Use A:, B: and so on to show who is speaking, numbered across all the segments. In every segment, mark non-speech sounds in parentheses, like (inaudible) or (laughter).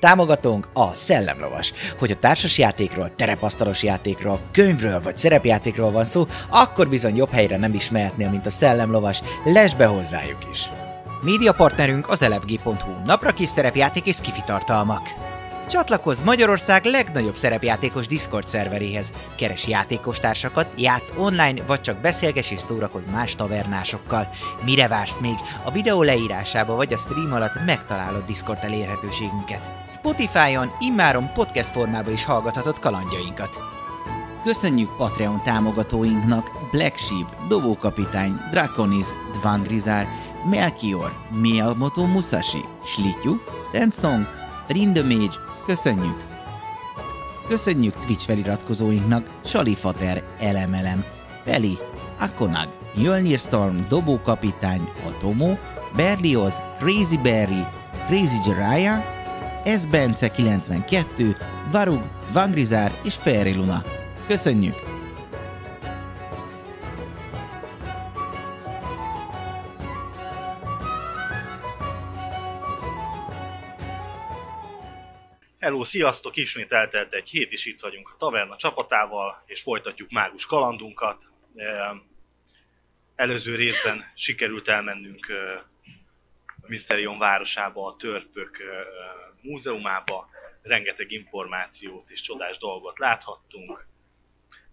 A: Támogatónk a Szellemlovas. Hogy a társas játékról, terepasztalos játékról, könyvről vagy szerepjátékról van szó, akkor bizony jobb helyre nem is mehetnél, mint a Szellemlovas. Lesz be hozzájuk is! Média partnerünk az elefg.hu, napra kis szerepjáték és kifitartalmak. Csatlakozz Magyarország legnagyobb szerepjátékos Discord szerveréhez. Keres játékostársakat, játsz online, vagy csak beszélges és szórakozz más tavernásokkal. Mire vársz még? A videó leírásába vagy a stream alatt megtalálod Discord elérhetőségünket. Spotify-on immáron podcast formában is hallgathatod kalandjainkat. Köszönjük Patreon támogatóinknak Black Sheep, Dovókapitány, Draconis, Dvangrizár, Melchior, Miyamoto Musashi, Slityu, Rensong, Rindemage, köszönjük! Köszönjük Twitch feliratkozóinknak Salifater, Elemelem, Peli, Akonag, Jölnir Storm, Dobókapitány, Atomo, Berlioz, Crazy Berry, Crazy Jiraiya, S. Bence 92, Varug, Vangrizár és Fairy Luna. Köszönjük!
B: Hello, sziasztok! Ismét eltelt egy hét, és itt vagyunk a taverna csapatával, és folytatjuk mágus kalandunkat. Ehm, Előző részben sikerült elmennünk ö, Mysterion városába, a törpök ö, múzeumába. Rengeteg információt és csodás dolgot láthattunk.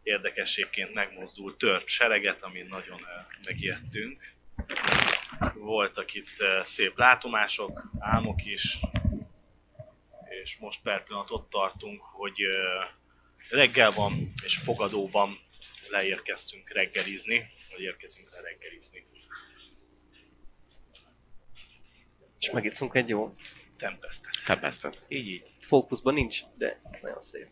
B: Érdekességként megmozdult törp sereget, amin nagyon ö, megijedtünk. Voltak itt ö, szép látomások, álmok is, és most per pillanat ott tartunk, hogy ö, reggel van, és fogadóban leérkeztünk reggelizni, vagy érkezünk le reggelizni.
C: És megiszunk egy jó
B: Tempestet.
D: Tempestet.
C: így így. Fókuszban nincs, de nagyon szép.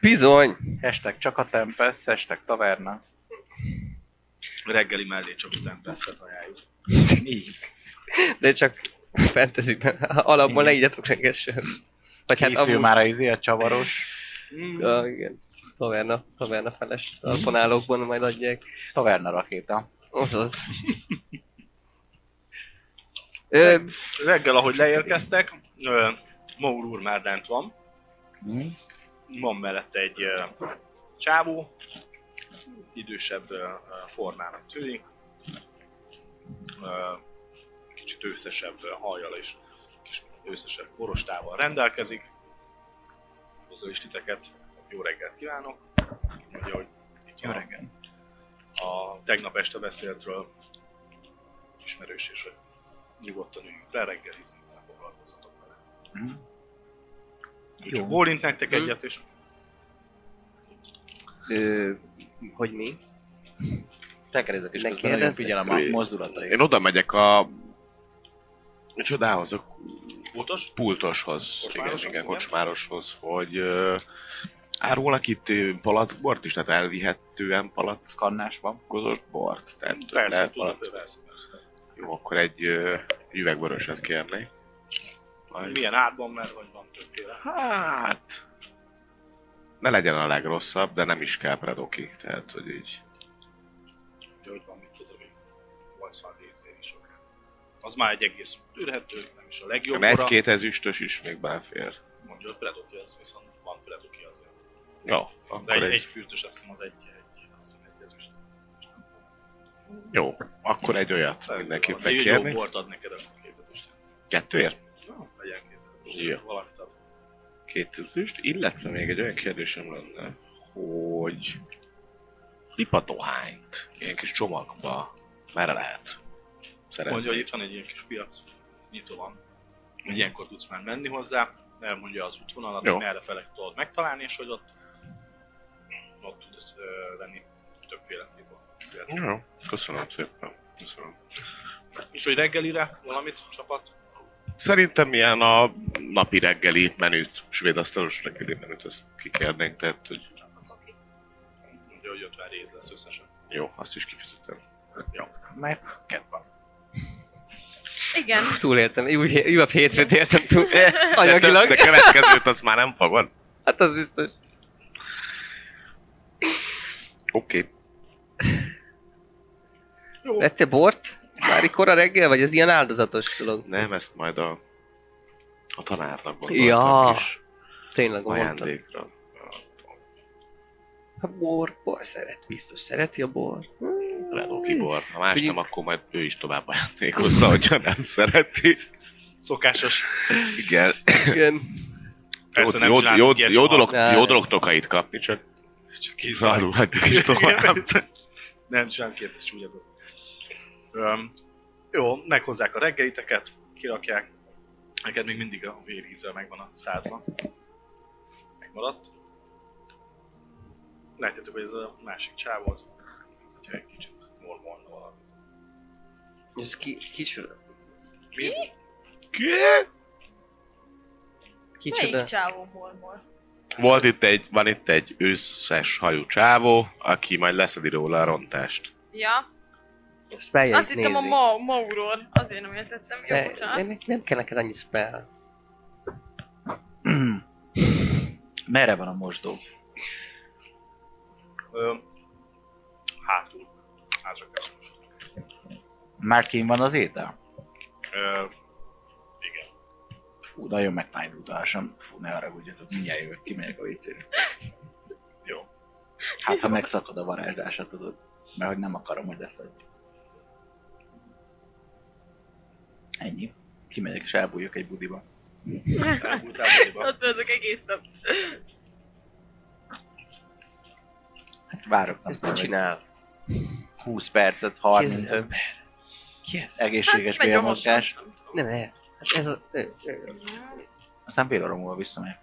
C: Bizony!
E: Hashtag csak a Tempest, hashtag taverna.
B: Reggeli mellé csak a Tempestet ajánljuk.
E: Így.
C: De csak fantasyben. Alapból ne ígyatok reggesen. Vagy hát
E: Készül
C: amúgy...
E: már a izé, a csavaros.
C: Ah, igen. Taverna, taverna feles alponálókban majd adják.
E: Taverna rakéta.
C: Azaz. Ö,
B: Reggel, ahogy leérkeztek, ö, Maur úr már lent van. Van mellette egy ö, csávó, idősebb ö, ö, formának tűnik. Ö, Kicsit őszesebb ö, hajjal és kis őszesebb borostával rendelkezik. Hozza is titeket. Jó reggelt kívánok! Mondja, hogy itt
E: Jó
B: van
E: reggel.
B: a tegnap este beszéltről ismerős is, hogy nyugodtan üljünk le reggelizni, ne foglalkozzatok vele.
E: Mhm.
B: Ő Csak bólint nektek
C: Mhm.
B: egyet, és
C: ö, hogy mi?
E: Tekerezek
C: is
E: is
C: Ne
E: közben, nagyon
C: kérdezzek?
E: figyelem a mozdulataik.
D: Én oda megyek a... Csodához, a
B: utas,
D: pultoshoz, igen,
B: Kocsmároshoz,
D: igen,
B: igen.
D: kocsmároshoz, hogy ö, árulnak itt ö, palackbort is, tehát elvihetően
E: Kannás van.
D: palackozott bort. Tehát
B: persze,
D: lehet
B: tudod,
D: palack...
B: persze, persze.
D: Jó, akkor egy ö, üvegvöröset kérnék. Majd-
B: Milyen árban, mert vagy van tökéle.
D: Hát... Ne legyen a legrosszabb, de nem is kell predoki. Tehát, hogy így...
B: Ugye, hogy van, mit tudom én, 80 létén is akár. Az már egy egész tűrhető, nem is a legjobb óra.
D: Egy-két ezüstös is még belefér.
B: Mondja, hogy predoki az, viszont van predoki azért.
D: Jó,
B: De
D: akkor
B: egy,
D: egy,
B: egy fürtös, azt hiszem az egy, egy, azt hiszem egy ezüst.
D: Jó, akkor egy olyat mindenképp
B: Egy jó
D: megkérni.
B: bort ad neked a képetest.
D: Kettőért?
B: Jó, legyen képes.
D: Jó.
B: Valamit ad.
D: Két ezüst, illetve még egy olyan kérdésem lenne, hogy pipatohányt ilyen kis csomagba merre lehet?
B: Mondja,
D: Szeretném.
B: hogy itt van egy ilyen kis piac, nyitó van. Hogy ilyenkor tudsz már menni hozzá, elmondja az útvonalat,
D: Mhm. Jó.
B: hogy merre felek tudod megtalálni, és hogy ott, ott tudod ö, venni többféle tipot.
D: Jó, köszönöm szépen. Köszönöm.
B: És hogy reggelire valamit csapat?
D: Szerintem ilyen a napi reggeli menüt, svéd asztalos reggeli menüt, ezt kikérnénk, tehát hogy
B: Mondja, hogy 50 rész lesz összesen.
D: jó, azt is kifizetem.
E: Mert kett van.
F: Igen.
C: Túléltem, úgy, úgy a hétfőt éltem
E: (laughs)
C: túl.
D: De,
C: Anyagilag.
D: de következőt azt már nem fogod?
C: Hát az biztos.
D: Oké. Okay.
C: Vette bort? Már így kora reggel, vagy ez ilyen áldozatos dolog?
D: Nem, ezt majd a A tanárnak gondoltam
C: Ja,
D: kis
C: tényleg mondtam.
D: ajándékra.
C: A bor, bor szeret, biztos szereti a bor.
D: Renoki bor. Ha más
C: Hm. Ugye-
D: nem, akkor majd ő is tovább ajándékozza, hogyha nem szereti.
B: Szokásos.
D: Igen.
C: Igen.
B: Persze
D: jó,
B: nem
D: jó,
B: csináltunk
D: jó,
B: ilyet
D: jó,
B: soha.
D: dolog,
C: Ne.
D: jó dolog tokait kapni, csak
B: Csak kiszállt.
D: zárul
B: (laughs)
D: hagyjuk is tovább.
B: Nem, sem kérdez, csúnya dolog. Öm, jó, meghozzák a reggeliteket, kirakják. Neked még mindig a vérhízzel megvan a szádban. Megmaradt. Látjátok, hogy ez a másik csávó az, mint hogyha egy kicsit mormolna valami.
C: Ez ki, kicsoda.
B: Mi?
C: Kicsoda.
F: Melyik csávó mormol?
D: Volt itt egy, van itt egy összes hajú csávó, aki majd leszedi róla a rontást.
F: Ja,
C: Spelljeit
F: azt hittem a
C: nézi.
F: ma- Mauról. Azért nem értettem. Jó,
C: Spell-
F: bocsánat.
C: nem, nem kell neked annyi spell.
E: Merre van a mosdó?
B: Öm, hátul. Hátra kell most.
E: Már kín van az étel?
B: Öm, igen.
E: Fú, nagyon megtájult sem. Fú, ne haragudjatok, mindjárt jövök, kimegyek a vécére.
B: Jó.
E: Hát, ha megszakad a varázslása, tudod. Mert hogy nem akarom, hogy lesz egy. Ennyi. Kimegyek és elbújok egy budiba.
B: Elmúltál valóban.
F: Ott vagyok egész nap.
E: Hát várok,
C: Ez
E: nem
C: mit
E: tudom, egy
C: csinál?
E: 20 percet,
C: Ki ez
E: 30
C: az ember? Ki ez?
E: egészséges
F: megy
E: bélmozgás.
F: gyorsan.
C: Nem ez. Hát ez a... ő- ő-
E: Aztán fél óra múlva visszamegyek.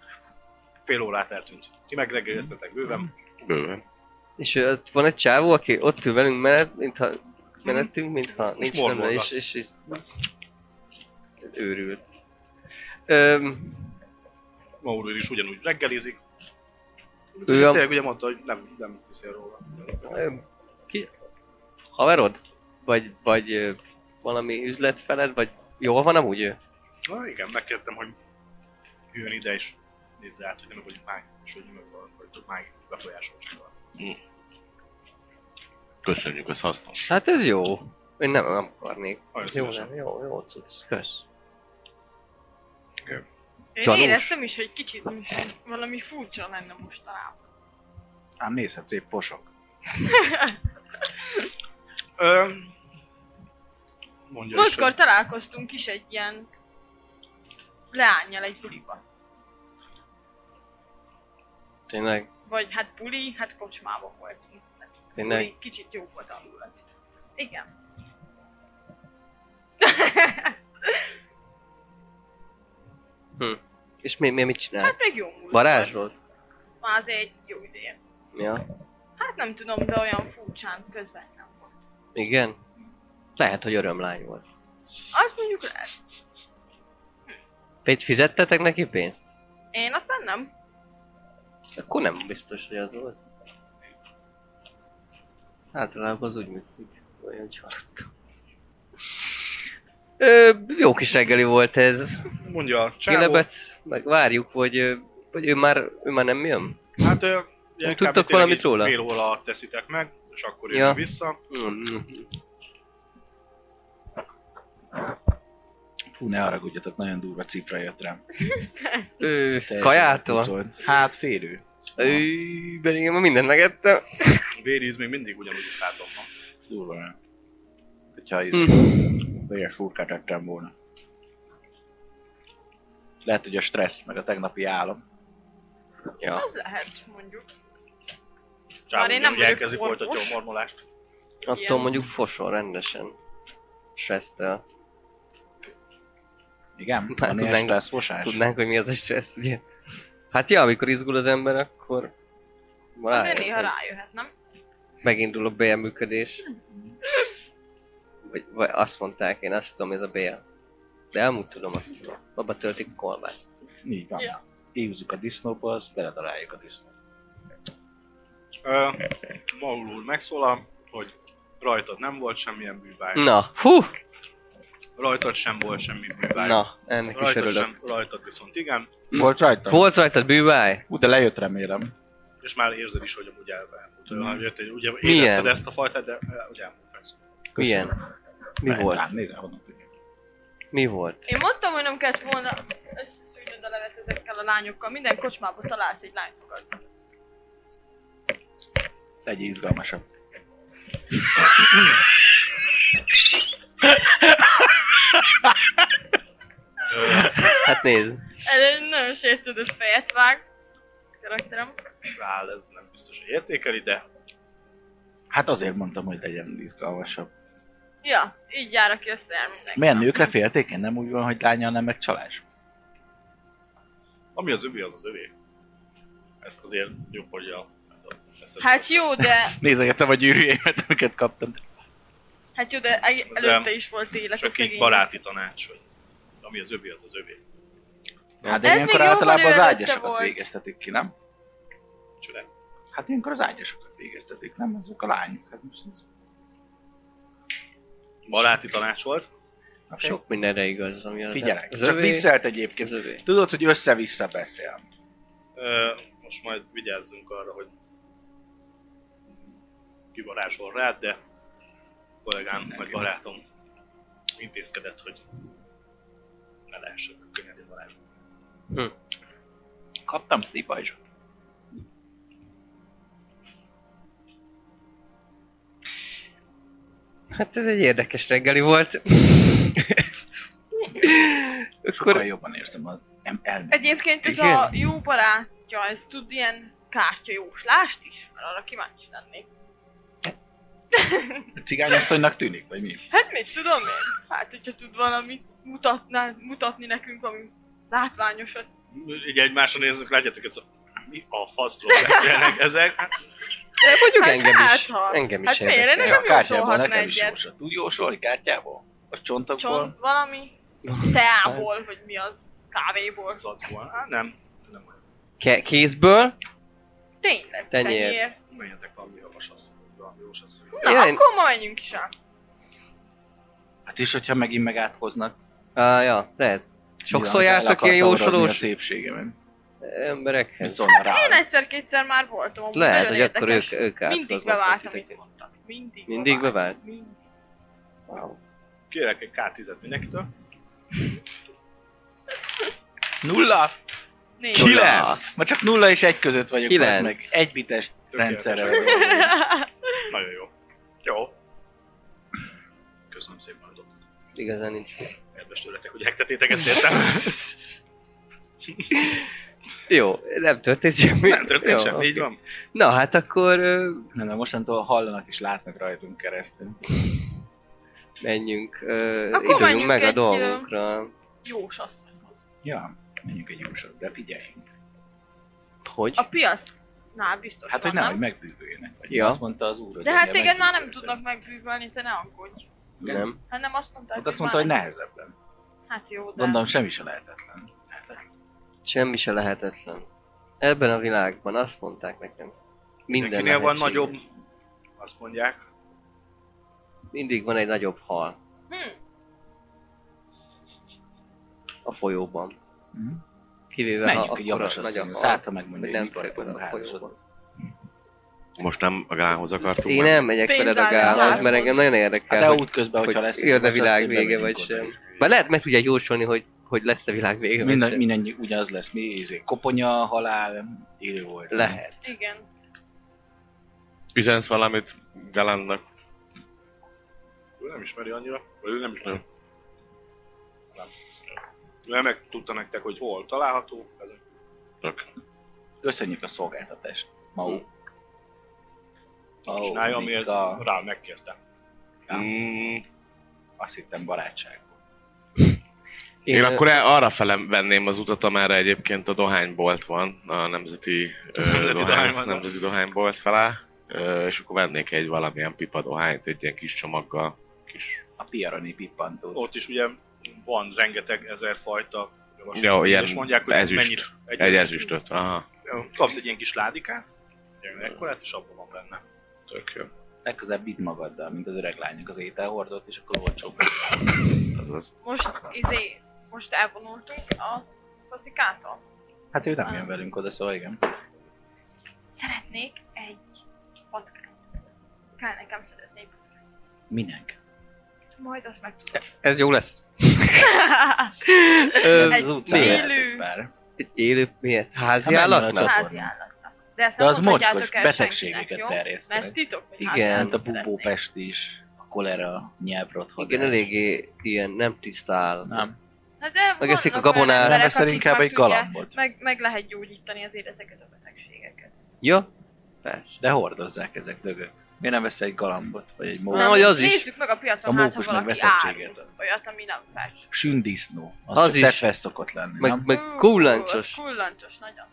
B: Fél órát eltűnt. Ti meg reggeliztetek bőven.
D: Bőven.
C: És ott van egy csávó, aki ott ül velünk menet, mintha menettünk, mintha nincs nem,
B: Mhm. mormolgat.
C: és, és, és, őrült. Öm,
B: Maurul is ugyanúgy reggelizik.
C: ő a,
B: Tényleg ugye mondta, hogy nem, nem hiszél róla.
C: öm, ki? Haverod? Vagy, vagy ö, valami üzletfeled, vagy jól van amúgy ő?
B: Na igen, megkértem, hogy jön ide és nézze át, hogy nem vagyok máj, és hogy nem vagyok vagy csak máj befolyásoltsággal.
D: Köszönjük, ez hasznos.
C: Hát ez jó. Én nem, nem akarnék.
B: Nagyon
C: Jó,
B: szívesen.
C: nem, jó, jó, cucc. Kösz.
F: Én
C: Gyanús.
F: éreztem is, hogy kicsit valami furcsa lenne most talán.
E: Ám nézhet, szép posok.
B: (laughs) Ö, mondja is,
F: Múltkor
B: hogy
F: találkoztunk is egy ilyen leányjal egy buliban.
C: Tényleg,
F: Vagy hát buli, hát kocsmában voltunk. Hát
C: tényleg.
F: buli, Kicsit jó volt a hangulat.
C: (laughs)
F: Igen.
C: Hm. És mi, mi mit csinál?
F: Hát meg jó múlt.
C: Varázsol?
F: Már azért egy jó ideje.
C: Ja.
F: Hát nem tudom, de olyan furcsán közvetlen volt.
C: Igen? Lehet, hogy örömlány volt.
F: Azt mondjuk lehet.
C: Pécs, fizettetek neki pénzt?
F: Én aztán nem.
C: Akkor nem biztos, hogy az volt. Általában az úgy működik. Olyan csalódtam. Ö, jó kis reggeli volt ez.
B: mondja a csávó,
C: Kilebet, meg várjuk, hogy, ö, hogy ő, már, ő már nem jön.
B: hát ö, ugye
C: Nem
B: kb. tényleg
C: tudtok valamit
B: így
C: róla?
B: Fél óra alatt teszitek meg, és akkor
C: Ja.
B: jön vissza.
C: Mm.
E: Fú, ne haragudjatok, nagyon durva cipra jött rám.
C: Ő,
E: Teljesen
C: kajától?
E: pucolt. Hát félő.
C: Ő, pedig én ma mindent megettem.
B: Véríz még mindig ugyanúgy a szádban van.
E: Durva nem. Hogyha így
C: Mm.
E: olyan furkát ettem volna. Lehet, hogy a stressz, meg a tegnapi álom.
C: Ja.
F: Az lehet, mondjuk.
B: Csávó
F: Már én
B: ugye,
F: nem
B: hogy
F: vagyok
B: elkezdi
F: orvos.
B: folytatja a mormolást.
C: Attól
F: Ilyen.
C: mondjuk fosol rendesen. Stressztel.
E: Igen?
C: Hát
E: Van ilyen
C: tudnánk-
E: stressz mosás?
C: Tudnánk, hogy mi az a stressz, ugye? Hát ja, amikor izgul az ember, akkor...
F: Azért
C: rájön,
F: néha
C: hogy
F: rájöhet, nem?
C: Megindul a BL működés. Vagy, vagy azt mondták, én azt tudom, ez a BL. De amúgy tudom, azt tudom. Abba töltik a kolbászt.
E: Így van.
F: Ja.
E: Hívjuk a disznóba, azt beletaláljuk a disznót.
B: Ö, Maul úr megszólal, hogy rajtad nem volt semmilyen bűváj.
C: Na, hú!
B: Rajtad sem volt semmi bűváj.
C: Na, ennek is
B: Rajtad,
C: örülök.
B: sem, rajtad viszont igen,
E: Volt rajta?
C: Hm. Volt rajtad bűváj?
E: Hú, de lejött remélem.
B: és már érzed is, hogy amúgy el- elmúlt.
E: Mm.
B: Mm. Jött, egy- ugye
C: Milyen?
B: érezted ezt a fajtát, de eh, ugye elmúlt persze.
C: Milyen? Mi
E: Lejött.
C: volt?
E: Hát, nézd, honnan tudjuk.
C: Mi volt?
F: Én mondtam, hogy nem kellett volna... Ezt a levet ezekkel a lányokkal. Minden kocsmába találsz egy lányt magadnak.
E: Legyél izgalmasabb.
B: Ö,
C: Hát nézd.
F: Ez egy nagyon sértődött fejet vág. Karakterem.
B: Rál ez nem biztos, hogy értékeli, de
E: Hát azért mondtam, hogy legyen izgalmasabb.
F: Ja, így jár, aki összejár mindenki.
E: Milyen nőkre félték? Én nem úgy van, hogy lánya, nem meg csalás.
B: ami az övé, az az övé. Ezt azért jobb, hogy a... ezt-
F: Hát jó, de,
E: Nézegettem a gyűrűjémet, amiket kaptam.
F: hát jó, de el-
B: Ez,
F: előtte is volt élet a
B: Csak egy
F: szegény.
B: baráti tanács, hogy ami az övé, az az övé.
E: Hát de
F: Ez
E: ilyenkor
F: még jóval
E: általában az
F: előtte
E: ágyasokat
F: volt.
E: végeztetik ki, nem?
B: Csoda.
E: Hát ilyenkor az ágyasokat végeztetik, nem? Azok a lányok. Hát most ez...
B: Baráti tanács volt.
E: Okay.
C: Sok mindenre igaz, ami az
E: Figyelek.
C: Az
E: Csak
C: övé,
E: viccelt
C: az
E: egyébként.
C: övé.
E: Tudod, hogy össze-vissza beszél.
B: Ö, most majd vigyázzunk arra, hogy kivarázsol rád, de kollégám vagy barátom intézkedett, hogy ne lehessen könnyedén varázsolni.
E: Kaptam szívajzsot.
C: Hát ez egy érdekes reggeli
E: (laughs)
C: volt.
E: Sokkal
C: Akkor
E: jobban érzem az em- elmét.
F: Egyébként ez
C: Igen.
F: a jó barátja, ez tud ilyen kártyajóslást is, mert arra kíváncsi lennék.
E: Cigányasszonynak tűnik, vagy mi?
F: Hát mit tudom én? Hát, hogyha tud valamit mutatná, mutatni nekünk, ami látványosat.
B: Így egymásra nézzük, látjátok, ez a, mi a
C: (laughs)
B: faszról beszélnek ezek. Hát,
C: de mondjuk
F: Hát
C: engem is,
F: hát, ha.
C: engem
F: Hát
C: is
F: miért?
C: érdekel.
F: Nem
E: Ja, kártyából
F: jósolhatna
E: nekem is
F: egyet.
E: jósol. Tud jósolni kártyából? A csontokból?
F: Csont, valami teából, vagy mi az, kávéból.
B: Zacból. Hát nem, nem olyan.
C: Ke- kézből?
F: Tényleg,
C: Tenyér.
F: tenyér.
B: Menjetek valami javas asszony, valami jós asszony.
F: Na,
C: Jaj.
F: akkor ma menjünk is el.
E: Hát és hogyha megint megáthoznak.
C: Ah, ja, lehet. Sokszor jártak ilyen
E: A
C: jósolós
E: szépségemet.
C: emberekhez?
E: Szólna rá.
F: Én egyszer-kétszer már voltam, amúgy
C: Lehet,
F: nagyon
C: hogy akkor
F: érdekes.
C: ők, ők
F: Mindig
C: átkoznak
F: bevált, amit
C: titeket.
F: mondtak. Mindig,
C: Mindig bevált?
F: Mindig.
C: Wow.
B: Kérek egy K10-et mindenkitől.
E: Nulla!
F: Négy.
C: Ki-
E: Kilenc! Ma csak nulla és egy között vagyok.
C: Kilenc.
E: bazd Meg. Egy bites rendszerrel.
F: (laughs)
B: Tökéletes.
E: vagyok.
B: Nagyon jó. Jó. Köszönöm szépen, hogy ott
C: Igazán nincs.
B: kedves tőletek, hogy eltetétek ezt értem.
C: Jó, nem történt semmi.
B: Nem történt
C: Jó,
B: semmi, így
C: oké.
B: van.
C: Na hát akkor ö,
E: Nem, de mostantól hallanak és látnak rajtunk keresztül.
C: menjünk, ö,
F: Akkor
C: induljunk
F: menjünk
C: meg a
F: egy, ö,
C: dolgunkra.
F: Jós asszonyhoz.
E: Ja, menjünk egy jósor, de figyeljünk.
F: Hát,
C: Hogy?
F: A piacnál biztos
E: Hát,
F: van,
E: hogy nem, hogy
F: nem?
E: megbűvöljenek. Vagy
C: Ja.
E: azt mondta az úr, hogy
F: De hát
E: engem
F: téged már nem
E: megbűvöltek.
F: tudnak megbűvölni, te ne aggódj.
C: Nem.
F: Hát nem azt mondtad,
E: Hát azt mondta, hogy
F: már-
E: nehezebben.
F: Hát jó, de...
E: Gondolom, semmi se lehetetlen.
C: Semmi se lehetetlen. Ebben a világban azt mondták nekem. Minden
B: Mindenkinél van
C: lehetséges.
B: nagyobb, azt mondják.
C: Mindig van egy nagyobb hal
F: Hm,
C: a folyóban.
E: Mhm.
C: Kivéve ha
E: Menjünk egy
C: akkora
E: javas
C: nagy a
E: asszonyhoz.
C: hal.
E: Hát, ha megmondja,
C: nem
E: hogy mikor
C: fekve
E: akarunk
C: a
E: házasodni.
D: Most nem a Gálhoz akartunk
C: Én nem megyek
F: Pénz
C: veled a
F: áll a
C: gához,
F: házhoz.
C: mert engem nagyon
E: Hát
C: érdekel,
E: de
C: hogy,
E: útközben,
C: hogy
E: hogyha lesz...
C: jön a
E: egy
C: világ
E: vasárnap,
C: vége,
E: bemegyünk
C: vagy
E: oda.
C: sem. Már lehet meg tudják jósolni, hogy, hogy lesz a világ vége, vagy
E: Minden,
C: sem.
E: minden ugyanaz lesz, mi izé, koponya, halál, élő volt.
C: Lehet.
F: igen.
D: Üzensz valamit Galánnak.
B: Ő nem ismeri annyira, vagy ő nem
D: Mm.
B: ismeri. Nem. Ő meg tudta nektek, hogy hol található. Ez
D: Tök.
E: Köszönjük a szolgáltatást.
C: Hm.
E: Mau.
B: oh, csinálja, amiért
E: Mika.
B: a... rá megkérte.
E: Ja.
D: Mm,
E: Azt hittem barátság.
D: Én, Én akkor el- arra felem venném az utat, amerre egyébként a dohánybolt van, a nemzeti, ö,
B: Nemzeti
D: dohány,
B: dohánybolt.
D: nemzeti dohánybolt felá, ö, és akkor vennék egy valamilyen pipa dohányt, egy ilyen kis csomaggal, kis
E: A piaroni pippantó.
B: Ott is ugye van rengeteg ezer fajta javaslat,
D: Ja, ilyen
B: és mondják, hogy
D: ezüst.
B: mennyit.
D: egy ezüstöt. Aha,
B: Jó, Kapsz egy ilyen kis ládikát, ilyen ekkorát, és abban van benne.
D: tök jó.
E: Legközelebb vidd magaddal, mint az öreg lányok az ételhordót, és akkor olcsóbb.
D: Azaz.
F: Most, izé, most elvonultunk a faszikától.
E: Hát ő nem jön velünk oda, szóval igen.
F: Szeretnék egy patkányt. Kell nekem szeretnék.
E: Minek? (laughs)
F: Majd azt meg tudom.
C: Ez jó lesz.
E: Ez
F: egy
E: az utcán
C: miért?
F: élő
E: már.
C: Egy élő miért? Házi
E: Hát menjen a
C: állatnak?
E: csatornán.
F: Házi állatnak. De ezt
E: De
F: nem
E: az mocskos,
F: mondhatjátok el
E: betegségeket
F: senkinek, jó? Mert ez
E: terjesztenek.
F: titok, hogy
C: Igen,
F: házi
E: Hát a
F: állatnak szeretnék.
E: bubópest is, a kolera, nyelvrothodás.
C: Hát Igen, eléggé ilyen nem tiszta állat.
E: Nem.
F: Hát de
C: Megeszik
F: vannak
C: a gabonát.
F: olyan
E: Nem
F: emberek,
E: veszel
F: akik
E: inkább
F: meg
E: egy
F: tudják-
E: galambot.
F: Meg, meg lehet gyógyítani azért ezeket a betegségeket.
C: Ja? Persze.
E: De hordozzák ezek dögök. Miért nem veszel egy galambot, vagy egy
C: Na,
E: mókus?
C: hogy az is.
F: Nézzük meg a piacon,
E: A
F: hát ha
E: mókus meg
F: valaki
E: veszettséget
F: árul olyat, ami nem fels.
E: Sündisznó. Az,
C: Az
E: az
C: is.
E: is. Tetves szokott lenni,
C: Meg,
E: nem?
C: meg
F: Ú,
C: kullancsos.
F: Az kullancsos, nagyon.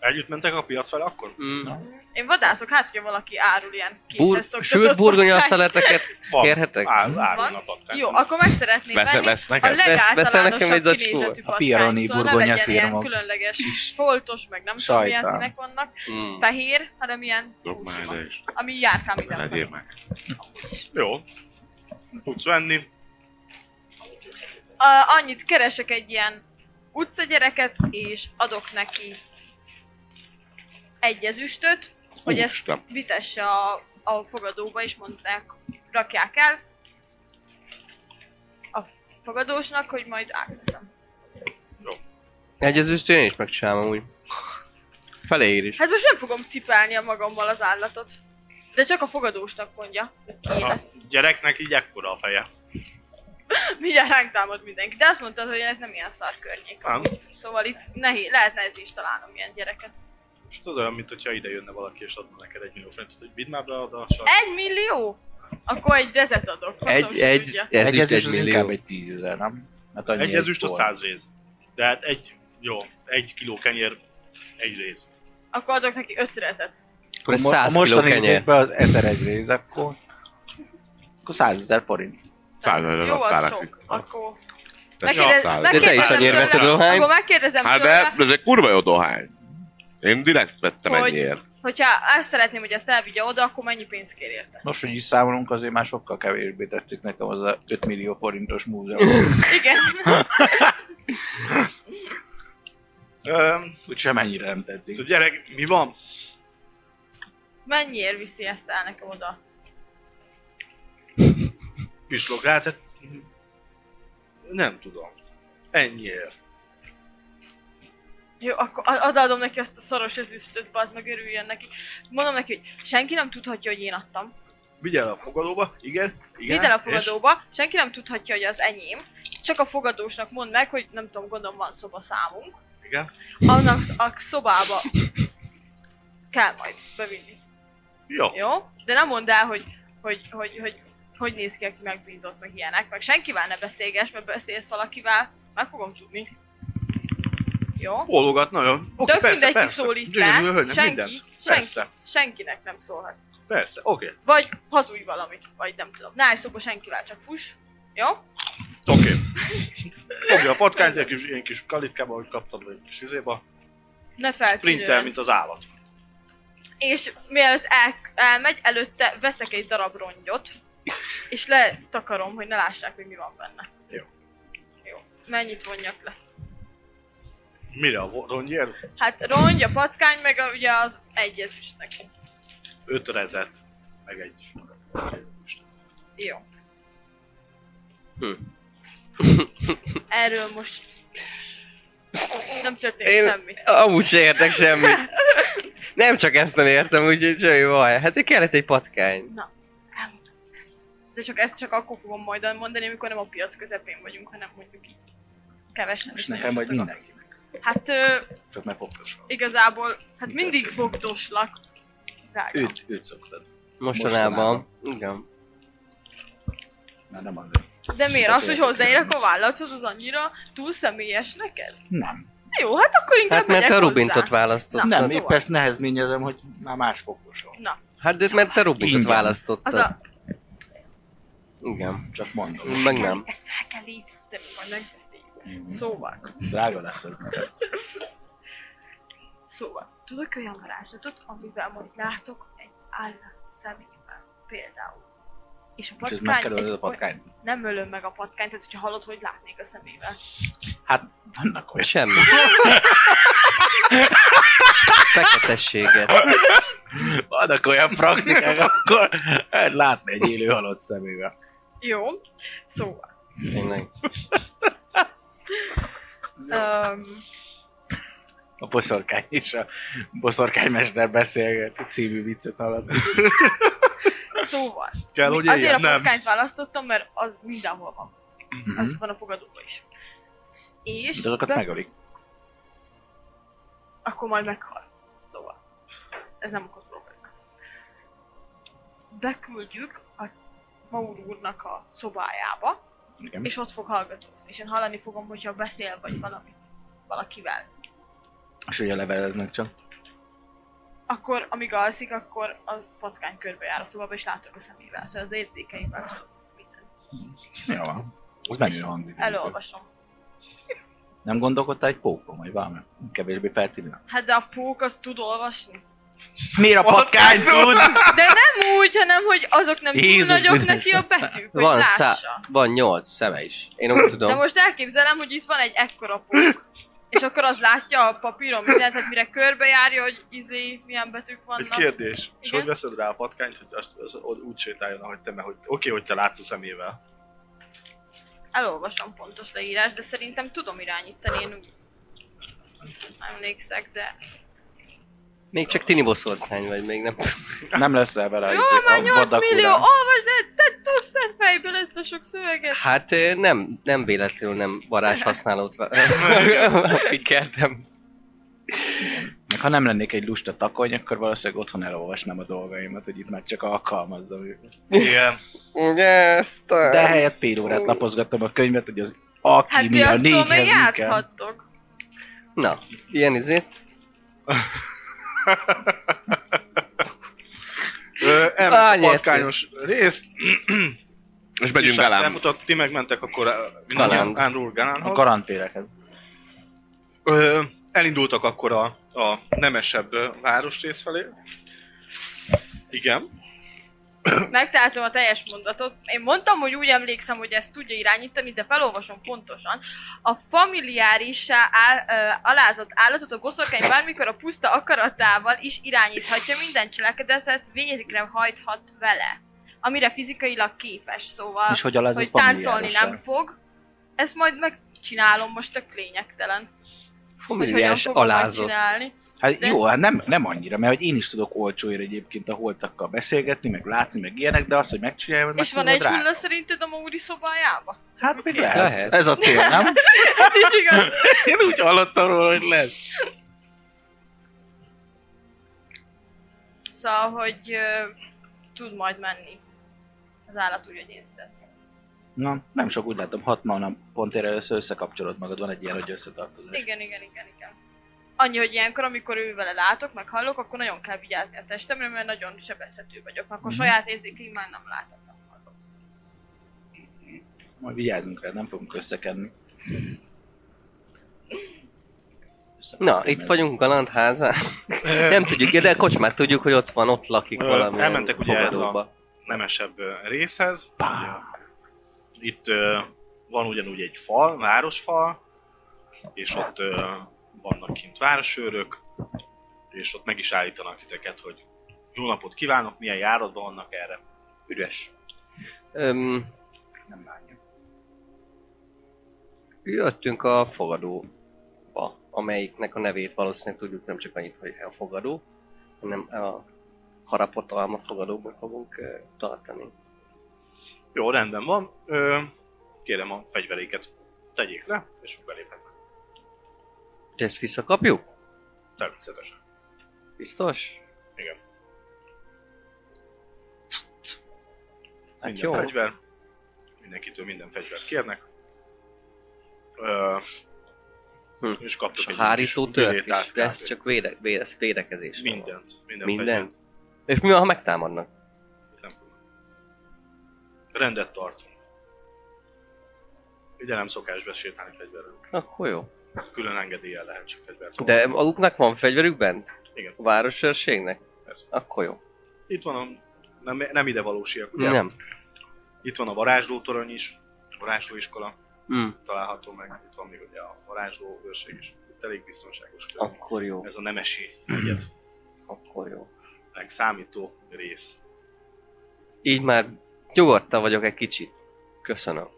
B: Együtt mentek a piac fel akkor?
C: Mm.
E: Na.
F: Én vadászok, hát hogyha valaki árul ilyen
C: Bur-
F: kézhez szoktatott
C: sült burgonya
F: patkányt. (laughs)
C: szeleteket
B: Van.
C: kérhetek?
B: Á,
F: Van.
B: árulnak adták.
F: Jó, akkor meg szeretném
D: Vesz,
F: venni.
D: vesz
F: A
D: neked?
C: Vesz- veszel
F: legáltalánosabb
C: nekem egy zacskó?
F: kinézetű
E: A Pironi
F: patkány, szóval ne
E: burgonya
F: legyen ilyen
E: szirma.
F: különleges foltos, meg nem tudom milyen
E: Sajtán.
F: színek vannak.
C: Mm.
F: Fehér, hanem ilyen
D: Dob már
F: húsú,
D: ide is.
F: ami járkál
D: Ne
F: minden.
D: Legyél meg.
B: Jó. Tudsz venni.
F: A, annyit keresek egy ilyen utcagyereket, és adok neki egy ezüstöt, hogy ezt
D: Úristen.
F: vitesse a, a fogadóba, és mondták, rakják el a fogadósnak, hogy majd átveszem.
C: Egy az üst én is megcsinálom úgy. Feléír is.
F: Hát most nem fogom cipelni a magammal az állatot. De csak a fogadósnak mondja, hogy ki
B: A
F: lesz.
B: gyereknek így ekkora a feje.
F: Mindjárt ránk támad mindenki. De azt mondtad, hogy ez nem ilyen szar környék.
B: Nem.
F: Szóval itt nehéz, lehet nehéz is találnom ilyen gyereket.
B: Most az olyan, mintha ide jönne valaki és adna neked egy millió forintot, hogy vidd már be oda a sarkba.
F: Egy millió? Akkor egy rezet adok. faszom
C: Egy,
F: ki
C: egy,
F: tudja.
C: ez üst
E: ezüst
C: egy
E: az inkább
C: millió.
E: egy tízezer, nem? Hát annyi
B: Egy ezüst a
E: volt.
B: száz rész. De hát egy, jó, egy kiló kenyér, egy rész.
F: Akkor adok neki öt rezet.
C: Akkor ez
E: Mo-
C: 100
E: a
C: kiló
E: mostani
C: kenyér.
E: izékben az 1001 rész, akkor... Akkor 100 ezer forint.
D: Százezer
F: Jó, az
D: adtál
F: sok.
D: nekik.
F: Akkor...
D: Te
F: Megkérdez-
D: száz.
C: De te is
F: megkérdezem
C: annyira vetted
F: tőle-
C: dohányt?
F: Akkor megkérdezem
D: Hát
F: tőle,
D: de ez egy kurva jó dohány. Én direkt vettem
F: Hogy?
D: ennyiért.
F: hogyha azt szeretném, hogy ezt elvigye oda, akkor mennyi pénzt kér érte?
E: Nos, hogy is számolunk, azért már sokkal kevésbé tetszik nekem az a 5 millió forintos (laughs) múzeum.
F: Igen.
B: Öm,
E: Úgy semennyire nem
B: a
E: tetszik.
B: gyerek, mi van?
F: Mennyiért viszi ezt el nekem oda?
B: Pislog rá, tehát... Nem tudom. Ennyiért.
F: Jó, akkor a- odaadom neki ezt a szaros ezüstöt, bazd meg örüljön neki. Mondom neki, hogy senki nem tudhatja, hogy én adtam.
B: Vidd el a fogadóba, igen, igen.
F: Vidd el a
B: és?
F: fogadóba, senki nem tudhatja, hogy az enyém. Csak a fogadósnak mondd meg, hogy nem tudom, gondolom van szobaszámunk.
B: Igen.
F: Annak a szobába kell majd bevinni.
B: Jó.
F: Jó? De nem mondd el, hogy hogy, hogy, hogy, hogy néz ki, aki megbízott, meg ilyenek. Meg senkivel ne beszélgess, mert beszélsz valakivel, meg fogom tudni. Jó?
B: Bólogat nagyon. Oké,
F: Tök
B: persze,
F: mindegy, ki
B: persze.
F: szólít
B: Gyönyörű
F: le.
B: hölgynek
F: Senki,
B: mindent.
F: senki.
B: Persze,
F: Senkinek nem szólhat.
B: persze, oké.
F: Vagy hazudj valamit, vagy nem tudom. Ne állj szóba senkivel, csak fuss. Jó?
B: Oké. Fogja a patkányt, egy kis, ilyen kis kalitkába, hogy kaptad, vagy egy kis izéba.
F: Ne feltűnően.
B: Sprintel, mint az állat.
F: És mielőtt el, elmegy, előtte veszek egy darab rongyot, és letakarom, hogy ne lássák, hogy mi van benne.
B: Jó.
F: Jó. Mennyit vonjak le?
B: Mire a rongyér?
F: Hát rongy, a patkány, meg a, ugye az egyezüstnek.
B: Öt rezet, meg egy...
F: Jó.
C: Hm.
F: Erről most nem történt
C: Én-
F: semmi.
C: Amúgy se értek
F: (laughs)
C: semmit. Nem csak ezt nem értem, úgyhogy semmi baj. Hát kellett egy patkány.
F: Elmondom. De csak ezt csak akkor fogom majd elmondani, amikor nem a piac közepén vagyunk, hanem mondjuk így kevesen.
E: És
F: is nagyon
E: nekem vagy
F: sokan.
E: mindenkinek.
F: Hát ö,
E: Csak ne fogtasson.
F: igazából, hát mindig fogdoslak. Drága.
E: Őt, őt szoktad.
C: Mostanában. Igen.
E: Na nem az.
F: De miért? Az, hogy hozzáér a vállathoz, az annyira túl személyes neked?
E: Nem.
F: Jó, hát akkor inkább
C: Hát mert
F: megyek
C: te a
F: hozzá.
C: Rubintot választottad.
F: Na,
E: Nem,
F: szóval.
E: épp ezt nehezményezem, hogy már más fogtasson.
C: Hát de mert te Rubintot
E: Ingyen.
F: Az
C: választottad.
F: a,
C: Igen.
E: Csak mondom.
C: Meg nem.
F: Ezt fel kell építeni, majd megteszik. Szóval,
E: Mhm. Drága lesz ez neked.
F: szóval, tudok olyan varázslatot, amivel majd látok egy állat szemében, például. És a
E: És ez
F: patkány,
E: megkerülöd
F: egy
E: a patkányt?
F: oly- nem ölöm meg a patkányt, tehát hogyha hallod, hogy látnék a szemével.
E: Hát, vannak olyan.
C: Semmi.
F: (laughs)
C: Feketességet.
E: Vannak olyan praktikák, akkor ez látni egy élő halott szemével.
F: Jó, szóval,
C: Tényleg.
F: Um,
E: A boszorkány és a boszorkánymester beszélget című viccet hallott.
F: szóval,
B: Kell, hogy
F: azért
B: éljen?
F: a
B: Nem.
F: kockányt választottam, mert az mindenhol van. Az van a fogadóban is. És
E: Mhm. De azokat
F: be-
E: megölik.
F: akkor majd meghal. Szóval, ez nem okoz problémát. Beküldjük a Maur úrnak a szobájába,
E: Igen.
F: és ott fog hallgatózni. És én hallani fogom, hogyha beszél, vagy valami, valakivel.
E: És ugye leveleznek csak.
F: Akkor, amíg alszik, akkor a patkány körbe jár a szobába, és látok a szemével. Szóval az érzékeimmel tudom mindent.
E: Mhm. Jó van. Ez menő hangzik.
F: Elolvasom.
E: Nem gondolkodtál egy pókon, vagy valami? Kevésbé feltűnő.
F: Hát de a pók az tud olvasni.
E: Miért a patkány tud?
F: De nem úgy, hanem hogy azok nem túl
E: Jézus
F: nagyok
E: Krisztus.
F: neki a betűk, hogy
C: Van,
F: lássa.
C: szá- van nyolc szeme is. Én úgy
F: De
C: tudom.
F: most elképzelem, hogy itt van egy ekkora pók. És akkor az látja a papíron mindent, tehát mire körbejárja, hogy izé, milyen betűk
B: Egy
F: vannak.
B: kérdés. És
F: Igen?
B: hogy veszed rá a patkányt, hogy azt, az, az, úgy sétáljon, ahogy te, mert hogy, oké, hogy te látsz a szemével.
F: Elolvasom pontos leírás, de szerintem tudom irányítani, én úgy emlékszek, de...
C: Még csak tini boszorkány vagy, még nem tudom.
E: Nem leszel vele
F: Jó,
E: izé,
F: már 8
E: vadakura.
F: millió, olvasd, de te tudtad fejből ezt a sok szöveget.
C: Hát ö, nem, nem véletlenül nem varázs használót (laughs) pikeltem.
E: Meg ha nem lennék egy lusta takony, akkor valószínűleg otthon elolvasnám a dolgaimat, hogy itt már csak alkalmazzam őket.
B: Igen.
C: Yes,
E: De helyett fél órát lapozgatom a könyvet, hogy az
F: Hát
E: alkímia
F: ti
E: hát,
F: attól még
E: négyhez mi kell.
F: játszhattok.
C: Na, ilyen izét.
B: Ö, elment
C: Á,
B: a
C: nyertünk.
B: patkányos rész.
D: És megyünk
B: István
D: velem.
B: Elfutott, ti megmentek akkor ö,
C: Galánd.
B: mindannyian Andrew
E: A
B: Galánhoz.
E: garantélekhez.
B: Ö, elindultak akkor a, a nemesebb ö, városrész felé. Igen.
F: Megtaláltam a teljes mondatot. Én mondtam, hogy úgy emlékszem, hogy ezt tudja irányítani, de felolvasom pontosan. A familiárissá áll, ö, alázott állatot a boszorkány bármikor a puszta akaratával is irányíthatja, minden cselekedetet végre hajthat vele. Amire fizikailag képes, szóval,
E: És hogy alá ez
F: hogy
E: a familiáros
F: táncolni
E: el?
F: nem fog. Ezt majd megcsinálom, most tök lényegtelen. Hogy hogyan
C: Familiás
F: fogom
C: alázott.
F: megcsinálni.
E: Hát
F: De-
E: jó, hát nem, nem annyira, mert hogy én is tudok olcsóért egyébként a holtakkal beszélgetni, meg látni, meg ilyenek, de azt, hogy megcsináljam, hogy
F: És van egy hulla szerinted a Mauri szobájába?
E: szóval Hát még lehet.
C: Lehet.
E: Ez a cél, nem?
F: Ez is igaz.
E: én úgy hallottam róla, hogy lesz.
F: Szóval, hogy ö, tud majd menni az állat úgy, hogy észre.
E: Na, nem sok úgy látom, hat nap pont erre össze összekapcsolod magad, van egy ilyen, hogy összetartozol.
F: Igen, igen, igen, igen. Annyi, hogy ilyenkor, amikor ő vele látok, meg hallok, akkor nagyon kell vigyázni a testemre, mert nagyon sebezhető vagyok. Akkor
E: Mhm.
F: saját érzékeim már nem látok. nem hallok.
E: Majd vigyázzunk rá, nem fogunk összekenni.
C: Na, itt vagyunk Galant
B: (laughs)
C: házán. Nem tudjuk, de kocsmát tudjuk, hogy ott van, ott lakik
B: Ö,
C: valami.
B: elmentek ugye ez a- Nemesebb ö, részhez.
E: Pá!
B: Itt ö, van ugyanúgy egy fal, városfal, és ott ö, vannak kint városőrök, és ott meg is állítanak titeket, hogy jó napot kívánok, milyen járatban vannak erre.
C: Üres. Öm,
E: Nem látjuk.
C: jöttünk a fogadóba, amelyiknek a nevét valószínűleg tudjuk nem csak annyit, hogy a fogadó, hanem a harapott alma fogadóban fogunk ö, tartani.
B: Jó, rendben van. Ö, kérem a fegyveréket tegyék le, és beléphetnek.
C: De ezt visszakapjuk?
B: Természetesen.
C: Biztos?
B: Igen.
C: Hát
B: Minden
C: jó.
B: fegyver. Mindenkitől minden fegyvert kérnek. Ö,
C: Hm.
B: És kaptok
C: És a
B: egy
C: hárító
B: kis
C: tört
B: bilétát,
C: is, de ez
B: kb.
C: csak véde, véde, ez védekezés.
B: Mindent. Minden. fegyvert.
C: Minden? És mi van, ha megtámadnak?
B: Nem tudom. Rendet tartunk. Ugye nem szokás besétálni fegyverrel.
C: Akkor jó.
B: Külön engedéllyel lehet csak fegyvert. kapni.
C: De maguknak van fegyverük bent?
B: Igen.
C: A városőrségnek?
B: Persze.
C: Akkor jó.
B: Itt van a... Nem, nem ide valósiak, ugye?
C: Ja. Nem.
B: Itt van a varázslótorony is, a varázslóiskola
C: Mm.
B: található meg, itt van még ugye a varázsló őrség is. Itt elég biztonságos kör.
C: Akkor jó.
B: Ez a nemesi egyet
C: Akkor jó.
B: meg számító rész.
C: Így már nyugodtan vagyok egy kicsit. Köszönöm.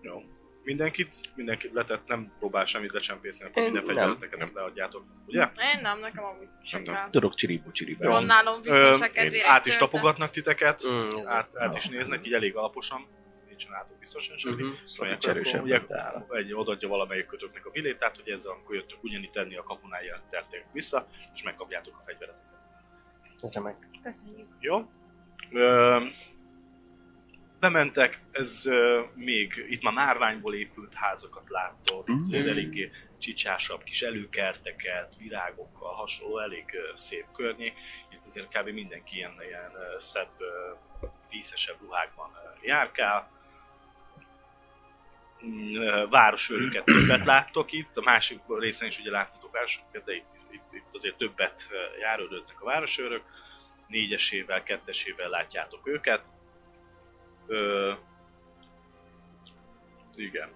B: Jó. Mindenkit, mindenkit letett, nem próbál semmit lecsempészni, akkor
C: Én
B: minden
C: nem.
B: fegyverleteket leadjátok, ugye?
F: Én nem, nekem amúgy sem
D: Nem.
F: kell.
E: Tudok Szóval csiribú csiribú.
F: Jól nálom
B: Ö,
F: viszont a kedvére.
B: át is tapogatnak titeket,
C: Mm,
B: át, át is néznek, így elég alaposan, nincsen átok biztosan semmi.
C: Mhm.
B: Szóval
E: Szóval
B: akkor
E: erősebb
B: ugye
E: lett áll.
B: egy odaadja valamelyik kötöknek a bilétát, hogy ezzel amikor jöttök ugyanígy tenni a kapunáját, terték vissza, és megkapjátok a fegyveret.
C: Ez remek.
F: Köszönjük.
B: Jó. Ö, bementek, ez ö, még itt már márványból épült házakat láttok, mm. eléggé csicsásabb kis előkerteket, virágokkal hasonló, elég ö, szép környék. Itt azért kb. mindenki ilyen, ilyen ö, szebb, ö, díszesebb ruhákban ö, járkál. Mm, ö, Városőröket többet láttok itt, a másik részen is ugye láttatok városőröket, de itt, itt, itt azért többet ö, járőröznek a városőrök négyesével, kettesével látjátok őket. Ö, igen.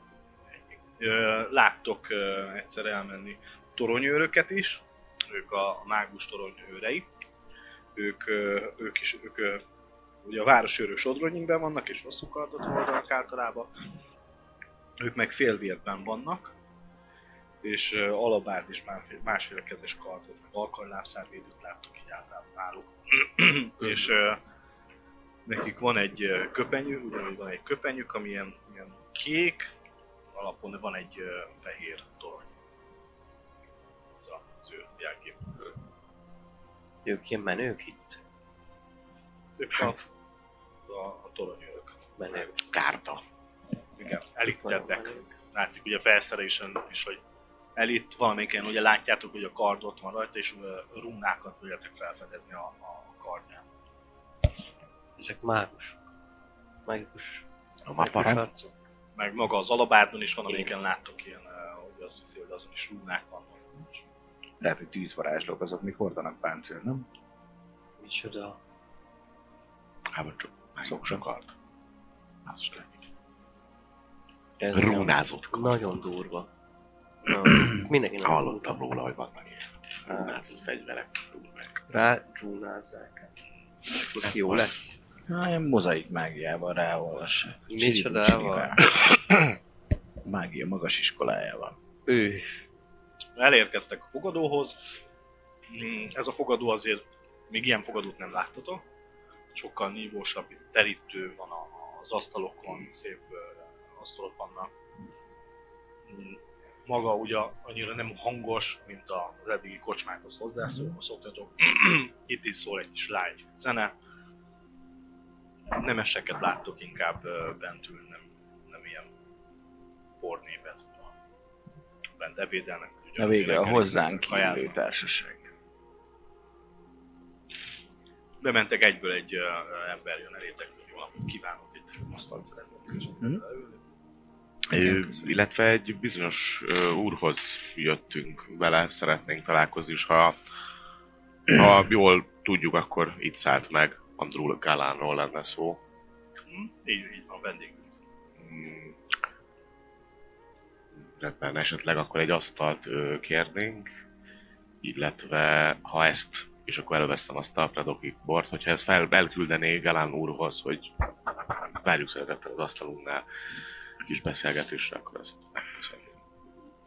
B: Ö, láttok ö, egyszer elmenni toronyőröket is, ők a, a mágus toronyőrei. Ők, ö, ők is, ők ö, ugye a városőrök sodronyingben vannak, és hosszú kardot hordanak általában. Ők meg félvértben vannak, és ö, alabárd és másfél, másfél kezes kardot, meg alkarlábszárvédőt láttok így általában náluk. és ö, nekik van egy ö, köpenyük, ugyanúgy van egy köpenyük, ami ilyen, ilyen kék, alapon van egy ö, fehér torony. Ez az ő jelkép.
C: Ők ilyen menők itt?
B: Ők a, a, a toronyőrök.
C: Menők.
D: Kárta.
B: Igen,
C: Nagyon
B: elittebbek.
C: menők.
B: látszik ugye a felszerelésen is, hogy elit valamelyiken ugye látjátok, hogy a kard ott van rajta, és ö, runákat tudjátok felfedezni a, a kardján.
C: Ezek mágus. Mágikus.
D: A
C: mágikus
D: mapara.
C: arcok.
B: Meg maga az alabárdon is van, amelyiken láttok ilyen, ö, hogy azt hiszi, hogy azon is runák vannak.
E: Lehet, hogy tűzvarázslók azok, mi hordanak páncél, nem?
C: Micsoda.
D: Hát, vagy csak
E: Sok sokat.
D: az se lehet.
C: Ez
D: Rúnázott
C: nagyon-
D: kard.
C: Nagyon durva. Nagyon- Mindenkinek
D: Hallottam róla, hogy vannak ilyen
C: Á.
D: rúnázott fegyverek, rúnák.
C: Rá dzsúnázzák. Akkor Jó lesz.
E: Hát, ilyen mozaik mágiával ráolvas. Csiribú
C: Micsodával?
D: (coughs)
E: csiribá. Mágia magas iskolájával.
C: Ő.
B: Elérkeztek a fogadóhoz. Mm, Ez a fogadó azért, még ilyen fogadót nem láttatok. Sokkal nívósabb terítő van a- az asztalokon, szép ö, asztalok vannak. Mm, Maga ugye annyira nem hangos, mint az eddigi kocsmákhoz
E: Mhm.
B: hozzászólva szoktatok. (clears throat) Itt is szól egy kis lágy zene. Nemeseket láttok inkább ö, bentül, nem, nem ilyen pornépet. Bent ebédelnek.
E: Na végre a
B: reggelisznek,
E: hozzánk
B: kajáznak.
E: illő társaság.
B: bementek egyből egy ö, ö, ember jön elétek, hogy valamit kívánok, egy asztalt szeretnék. és
E: Mhm.
B: leülni.
D: Ö, Illetve egy bizonyos ö, úrhoz jöttünk vele, szeretnénk találkozni, és ha, ha jól tudjuk, akkor itt szállt meg. Andrul Galánról lenne szó.
B: Hm? Így, így van, vendégünk.
D: Mm. Rendben, esetleg akkor egy asztalt ö, kérnénk, illetve ha ezt, és akkor előveszem azt a predoki bort, hogyha ezt fel, elküldené Galán úrhoz, hogy várjuk szeretettel az asztalunknál kis beszélgetésre, akkor azt köszönjük.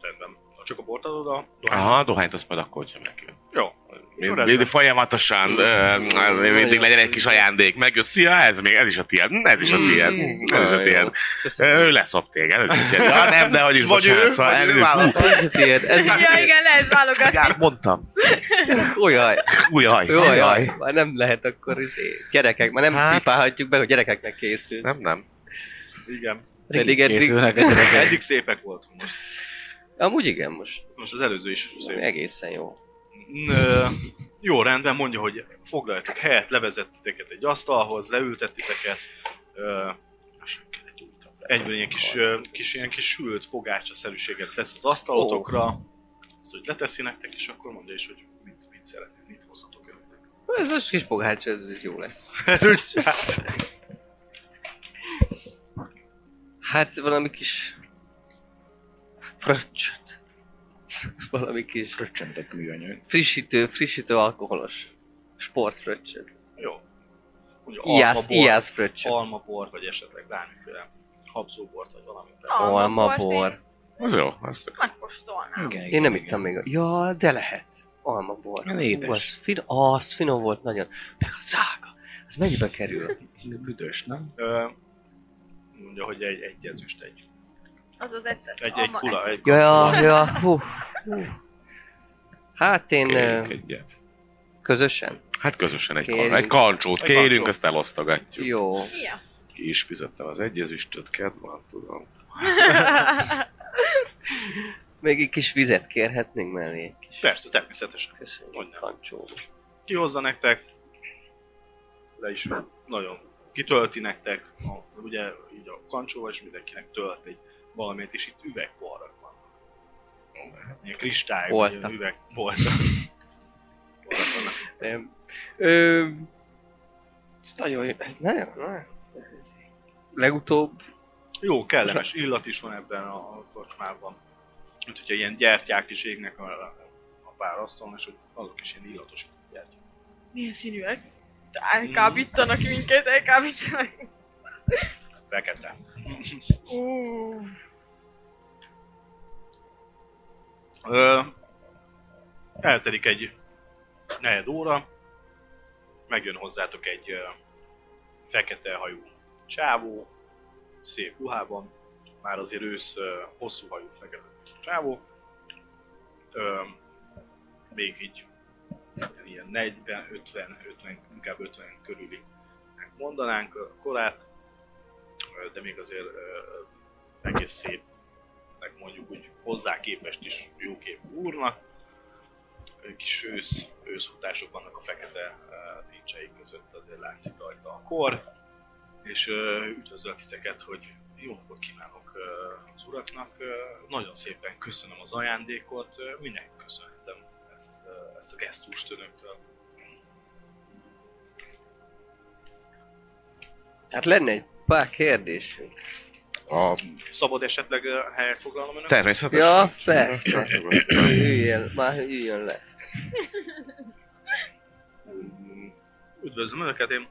B: Rendben. Ha csak a bort adod a dohány-
D: Aha, a dohányt azt majd akkor, hogyha neki.
B: Jó.
D: Mind,
B: rendben.
D: mind, folyamatosan ö, ö, mindig legyen egy kis ajándék, megjött, szia, ez még, ez is a tiéd, Mm, ez is a tiéd, Mm, ez is a
C: Nagyon jó.
D: tiéd. Ő leszop téged, ez is téged. Ja, nem, de hogy is,
B: Vagy
D: bocsánat,
B: ő,
D: szóval
B: vagy ő
D: elő-
C: Ez az is a tiéd, ez is a
F: Ja,
C: tiéd.
F: igen, lehet válogatni.
D: Mindjárt mondtam.
C: Ujjaj,
D: Ujjaj,
C: ujjaj,
D: ujjaj.
C: már nem lehet akkor izé. Gyerekek, már nem
D: Hát.
C: hát. pipálhatjuk be, hogy gyerekeknek készül.
D: Nem, nem.
B: Igen.
C: Pedig eddig,
E: Készülnek a gyerekek.
B: Eddig szépek voltunk most.
C: amúgy igen, most
B: Most az előző is szép. Hm,
C: egészen jó.
B: Ö, jó, rendben, mondja, hogy foglaltok helyet, levezettiteket egy asztalhoz, leültettiteket. Ö, egyből ilyen kis, ö, kis, ilyen kis sült pogácsaszerűséget tesz az asztalotokra. Ezt, hogy leteszi nektek, és akkor mondja is, hogy mit, mit szeretnék, mit hozhatok (laughs) önöknek.
C: Ez az kis pogács, ez ez jó lesz. Hát valami kis... Fröccsöt. (laughs) Valami kis
E: Fröccsöntött műanyag.
C: frissítő, frissítő alkoholos. Sportfröccsöt.
B: Jó. Mondja,
C: Iász,
B: almabor,
C: iász fröccsöt.
B: almabor, vagy esetleg bármiféle habzóbort vagy valamit.
F: Ah,
C: Almabor.
D: Az jó, az
F: hát Megkóstolnám.
E: Igen,
C: Én nem
E: igen.
C: ittam még. a- Ja, de lehet. Almabor.
E: Olyan
C: Hú,
E: édes.
C: Az, fin- az finom volt nagyon. Meg az drága. Az mennyibe kerül?
E: Büdös, nem?
B: Ö, mondja, hogy egy, egy ezüst, egy,
F: Az az egyszer.
B: egy, egy kula, egy
C: Ja, ja, ja. Hú. Hú. Hát én
D: kérjünk
C: ö,
D: egyet.
C: közösen.
D: Hát közösen egy,
C: Kérjünk.
D: kérjünk. egy kancsót
B: Egy
D: kérünk,
B: kancsót.
D: azt elosztogatjuk.
C: Jó.
F: Ja.
D: Ki is fizettem az egy ezüstöt, kedvan, tudom.
C: Még egy kis vizet kérhetnénk mellé.
B: Persze, természetesen.
C: Köszönöm.
B: Mondjam.
C: Kancsó.
B: Kihozza nektek, le is nagyon kitölti nektek, a, ugye így a kancsóval is mindenkinek tölt egy valamit, és itt üvegporrak van. Ilyen kristály, vagy
C: Voltak.
B: ilyen üveg volt. (laughs)
C: Nem. Ö, ez nagyon jó. Ez nagyon, nagyon. ez- Legutóbb
B: Jó, kellemes illat is van ebben a a kocsmában. Mint hogyha ilyen gyertyák is égnek a, a pár asztalon, és hogy azok is ilyen illatos gyertyák.
F: Milyen színűek? Elkábítanak minket, elkábítanak.
B: Fekete.
F: Uh.
B: Ö, eltelik egy negyed óra, megjön hozzátok egy ö, fekete hajú csávó, szép ruhában, már azért ősz ö, hosszú hajú fekete csávó, ö, még így ilyen 40, 50, 50, inkább 50 körüli mondanánk a korát, ö, de még azért ö, egész szép meg mondjuk úgy hozzá képest is jóképű úrnak. Egy Kis ősz, őszhutások vannak a fekete eh, tincsei között, azért látszik rajta a kor. És eh, üdvözlök titeket, hogy jó napot kívánok eh, az uraknak. Eh, Nagyon szépen köszönöm az ajándékot, Eh, minek köszönhetem ezt, eh, ezt a gesztust önöktől.
C: Hát lenne egy pár kérdésünk.
D: A
B: Szabad esetleg eh, helyet foglalnom önöknek?
D: természetesen.
C: Ja, persze. Üljön, már üljön le.
B: Mm, Üdvözlöm Önöket, én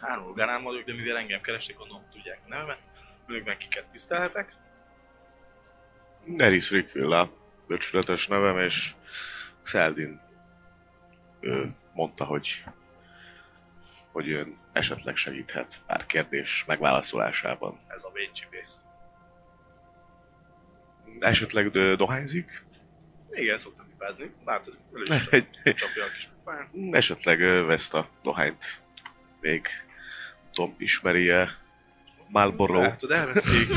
B: Hánul Ganán vagyok, de mivel engem kerestek, gondolom tudják a nevemet. Önök meg kiket tisztelhetek.
D: Neris Rickvilla, becsületes nevem, és Xeldin ő mondta, hogy hogy ön esetleg segíthet pár kérdés megválaszolásában.
B: Ez a védcsibész.
D: Esetleg ö, dohányzik,
B: Igen, szoktam hibázni. Látod, elő is
D: Egy-
B: csap- csapja a kis pofán.
D: Mm, esetleg ö, ezt a dohányt még nem tudom, ismeri-e Marlboro?
B: Látod, elveszik. így-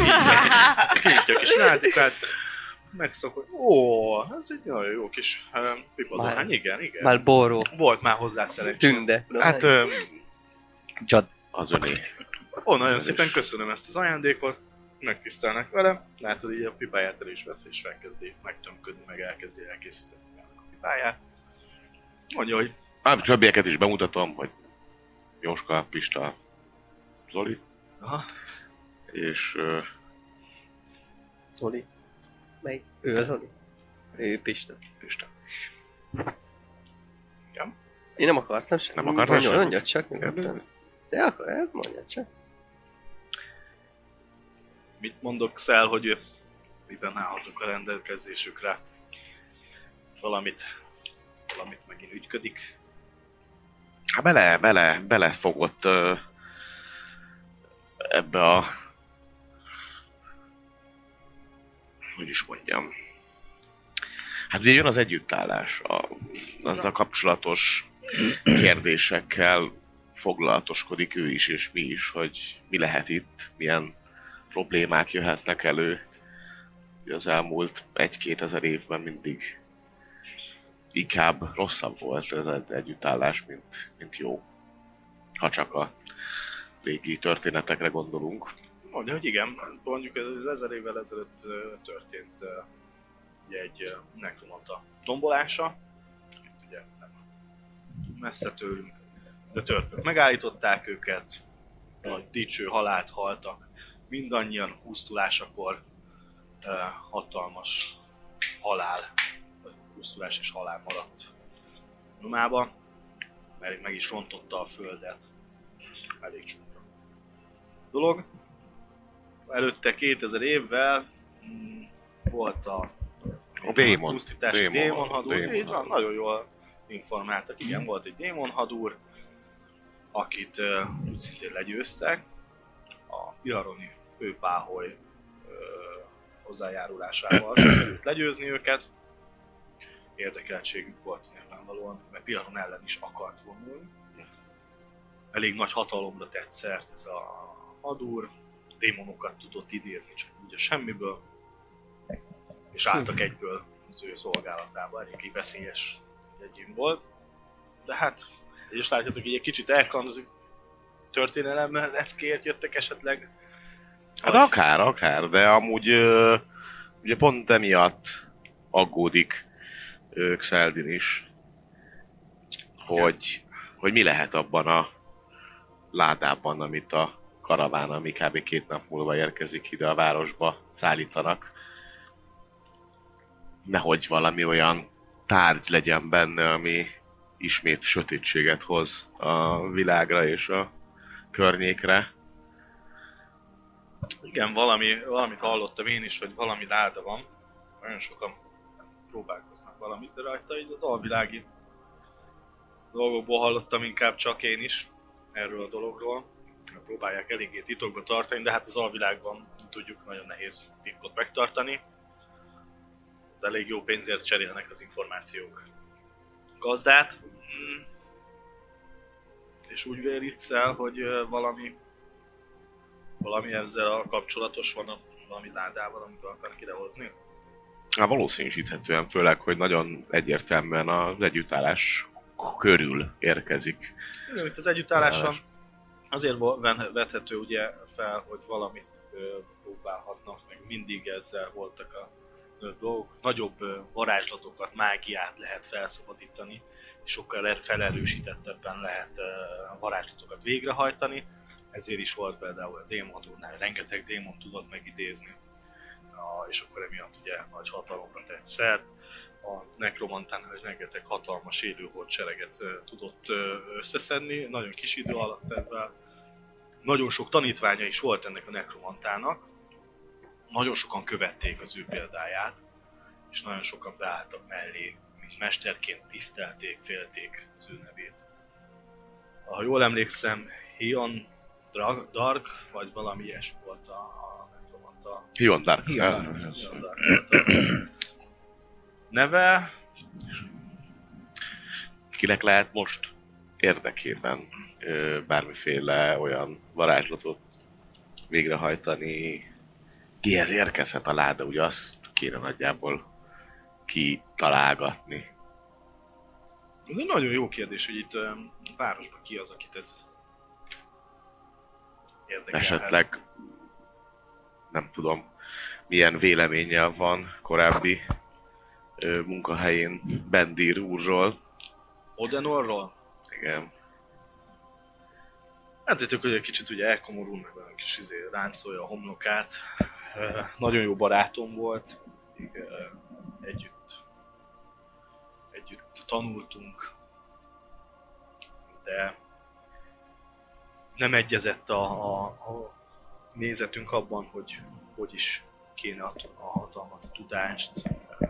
B: Így a kis nádikát. Megszokod. Ó, ez egy nagyon jó kis um, pipadohány. Igen, igen.
C: Már borró.
B: Volt már hozzá szerencsém.
C: Tünde.
D: Hát ö,
E: Csad.
D: az öné.
B: Ó, nagyon
D: Ez
B: szépen
D: is.
B: köszönöm ezt az ajándékot, megtisztelnek vele. Látod, így a pipáját el is vesz, és elkezdi megtömködni, meg elkezdi elkészíteni magának a pipáját. Mondja, hogy
D: Ám többieket is bemutatom, hogy Jóska, Pista, Zoli,
B: aha,
D: és ö,
C: Zoli. Melyik? Ő az Zoli? Ő Pista.
D: Pista.
C: Én nem akartam sem.
D: Nem akartál
C: Mondja-
D: semmit?
C: Mondja csak, nyugodtan. De akkor hát mondja csak.
B: mit mondok szel, hogy ő- miben állhatok a rendelkezésükre. Valamit, valamit megint ügyködik.
D: Hát bele, bele, belefogott ö, ebbe a... Hogy is mondjam? Hát ugye jön az együttállás, a, azzal kapcsolatos kérdésekkel foglalatoskodik ő is, és mi is, hogy mi lehet itt, milyen problémák jöhetnek elő. Ugye Az elmúlt egy-két ezer évben mindig inkább rosszabb volt ez az együttállás, mint, mint jó. Ha csak a régi történetekre gondolunk.
B: Mondja, hogy igen, mondjuk ez az ezer évvel ezelőtt ö, történt ö, ugye egy ö, nekromanta tombolása. Itt ugye nem messze tőlünk, de törpök megállították őket, nagy dicső halált haltak, mindannyian pusztulásakor ö, hatalmas halál, vagy pusztulás és halál maradt nyomába, mert meg is rontotta a földet. Elég csúnya dolog előtte 2000 évvel mm, volt a
D: A démon.
B: pusztítási
D: Démon- Hmm.
B: démonhadúr.
D: démonhadúr.
B: Így van, nagyon jól informáltak. Igen, volt egy démonhadúr, akit ö, úgy szintén legyőztek. A Ilaroni főpáholy ö, hozzájárulásával sikerült legyőzni őket. Érdekeltségük volt nyilvánvalóan, mert Pilaron ellen is akart vonulni. Elég nagy hatalomra tett szert ez a hadúr, démonokat tudott idézni csak úgy a semmiből, és álltak egyből az ő szolgálatába, eléggé veszélyes egyén volt. De hát, és látjátok, így egy kicsit elkandozik történelem leckért jöttek esetleg.
D: Hát
B: Vagy-
D: akár, akár, de amúgy ö, ugye pont emiatt aggódik ö, Xeldin is, hogy, hogy mi lehet abban a ládában, amit a karaván, ami kb. két nap múlva érkezik ide a városba, szállítanak. Nehogy valami olyan tárgy legyen benne, ami ismét sötétséget hoz a világra és a környékre.
B: Igen, valami, valamit hallottam én is, hogy valami láda van. Nagyon sokan próbálkoznak valamit, de rajta így az alvilági dolgokból hallottam inkább csak én is erről a dologról. Próbálják eléggé titokba tartani, de hát az alvilágban tudjuk, nagyon nehéz titkot megtartani. De elég jó pénzért cserélnek az információk gazdát. Mm. És úgy véliksz el, hogy ö, valami valami ezzel a kapcsolatos van a valami ládával, amikor akarnak idehozni?
D: Hát valószínűsíthetően, főleg, hogy nagyon egyértelműen az együttállás körül érkezik.
B: Jó, Itt az együttálláson azért vo- ven- vethető ugye fel, hogy valamit ö, próbálhatnak, meg mindig ezzel voltak a ö, dolgok. Nagyobb ö, varázslatokat, mágiát lehet felszabadítani, és sokkal er- felerősítettebben lehet ö, varázslatokat végrehajtani. Ezért is volt például a démonhadónál, rengeteg démon tudott megidézni, Na, és akkor emiatt ugye nagy hatalomra tett szert. a nekromantánál is rengeteg hatalmas élő hadsereget ö, tudott ö, összeszedni, nagyon kis idő alatt ebben. Nagyon sok tanítványa is volt ennek a nekromantának, nagyon sokan követték az ő példáját, és nagyon sokan beálltak mellé, mint mesterként tisztelték, félték az ő nevét. Ha jól emlékszem, Hion Dra- Dark, vagy valami ilyesmi volt a, a nekromanta
D: Hion Dark.
E: Hion
D: Eh,
E: Dark.
B: Neve,
D: Kinek lehet most érdekében ö, bármiféle olyan varázslatot végrehajtani, kihez érkezhet a láda, ugye azt kéne nagyjából kitalálgatni.
B: ez egy nagyon jó kérdés, hogy itt ö, a városban ki az, akit ez érdekel.
D: Esetleg nem tudom, milyen véleménnyel van korábbi ö, munkahelyén Bendír úrról.
B: Odenorról?
D: Igen.
B: Látjátok, hogy egy kicsit ugye elkomorul, meg olyan kis izé ráncolja a homlokát. Ö, Nagyon jó barátom volt, még ö, együtt, együtt tanultunk, de nem egyezett a, a, a nézetünk abban, hogy hogy is kéne a, a hatalmat, a tudást ö,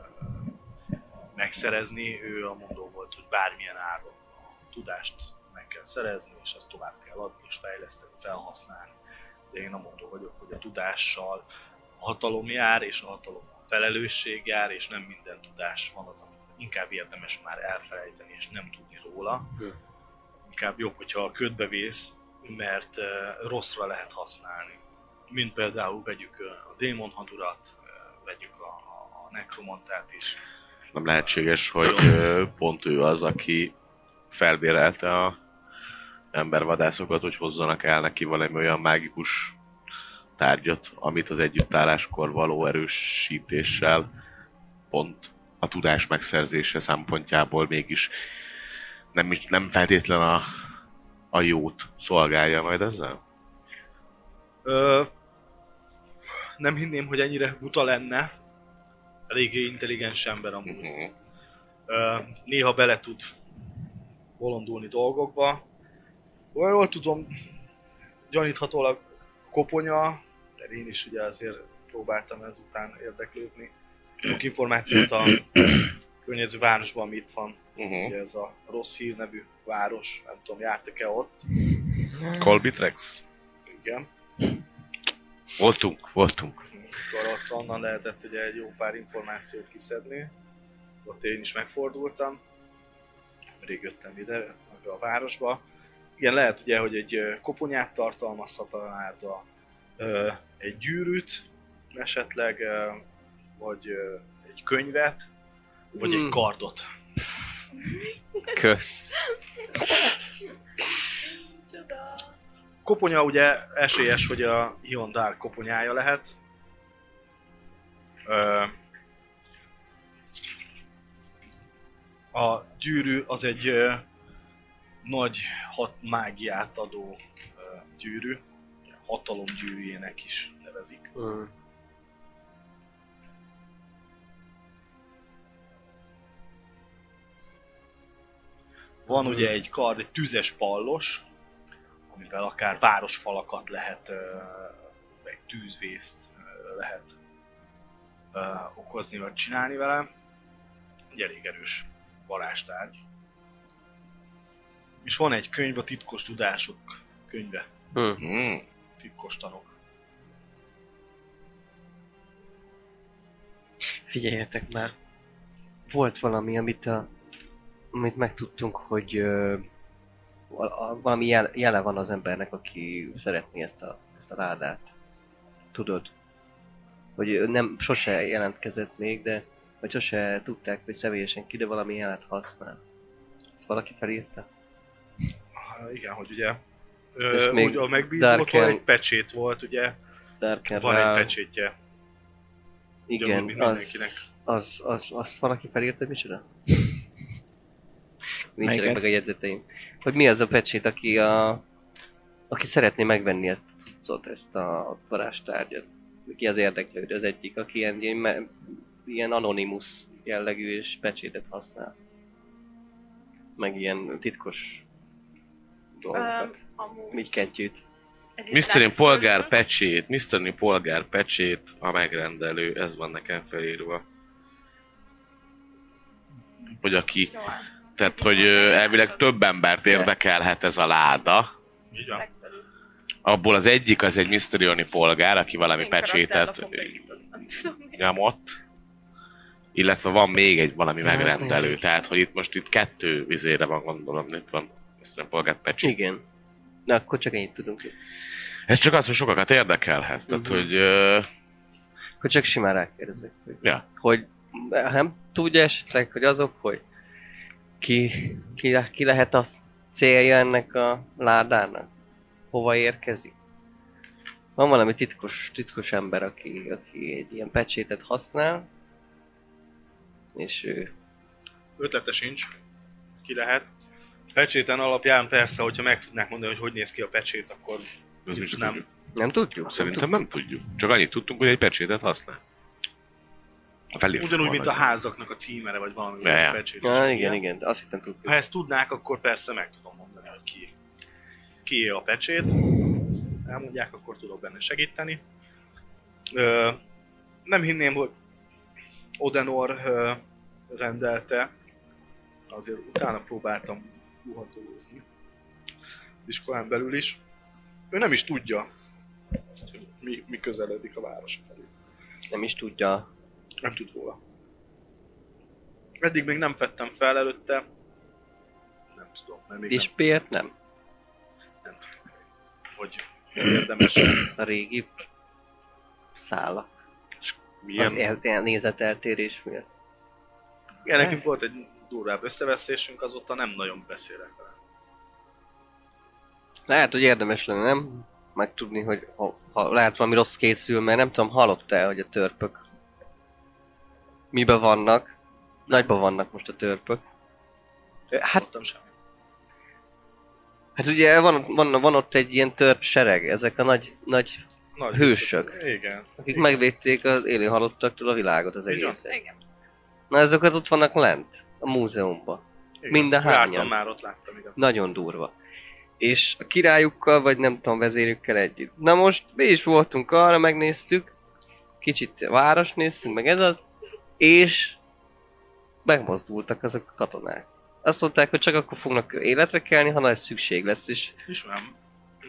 B: megszerezni. Ő a mondó volt, hogy bármilyen áron a tudást meg kell szerezni, és azt tovább kell adni, és fejleszteni, felhasználni. De én a mondó vagyok, hogy a tudással a hatalom jár, és a hatalom a felelősség jár, és nem minden tudás van az, amit inkább érdemes már elfelejteni, és nem tudni róla. Inkább jobb, hogyha a ködbe vész, mert ö, rosszra lehet használni. Mint például vegyük ö, a démonhadurat, ö, vegyük a, a- a nekromantát is.
D: Nem lehetséges, hogy ö, pont ő az, aki felbérelte a embervadászokat, hogy hozzanak el neki valami olyan mágikus tárgyat, amit az együttálláskor való erősítéssel pont a tudás megszerzése szempontjából mégis nem, is- nem feltétlen a, a jót szolgálja majd ezzel?
B: Ö, nem hinném, hogy ennyire buta lenne. Eléggé intelligens ember amúgy.
D: Uh-huh.
B: Ö, néha bele tud bolondulni dolgokba. Olyan jól tudom, gyaníthatólag koponya mert én is ugye azért próbáltam ezután érdeklődni. Sok információt a környező városban, mi itt van.
D: Uh-huh.
B: Ugye ez a rossz hír nevű város, nem tudom, jártak-e ott.
D: Colbitrex?
B: Igen.
D: Voltunk, voltunk.
B: akkor ott onnan lehetett ugye egy jó pár információt kiszedni. Ott én is megfordultam. Rég jöttem ide, ebbe a városba. Igen, lehet ugye, hogy egy ö, koponyát tartalmazhat a láda, ö, egy gyűrűt esetleg, ö, vagy ö, egy könyvet, vagy egy
C: Hmm.
B: kardot.
G: Kösz.
F: Micsoda.
B: Koponya ugye esélyes, hogy a Ion Dark koponyája lehet. Ö, a gyűrű az egy ö, nagy hat mágiát adó ö, gyűrű. Hatalom gyűrűjének is nevezik.
C: Mm.
B: Van ugye egy kard, egy tüzes pallos, amivel akár városfalakat lehet, ö, meg tűzvészt ö, lehet ö, okozni vagy csinálni vele. Egy elég erős varázstárgy. És van egy könyv, a titkos tudások könyve,
C: Mm.
D: Mm.
B: titkos tanok.
C: Figyeljetek már. Volt valami, amit, a, amit megtudtunk, hogy ö, val- a- valami jel, jele van az embernek, aki szeretné ezt a, ezt a ládát. Tudod? Hogy ö, nem, sose jelentkezett még, de vagy sose tudták, hogy személyesen ki, de valami jelet használ. Ezt valaki felírta?
B: Ah, Igen, hogy ugye
C: Ez
B: ö,
C: még
B: úgy a megbízótól
C: Darken-
B: egy pecsét volt, ugye?
C: Darken
B: Van
C: Rao.
B: egy pecsétje. ugyanúgy,
C: Igen,
B: mint
C: az,
B: mindenkinek.
C: az, az, azt valaki felírta, hogy micsoda? Nincsenek
E: Melyiket?
C: meg a jegyzeteim. Hogy mi az a pecsét, aki a... Aki szeretné megvenni ezt a cuccot, ezt a varázstárgyat. Ki az érdeklődő, az egyik, aki ilyen, ilyen, me- ilyen anonimus jellegű és pecsétet használ. Meg ilyen titkos dolgokat.
F: Öm, amúgy
C: Így kentjük.
F: ez itt
D: Mr.
F: látszik
D: Polgár
F: közben.
D: pecsét, Mr. Polgár pecsét, a megrendelő, ez van nekem felírva. Hogy aki,
F: Jó,
D: tehát hogy ö, elvileg több embert érdekelhet ez a láda,
B: Így van.
F: legfelül.
D: abból az egyik az egy Misterioni polgár, aki valami
F: Én karakterlapon
D: pecsétet
F: beírtam, nem tudom én.
D: nyomott, illetve van még egy valami
C: Ja, az
D: megrendelő,
C: nagyon.
D: tehát hogy itt most itt kettő vizére van gondolom, itt van Mr. Polgár pecsét.
C: Igen. Na akkor csak ennyit tudunk.
D: Ez csak az, hogy sokakat érdekelhet, tehát
C: Mhm.
D: hogy ö,
C: Hogy csak simán rákérdezek, hogy...
D: Ja.
C: Hogy nem tudja esetleg, hogy azok, hogy ki, ki, ki lehet a célja ennek a ládának? Hova érkezik? Van valami titkos, titkos ember, aki, aki egy ilyen pecsétet használ, és ő...
B: Ötlete sincs. Ki lehet. Pecséten alapján persze, hogyha meg tudnák mondani, hogy hogy néz ki a pecsét, akkor
D: ez mi csak
B: Nem.
D: tudjuk.
C: Nem tudjuk?
D: Szerintem nem tudjuk. Csak annyit tudtunk, hogy egy pecsétet használ. Felírtam
B: ugyanúg,
D: volna,
B: mint a
D: hogy-
B: házaknak a címere, vagy valami
D: Ja, ja.
B: ja, pecsét.
C: tudjuk. Ah,
B: is.
C: igen, igen, de azt hittem tudjuk.
B: Ha ezt tudnák, akkor persze meg tudom mondani, hogy ki, ki a pecsét. Ezt elmondják, akkor tudok benne segíteni. Ö, nem hinném, hogy Odenor ö, rendelte, azért utána próbáltam uhatolózni az iskolán belül is. Ő nem is tudja, azt, hogy mi, mi közeledik a város felé.
C: Nem is tudja.
D: Hát,
B: Nem tud róla. Eddig még nem vettem fel előtte. Nem tudom, mert még
C: És miért nem?
B: nem, nem tudom, hogy érdemes.
C: A régi szála. Az
D: Milyen?
C: el- el- nézeteltérés miatt.
B: Igen, nekünk volt egy durvább összeveszésünk, azóta nem nagyon beszélek vele.
C: Lehet, hogy érdemes lenne, nem? Megtudni, hogy ha, ha lehet valami rossz készül, mert nem tudom, hallottál, hogy a törpök mibe vannak? Nagyba vannak most a törpök. Ö, Hát,
B: Tudtam semmit.
C: hát ugye van, van, van, ott egy ilyen törp sereg, ezek a nagy, nagy
B: Nagy
C: Hősök.
B: vissza- Igen.
C: akik megvédték az élő halottaktól a világot, az
B: Így van.
C: egészet.
F: Igen.
C: Na ezeket ott vannak lent, a múzeumban.
B: igen.
C: Mind a hányan.
B: Jártam már, ott láttam, igen.
C: Nagyon durva. és a királyukkal, vagy nem tudom, vezérükkel együtt. Na most mi is voltunk arra, megnéztük, kicsit város néztünk, meg ez az, és megmozdultak azok a katonák. Azt mondták, hogy csak akkor fognak életre kelni, ha nagy szükség lesz, és,
B: Ismerem,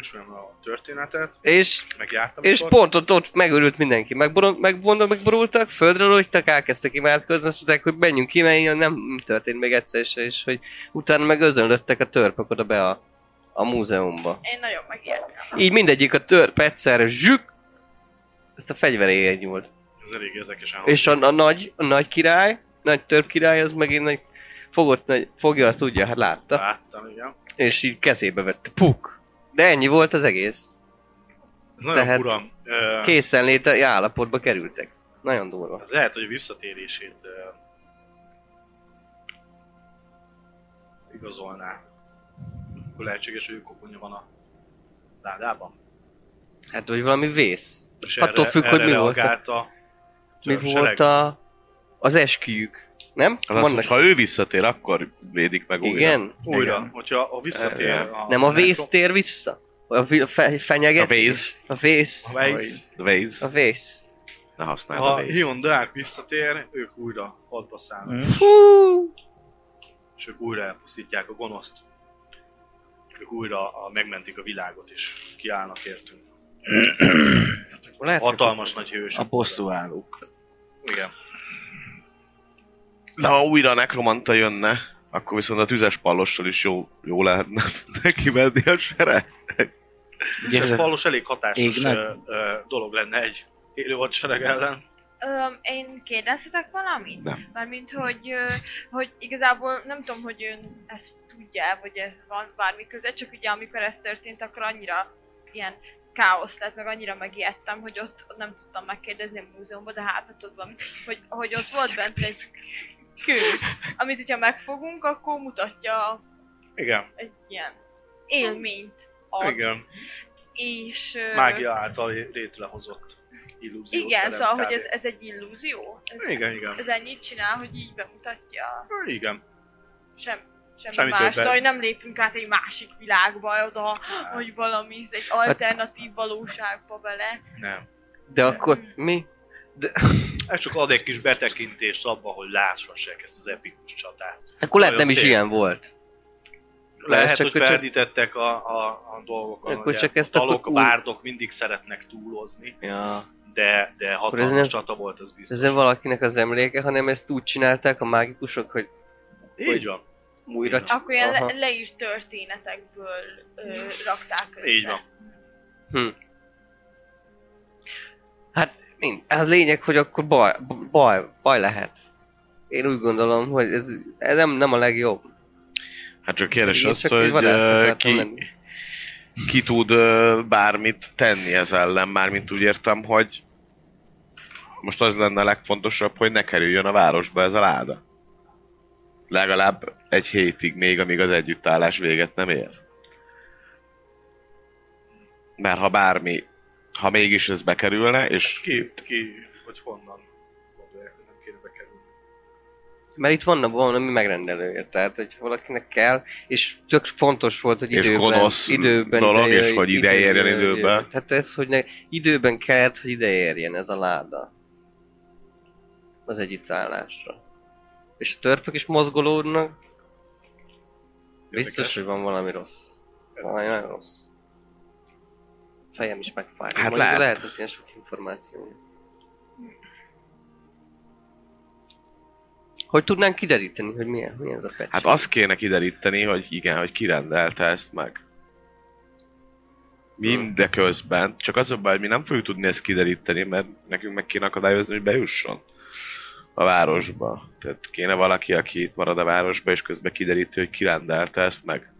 B: ismerem a történetet,
C: és
B: megjártam is
C: és
B: ott.
C: pont ott, ott megőrült mindenki. Megborul, megborul, megborultak, földre lógtak, elkezdtek imádkozni, azt mondták, hogy menjünk ki, mert ilyen nem történt még egyszer se, és hogy utána meg özönlöttek a törpök oda be a, a múzeumba.
F: Én nagyon megijedtem.
C: Így mindegyik a törp egyszerre zsük, ezt a fegyveréjén nyúlt.
B: Ez elég érdekesen
C: És a, a, nagy, a nagy király, nagy törp király, az megint nagy, fogott, nagy, fogja, azt tudja, hát látta.
B: láttam, igen.
C: És így kezébe vette, puk! De ennyi volt az egész.
B: Ez nagyon
C: Tehát-
B: Tehát... uram,
C: Készenléte állapotba kerültek. Nagyon durva.
B: ez lehet, hogy a visszatérését ö, igazolná. Akkor lehetséges, hogy koponya van a ládában.
C: Hát, hogy valami vész.
B: És
C: Attól függ, hogy mi volt a-
B: reagált a
C: Mi
B: töröksereg.
C: volt a... az esküjük, nem?
D: Az az, hogy ha ő visszatér, akkor védik meg újra.
C: Igen?
B: Újra,
C: Igen.
B: hogyha a visszatér...
D: Igen.
B: A
C: Nem a vész tér vissza? A vi- a fe- fenyeget?
D: A véz.
C: A vész.
B: A vész.
D: A véz.
C: A vész.
D: Ne használd a
B: Ha
D: véz.
B: Hion Dark visszatér, ők újra hadba szállnak,
C: Hú!
B: és ők újra elpusztítják a gonoszt. Ők újra a, megmentik a világot, és kiállnak értünk.
C: Lehet, hogy-
B: Hatalmas nagy hős.
E: A bosszú állók.
B: Igen.
D: De ha újra a nekromanta jönne, akkor viszont a tüzes pallossal is jó, jó lehetne (laughs) neki menni a sereg.
E: Ugye ez
B: Ez
E: a
B: valós elég hatásos
E: Égnek?
B: ö, ö, dolog lenne egy élő hadsereg ellen.
F: Öm, én kérdezhetek valamit?
D: Nem.
F: Mármint, hogy, ö, hogy igazából nem tudom, hogy ön ezt tudja, vagy ez van bármi köze, csak ugye amikor ez történt, akkor annyira ilyen káosz lett, meg annyira megijedtem, hogy ott, ott nem tudtam megkérdezni a múzeumban, de hát ha tudod valamit, hogy, hogy ott volt bent egy kő, amit hogyha megfogunk, akkor mutatja
B: Igen,
F: egy ilyen élményt ad,
B: igen.
F: és... ö,
B: Mágia által létrehozott illúzió.
F: Igen, szóval, hogy ez, ez egy illúzió. Ez,
B: Igen, igen.
F: ez ennyit csinál, hogy így bemutatja
B: Igen.
F: sem, semmi,
B: Semmi
F: más,
B: többet.
F: szóval hogy nem lépünk át egy másik világba, oda, hogy valami, ez egy
C: Hát-
F: alternatív valóságba bele.
B: Nem.
C: De akkor mi?
B: Ez csak ad egy kis betekintést abba, hogy lássassák ezt az epikus csatát.
C: Akkor lehet
B: Nagyon
C: nem is
B: szép.
C: ilyen volt.
B: Lehet,
C: csak-
B: hogy
C: csak-
B: feldítettek a, a, a dolgokon,
C: Akkor
B: ugye
C: csak
B: a
C: ezt
B: dalok, a
C: akkor-
B: bárdok mindig szeretnek túlozni,
C: Ja.
B: de, de hatalmas
C: nem-
B: csata volt, ez biztos.
C: Ez nem valakinek az emléke, hanem ezt úgy csinálták a mágikusok, hogy
B: Így van,
C: újra
F: Akkor ilyen
C: Aha.
F: le, leírt történetekből ö, rakták össze.
B: így van.
C: Mind. Hm. Hát lényeg, hogy akkor baj, baj, baj lehet. Én úgy gondolom, hogy ez, ez nem, nem a legjobb.
D: Hát csak kérdés
C: Én
D: az,
C: csak
D: hogy
C: így vadász
D: ö,
C: akartam
D: ki,
C: lenni.
D: ki tud ö, bármit tenni ez ellen, mármint úgy értem, hogy most az lenne a legfontosabb, hogy ne kerüljön a városba ez a láda. Legalább egy hétig még, amíg az együttállás véget nem ér. Mert ha bármi, ha mégis ez bekerülne,
B: Ez
D: és
B: ki, ki, hogy honnan gondolják, hogy nem kéne bekerülni.
C: Mert itt vannak valami megrendelője, tehát hogy valakinek kell, és tök fontos volt, hogy
D: És
C: időben,
D: gonosz
C: időben
D: dolog,
C: idejöjj,
D: és hogy ide érjen időben.
C: Hát ez, hogy ne, időben kellett, hogy ide érjen ez a láda. Az együttállásra. És a törpök is mozgolódnak. Biztos,
B: Érdekes.
C: hogy van valami rossz. Valami nagyon rossz. Fejem is megfáj.
D: Hát
C: Mondjuk
D: lehet.
C: lehet az ilyen sok információ. Hogy tudnánk kideríteni, hogy milyen, milyen ez a fecske?
D: hát azt kéne kideríteni, hogy igen, hogy kirendelte ezt meg. Mindeközben, csak az a baj, hogy mi nem fogjuk tudni ezt kideríteni, mert nekünk meg kéne akadályozni, hogy bejusson a városba. Tehát kéne valaki, aki itt marad a városba, és közben kideríti, hogy kirendelte ezt meg.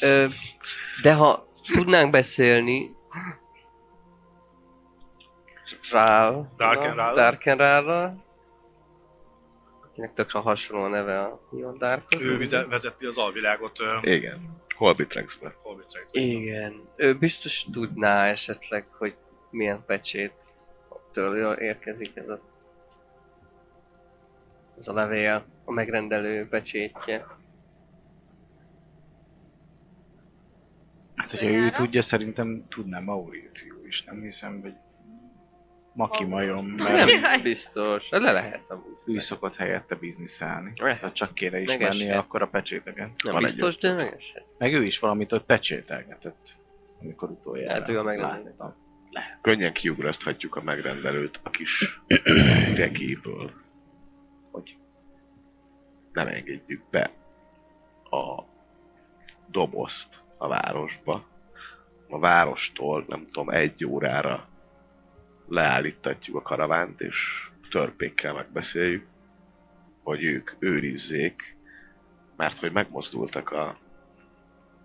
C: Ö, de ha tudnánk beszélni rá,
B: Darken Rál-ra?
C: Darkenrára, akinek tökre hasonló a neve a Neon Darkhoz.
B: Ő vize- vezeti az alvilágot ö,
D: Igen. Holbitrexbe.
B: Orbit Rex-ben.
C: Igen. Ő biztos tudná esetleg, hogy milyen pecsét től érkezik ez a Ez a levél, a megrendelő becsétje.
E: Hát, hogyha ő
F: Bizonyára.
E: tudja, szerintem tudná Mauricio is, nem hiszem, hogy Maki majom, mert
C: Nem biztos. Le lehet amúgy.
E: ő szokott helyette bizniszelni.
C: Lehet.
E: Ha csak kéne
C: Megeshet.
E: ismernie, akkor a pecsétegen.
C: Nem
D: Van
C: biztos, de megesett.
E: Meg ő is valamit ott pecsételgetett, amikor utoljára
C: Hát ő a megrendelő.
E: láttam.
D: Könnyen kiugraszthatjuk a megrendelőt a kis üregéből, hogy nem engedjük be a dobozt a városba. A várostól, nem tudom, egy órára leállítatjuk a karavánt, és törpékkel megbeszéljük, hogy ők őrizzék, mert hogy megmozdultak a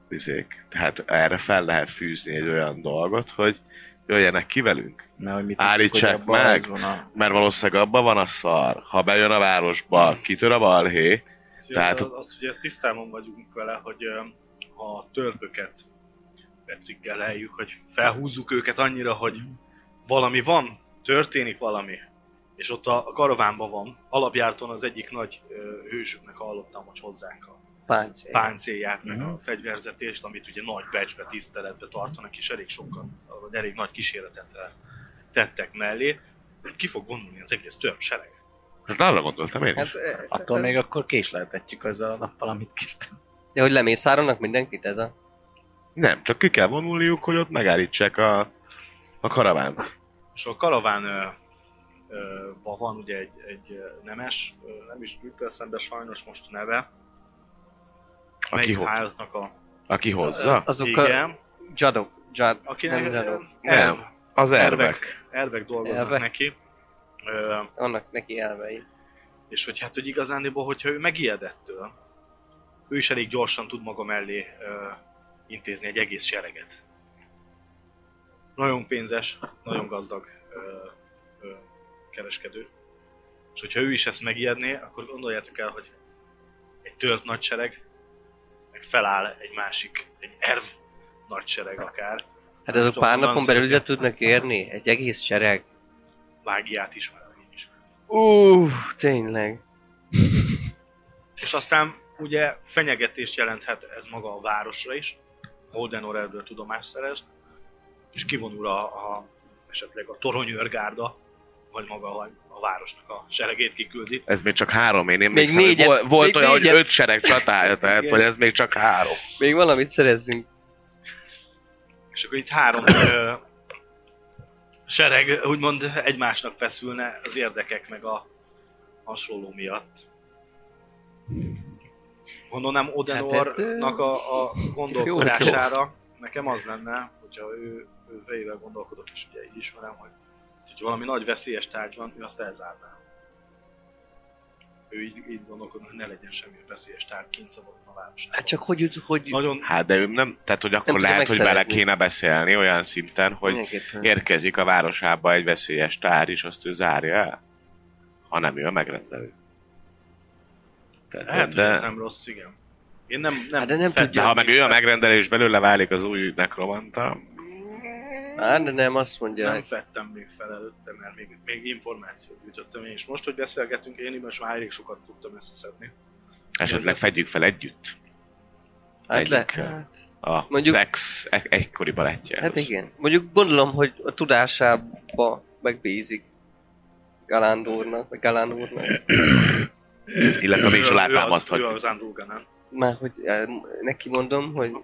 D: vizék. Tehát erre fel lehet fűzni egy olyan dolgot, hogy jöjjenek ki velünk.
E: Mert hogy mit
D: Állítsák
E: hogy abban
D: meg!
E: az van a-
D: Mert valószínűleg abban van a szar, ha bejön a városba, kitör a balhé,
B: Szóval
D: Tehát-
B: Tehát... azt ugye tisztában vagyunk vele, hogy ö, ha a törpöket Petrikkel eljük, hogy felhúzzuk őket annyira, hogy valami van, történik valami. És ott a a karavánban van. Alapjárton az egyik nagy ö, hősüknek hallottam, hogy hozzák a
C: Páncél.
B: páncélját, meg
E: Mhm.
B: a fegyverzetést, amit ugye nagy becsbe, tiszteletbe tartanak, és elég sokan, vagy elég nagy kísérletet ö, tettek mellé. Ki fog gondolni az egész törp sereg?
D: hát arra gondoltam én is.
C: Hát, eh,
E: Attól még akkor késleltetjük azzal a nappal, amit kértem.
C: De hogy lemészárolnak mindenkit ez a...
D: Nem, csak ki kell vonulniuk, hogy ott megállítsák a, a karavánt.
B: És a karaván ö, ö, ba van ugye egy, egy ö, nemes, ö, nem is jut eszembe sajnos most a neve,
D: Aki, ho-
B: hálózatnak a...
D: aki hozza?
C: Azok a...
B: Igen,
C: Jadok. Jad...
B: akinek
C: nem
B: ö,
C: Jadok.
B: elv,
D: Nem. Az ervek.
B: ervek, ervek dolgoznak
C: Elvek.
B: neki. Ö,
C: Annak neki elvei.
B: és hogy hát, hogy igazándiból, hogyha ő megijed ettől, ő is elég gyorsan tud maga mellé ö, intézni egy egész sereget. Nagyon pénzes, nagyon gazdag ö, ö, kereskedő. És hogyha ő is ezt megijedné, akkor gondoljátok el, hogy egy tört nagysereg, meg feláll egy másik, egy erv nagysereg akár,
C: Hát azok
B: Tudom,
C: pár
B: van
C: napon belül ide
B: szociál-
C: tudnak érni? Egy egész sereg.
B: mágiát ismerve is.
C: Uff, tényleg.
B: És aztán ugye fenyegetést jelenthet ez maga a városra is, Holdenor erről tudomást szerez, és kivonul a, a esetleg a toronyőrgárda, vagy maga a, a városnak a seregét kiküldi.
D: Ez még csak három, én
C: Még
D: emlékszem, hogy
C: négyet-
D: volt, volt
C: még
D: olyan,
C: négyet.
D: hogy öt sereg csatája, tehát
C: Igen.
D: hogy ez még csak három.
C: Még valamit szerezzünk.
B: És akkor itt három ö, sereg úgymond egymásnak feszülne az érdekek meg a hasonló miatt. Gondolom
C: Hát
B: Odenornak a, a gondolkodására nekem az lenne, hogyha ő, ő fejével gondolkodok, és ugye így ismerem, hogy hogyha valami nagy veszélyes tárgy van, ő azt elzárná. Ő így, így gondolkodna, hogy ne legyen semmilyen veszélyes tárgy kint szabadon a városában.
C: Hát csak hogy, hogy
B: Nagyon
D: Hát de ő nem, tehát hogy akkor
C: tudja
D: lehet, hogy bele
C: megszerezni.
D: kéne beszélni olyan szinten, hogy
C: Mindenképpen.
D: érkezik a városába egy veszélyes tár, és azt ő zárja el, ha nem ő a megrendelő. Tehát,
B: Lehet, de... hogy ez
D: de,
B: nem rossz, igen. Én nem, nem,
C: Hát de nem
B: fed-
D: de
C: tudja.
D: ha meg ő a megrendelő, és belőle válik az új nekromanta,
C: Hát de nem, azt mondja.
B: nem fettem még fel előtte, mert még, még információt gyűjtöttem én, és most, hogy beszélgetünk, én így most már elég sokat tudtam összeszedni.
D: esetleg fedjük fel együtt
C: hát le,
D: egyik,
C: hát,
D: a
C: Mondjuk-
D: Mondjuk... Lex e- egykori barátja.
C: hát igen. Mondjuk gondolom, hogy a tudásába megbízik. Galándornak, vagy Galándornak.
D: Illetve
B: Ő-
D: még is
B: ő az- Ő
D: alátámaszthatjuk.
B: az Andróganán.
C: Már hogy eh, neki mondom, hogy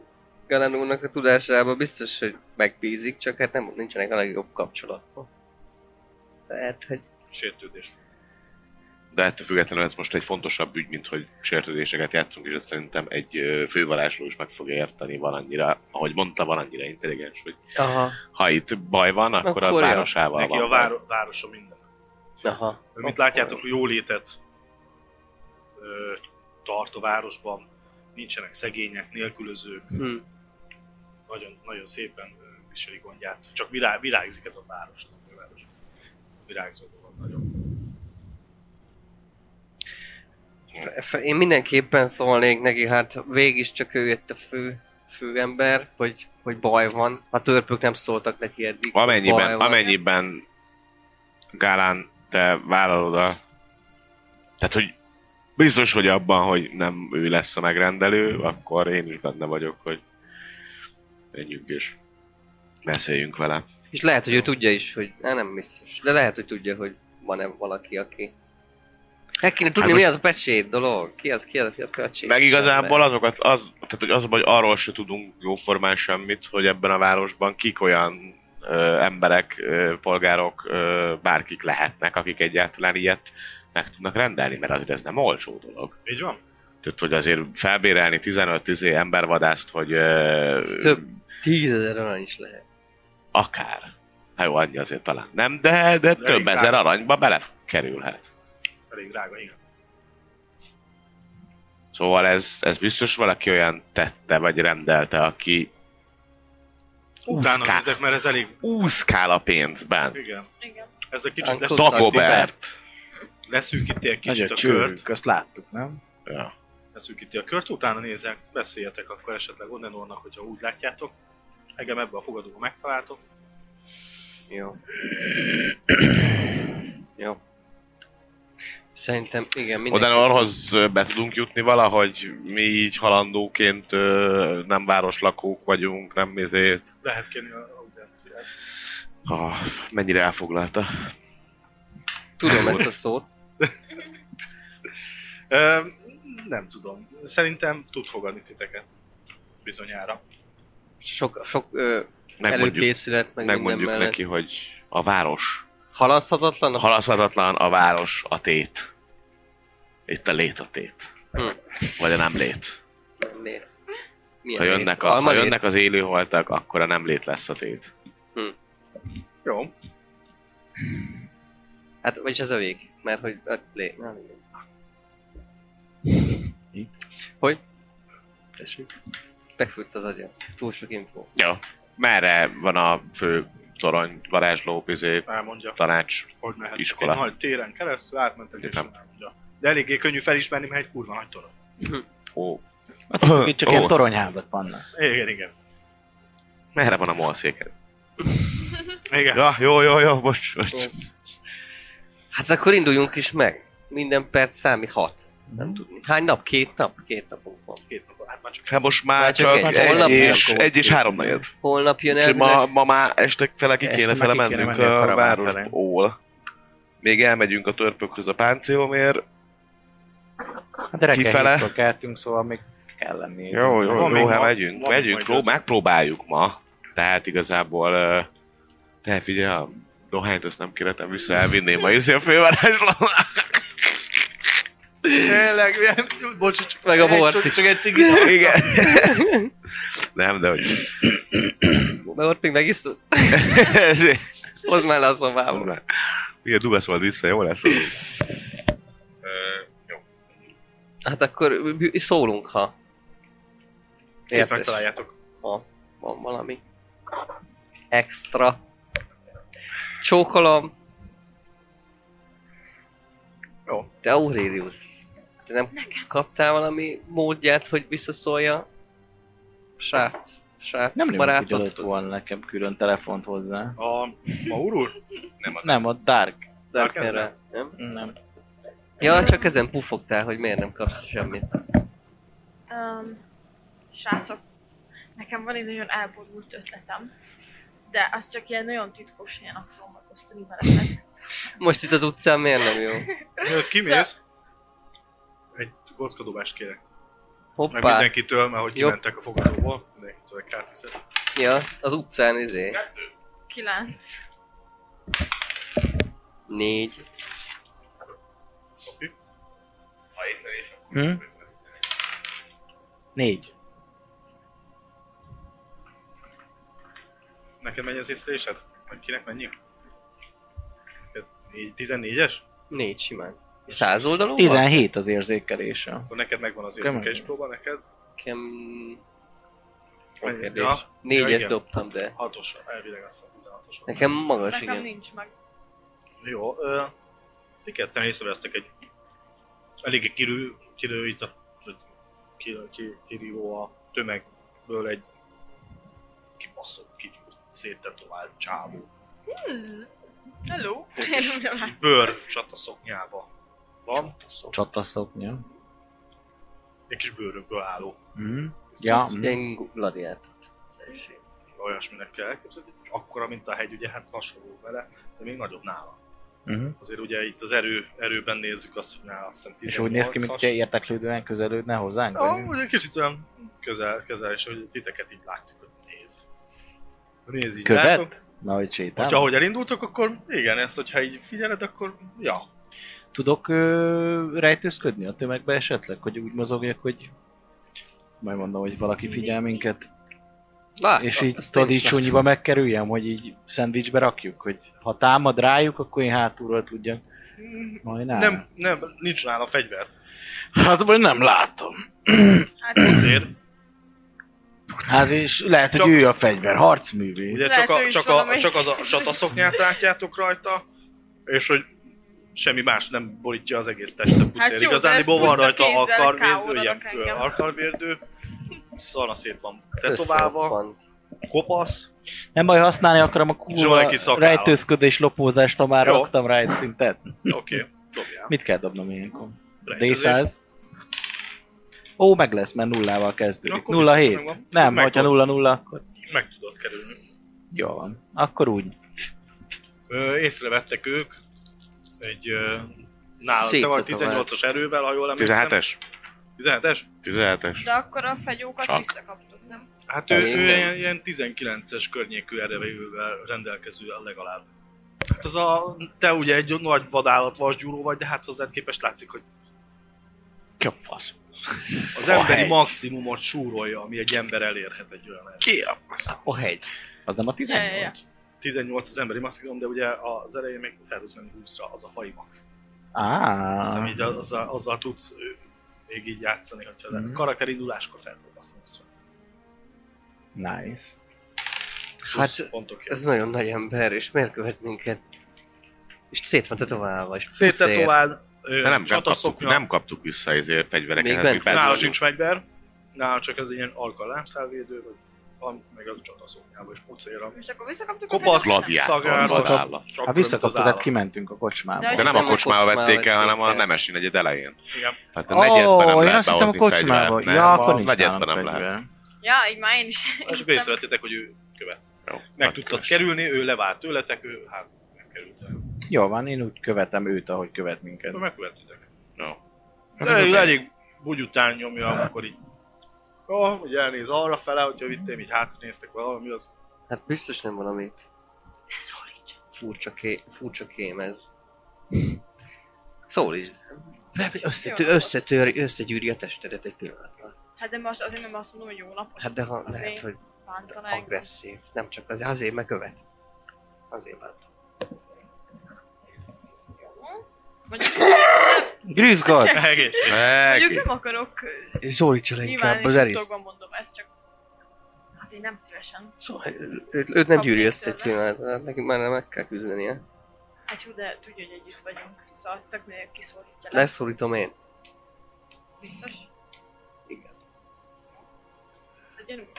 C: Galanónak a tudásába biztos, hogy megbízik, csak hát nem, nincsenek a legjobb kapcsolatban. Lehet, hogy
B: Sértődés.
D: De ettől függetlenül ez most egy fontosabb ügy, mint hogy sértődéseket játszunk, és ezt szerintem egy ö, fővarázsló is meg fogja érteni valannyira, ahogy mondta, valannyira intelligens, hogy
C: Aha,
D: ha itt baj van, akkor,
C: Akkor
D: a
C: ja.
D: városával
B: Neki
D: van.
B: a
D: baj.
B: váro- városa minden.
C: aha.
B: Ő, Mint látjátok, jólétet ö, tart a városban, nincsenek szegények, nélkülözők,
C: Hm.
B: nagyon, nagyon szépen ö, viseli gondját. Csak virá, virágzik ez a város, az a város. Virágzó van nagyon.
C: F- Én mindenképpen szólnék neki, hát végig is csak ő jött a fő, fő ember, hogy, hogy baj van. A törpök nem szóltak neki eddig. hogy baj
D: Amennyiben,
C: van.
D: amennyiben Gálán, te vállalod a Tehát, hogy biztos vagy abban, hogy nem ő lesz a megrendelő, akkor én is benne vagyok, hogy menjünk és beszéljünk vele.
C: És lehet, hogy ő tudja is, hogy... Á, nem biztos. De lehet, hogy tudja, hogy van-e valaki, aki... El kéne tudni,
D: Hát
C: mi
D: most-
C: az a pecsét dolog. Ki az, ki az, ki a pecsét.
D: Meg igazából azokat, az, tehát hogy az, a baj, hogy arról se tudunk jóformán semmit, hogy ebben a városban kik olyan ö, emberek, ö, polgárok, ö, bárkik lehetnek, akik egyáltalán ilyet meg tudnak rendelni, mert azért ez nem olcsó dolog.
B: Így van?
D: Tehát, hogy azért felbérelni 15-10 embervadászt, hogy ö,
C: Ez több tízezer arany is lehet.
D: akár. Hát jó, annyi azért talán nem, de, de több
B: inkább.
D: ezer aranyba belekerülhet.
B: Elég drága, igen.
D: Szóval ez, ez biztos valaki olyan tette, vagy rendelte, aki
B: Utána
D: Úszkál.
B: nézek, mert ez elég...
D: úszkál a pénzben.
B: Igen.
F: Igen.
B: Ez egy kicsit lesz,
C: Akkor-
D: Dagobert!
B: leszűkíti egy
E: Nagy
B: kicsit
E: a
B: a kört.
E: csőrünk, azt láttuk, nem?
D: Ja.
B: leszűkíti a kört, utána nézek, beszéljetek akkor esetleg Onenornak, hogyha úgy látjátok. Engem ebbe a fogadóba megtaláltok.
C: Jó. Jó. Szerintem igen, mindenki.
D: Oda orhoz be tudunk jutni valahogy, mi így halandóként ö, nem városlakók vagyunk, nem izé...
B: Lehet kérni a audienciát.
D: Ah, mennyire elfoglalta.
C: Tudom ezt a szót.
B: Ö, nem tudom. Szerintem tud fogadni titeket. Bizonyára.
C: Sok, sok ö,
D: Megmondjuk,
C: előkészület, meg minden
D: megmondjuk
C: mellett.
D: neki, hogy a város
C: Halaszthatatlan? a-
D: halaszthatatlan, a város a tét. Itt a lét a tét.
C: Hm.
D: Vagy a nem lét.
C: Nem lét. Milyen
D: Ha jönnek, a, ha jönnek az élőholtak, akkor a nem lét lesz a tét.
B: Jó.
C: Hát, vagyis az övék, mert hogy a lé... nem, igen. Hogy? Tessék. Befújt az agyam. Túl sok info.
D: Jó. Merre van a fő torony, varázsló, izé,
B: Elmondja,
D: tanács?
B: hogy mehet.
D: Iskola.
B: Egy nagy téren keresztül átmentek és
D: Értem.
B: elmondja. De eléggé könnyű felismerni, mert egy kurva nagy torony.
D: Ó.
E: Itt Hát, csak
D: Ó,
E: ilyen toronyhábat vannak.
B: Igen, igen.
D: Merre van a molszékhez?
B: Igen.
D: Ja, jó, jó, jó, most, most.
C: Ez. Hát akkor induljunk is meg. Minden perc számít hat. Nem tudni. Hány nap? Két nap? Két napunk van.
B: Két napon. Hát már csak
D: Hát most
C: Már
D: már
C: csak
D: csak,
C: egy-
D: egy,
C: holnap
D: és,
C: jön akkor.
D: egy és három negyed.
C: Holnap jön
D: Úgyhogy
C: el.
D: ma, ma már este fele ki
E: Este
D: kéne
E: már
D: fele
E: ki kéne
D: mennünk
E: menni a
D: a
E: karaván felé.
D: városból. Még elmegyünk a törpökhöz a páncélomért.
E: Hát de
D: Kifele?
E: reggel keltünk, szóval még kell lenni.
D: Jó, jó,
B: Van még
D: jó, hát
B: ma-
D: megyünk,
B: van
D: megyünk,
B: majd
D: pró-
B: öt.
D: megpróbáljuk ma. Tehát igazából, ö, te figyelj, a dohányt azt nem kéretem vissza, elvinném a izé a fővárosba.
B: Tényleg, milyen- bocs, csak
C: Meg a
B: egy-
C: bort
B: csak-
C: is.
B: Csak egy cigit.
D: Igen. Nem, de hogy...
B: (laughs)
C: Mert ott még megiszol.
D: Ezért.
C: Hozd már le a szobába.
D: Ugye dugasz majd vissza, jó lesz?
C: Hát akkor b- szólunk, ha.
B: Két
C: Értes.
B: megtaláljátok.
C: Ha van valami. Extra. Csókolom.
B: Jó.
C: Te Aurelius. Te nem kaptál valami módját, hogy visszaszólja? Srác. Srác
E: Nem lőjük, hogy adott
C: barátod.
E: volna nekem külön telefont hozzá.
B: A Maur úr?
E: Nem, a Dark.
C: Darkerrel. Nem?
E: Nem.
C: Ja, csak ezen pufogtál, hogy miért nem kapsz semmit.
F: Um, srácok, nekem van egy nagyon elborult ötletem, de azt csak ilyen nagyon titkos helyen akarom megosztani veletek.
C: Most itt az utcán miért nem jó?
B: Ö, Kimész? Egy kockadobást kérek. Meg
C: Hoppá.
B: mindenkitől, mert hogy
C: Jó.
B: kimentek a fogadóból, mindenkitől egy kártyát.
C: Ja, az utcán izé.
F: Kilenc.
C: Négy.
E: Hm? Négy.
B: Neked mennyi az észlelésed? Vagy kinek mennyi? Neked négy- 14-es?
C: Négy simán. Száz oldalon van?
E: 17 az érzékelése.
B: Akkor neked megvan az
E: Kemény.
B: érzékelés próba, neked?
C: Nekem...
B: Mennyi?
C: Kérdés.
B: Ja,
C: Négyet
B: igen.
C: dobtam, de...
B: 6-os, elvileg azt a 16-os. volt.
C: Nekem magas,
F: Nekem
C: igen.
F: nincs meg.
B: Jó, ö, ti ketten észrevesztek egy eléggé kirő, kirő itt a, vagy kirő, ki- kirívó a tömegből egy kibaszott, kigyúrt, széttetovált csávó.
F: Hmm. Hello. Én
B: És
F: ugyan-
B: bőr csataszoknyába Van, szó.
E: Csataszok, ja.
B: Egy kis bőrökből álló.
E: Mm. Ja,
C: Ez
E: mm.
C: ilyen gladiátort.
B: Olyasminek kell Szóval elképzelni. Akkora, mint a hegy, ugye hát hasonló vele, de még nagyobb nála.
E: Mhm.
B: Azért ugye itt az erő, erőben nézzük azt, hogy nála azt hiszem 18
E: És úgy néz ki, mint hogyha érteklődően közelődne hozzánk.
B: Ja,
E: vagy-
B: ugye kicsit olyan közel, közel, és hogy titeket így látszik, hogy néz. Néz így, látok.
E: Követ? Na, hogy sétál.
B: Hogyha ahogy elindultok, akkor igen, ezt, hogyha így figyeled, akkor ja.
E: Tudok ö, rejtőzködni a tömegbe esetleg, hogy úgy mozogjak, hogy majd mondom, hogy valaki figyel minket.
C: Lát,
E: És így tadicsúnyiba megkerüljem, hogy így szendvicsbe rakjuk, hogy ha támad rájuk, akkor én hátulról tudjam. Majd nem.
B: Nem, nem, nincs nála fegyver.
E: Hát, vagy nem látom.
F: Hát,
B: Azért.
E: Hát és lehet,
B: Csak-
E: hogy ő a fegyver, harcművé.
B: Ugye
F: Lehet,
B: csak,
F: ő
B: a,
F: is
B: csak, a,
F: valami.
B: csak az a csataszoknyát látjátok rajta, és hogy semmi más nem borítja az egész testet pucér.
F: jó,
B: Hát
F: de
B: Igazániból
F: ezt
B: van
F: puszta
B: rajta
F: kézzel
B: alkarvédő,
F: K.O.-ra
B: ilyen
F: rak engem.
B: alkarvédő, szana szét van tetoválva, kopasz,
E: Nem baj, használni akarom a kurva
B: Zsoleki szakálla.
E: rejtőzködés lopózást, ha már
B: Jó.
E: raktam rá egy szintet.
B: oké, okay, dobjál.
E: Mit kell dobnom ilyenkor?
B: Rejtőzés.
E: D100. Ó, meg lesz, mert nullával kezdődik.
B: Akkor
E: Nulla
B: biztos
E: hét.
B: megvan.
E: Nem,
B: Meg
E: hogyha
B: van.
E: nulla nulla, akkor
B: Meg tudod kerülni.
E: jó van. Akkor úgy.
B: Ö, észrevettek ők egy ö, nála, te vagy
C: Széttetovált.
B: 18-as erővel, ha jól emlékszem.
D: 17-es?
B: 17-es?
D: 17-es.
F: de akkor a
B: Ah.
F: fegyókat
D: Csak.
F: visszakaptuk, nem?
B: Hát ő, ő
C: Igen.
B: ilyen, ilyen 19-es környékű erejével rendelkező legalább. Hát az a, te ugye egy nagy vadállat vasgyúró vagy, de hát hozzád képest látszik, hogy
E: Ki a fasz?
B: az emberi maximumot súrolja, ami egy ember elérhet egy olyan erő.
E: Ki a
C: A hegy.
E: Az nem a
F: Ja, ja,
E: 18?
B: 18 az emberi maximum, de ugye az elején még felhúz menni 20-ra, az a fai maximum. Azt hiszem,
E: Á,
B: így azzal, azzal tudsz ő, még így játszani, hogyha
E: Mhm.
B: mm. karakteriduláskor fel tudod azt 20
E: nice.
C: Hát
B: pontokért.
C: ez nagyon nagy ember, és miért követ minket? És szét van tetoválva, és
B: Széttetováld, ö,
D: De nem, nem, kaptuk,
B: csataszoknya.
D: nem kaptuk vissza ezért fegyvereket.
C: Még
D: hát
C: bent
D: mi
C: van.
D: bent
B: Nála
D: vagyunk.
B: sincs fegyver, nála csak ez ilyen alka lámszálvédő, vagy van, meg az csataszókjába és pucéra.
F: És akkor visszakaptuk
B: Kopasz,
F: fegyókat?
D: Gladiátor,
B: szagáros.
D: az állat.
B: Csak
E: Hát
B: olyan, mint az
E: visszakaptuk,
B: állat.
E: hát kimentünk a kocsmába.
F: De-
D: De nem a
C: Nem a
D: kocsmába
C: kocsmába
D: vették el,
C: vették
D: hanem a
C: el.
D: Nemesi negyed elején.
B: Igen.
D: Tehát a
E: Ó,
D: negyedben nem
E: én
D: lehet
E: azt hittem a
D: behozni
E: kocsmába.
D: fegyvert.
E: Ja,
D: Nem, a
E: akkor nincs
D: negyedben
E: nálam
D: nem lehet.
E: fegyver.
F: Ja, így már én is
B: És akkor
F: eljöttem.
B: észrevettétek, hogy ő követ.
D: Jó,
B: Meg
D: nagy
B: tudtad
D: köves.
B: kerülni, ő levált tőletek, ő hát nem került el.
E: Jó van, én úgy követem őt, ahogy követ minket.
B: Akkor megkövettétek.
D: Jó.
B: De ő elég bugy után nyomja, amikor így jó, ugye elnéz arra fele, hogyha vittem, így hátra néztek valami, az
C: Hát biztos nem valami
F: Ne szólíts.
C: furcsa, ké, furcsa kém ez. Szól is. Összető,
F: Jó.
C: összetör, összegyűri a testedet egy pillanatra.
F: Hát de most azért nem azt mondom, hogy jó napot
C: Hát de ha
F: Oké.
C: lehet, hogy
F: bántaná engem.
C: agresszív. Nem csak azért, azért megkövet. Azért bántam. (laughs)
F: Mondjuk,
E: Grűzgott!
B: egész.
F: mondjuk
D: Meg,
F: nem akarok ö,
C: Zólítsa le
F: nyilván
C: inkább
F: és
C: az erész.
F: titokban mondom, ezt csak azért nem szívesen.
C: Szóval őt, őt nem
F: Kap
C: gyűri
F: még
C: össze egy
F: tőle.
C: pillanatra, hát nekünk már nem meg kell küzdenie.
F: Hát jó, de tudja, hogy együtt vagyunk. Szóval tök nélkül kiszólítja. le.
C: Leszorítom én.
F: Biztos?
C: Igen.
F: Legyen úgy.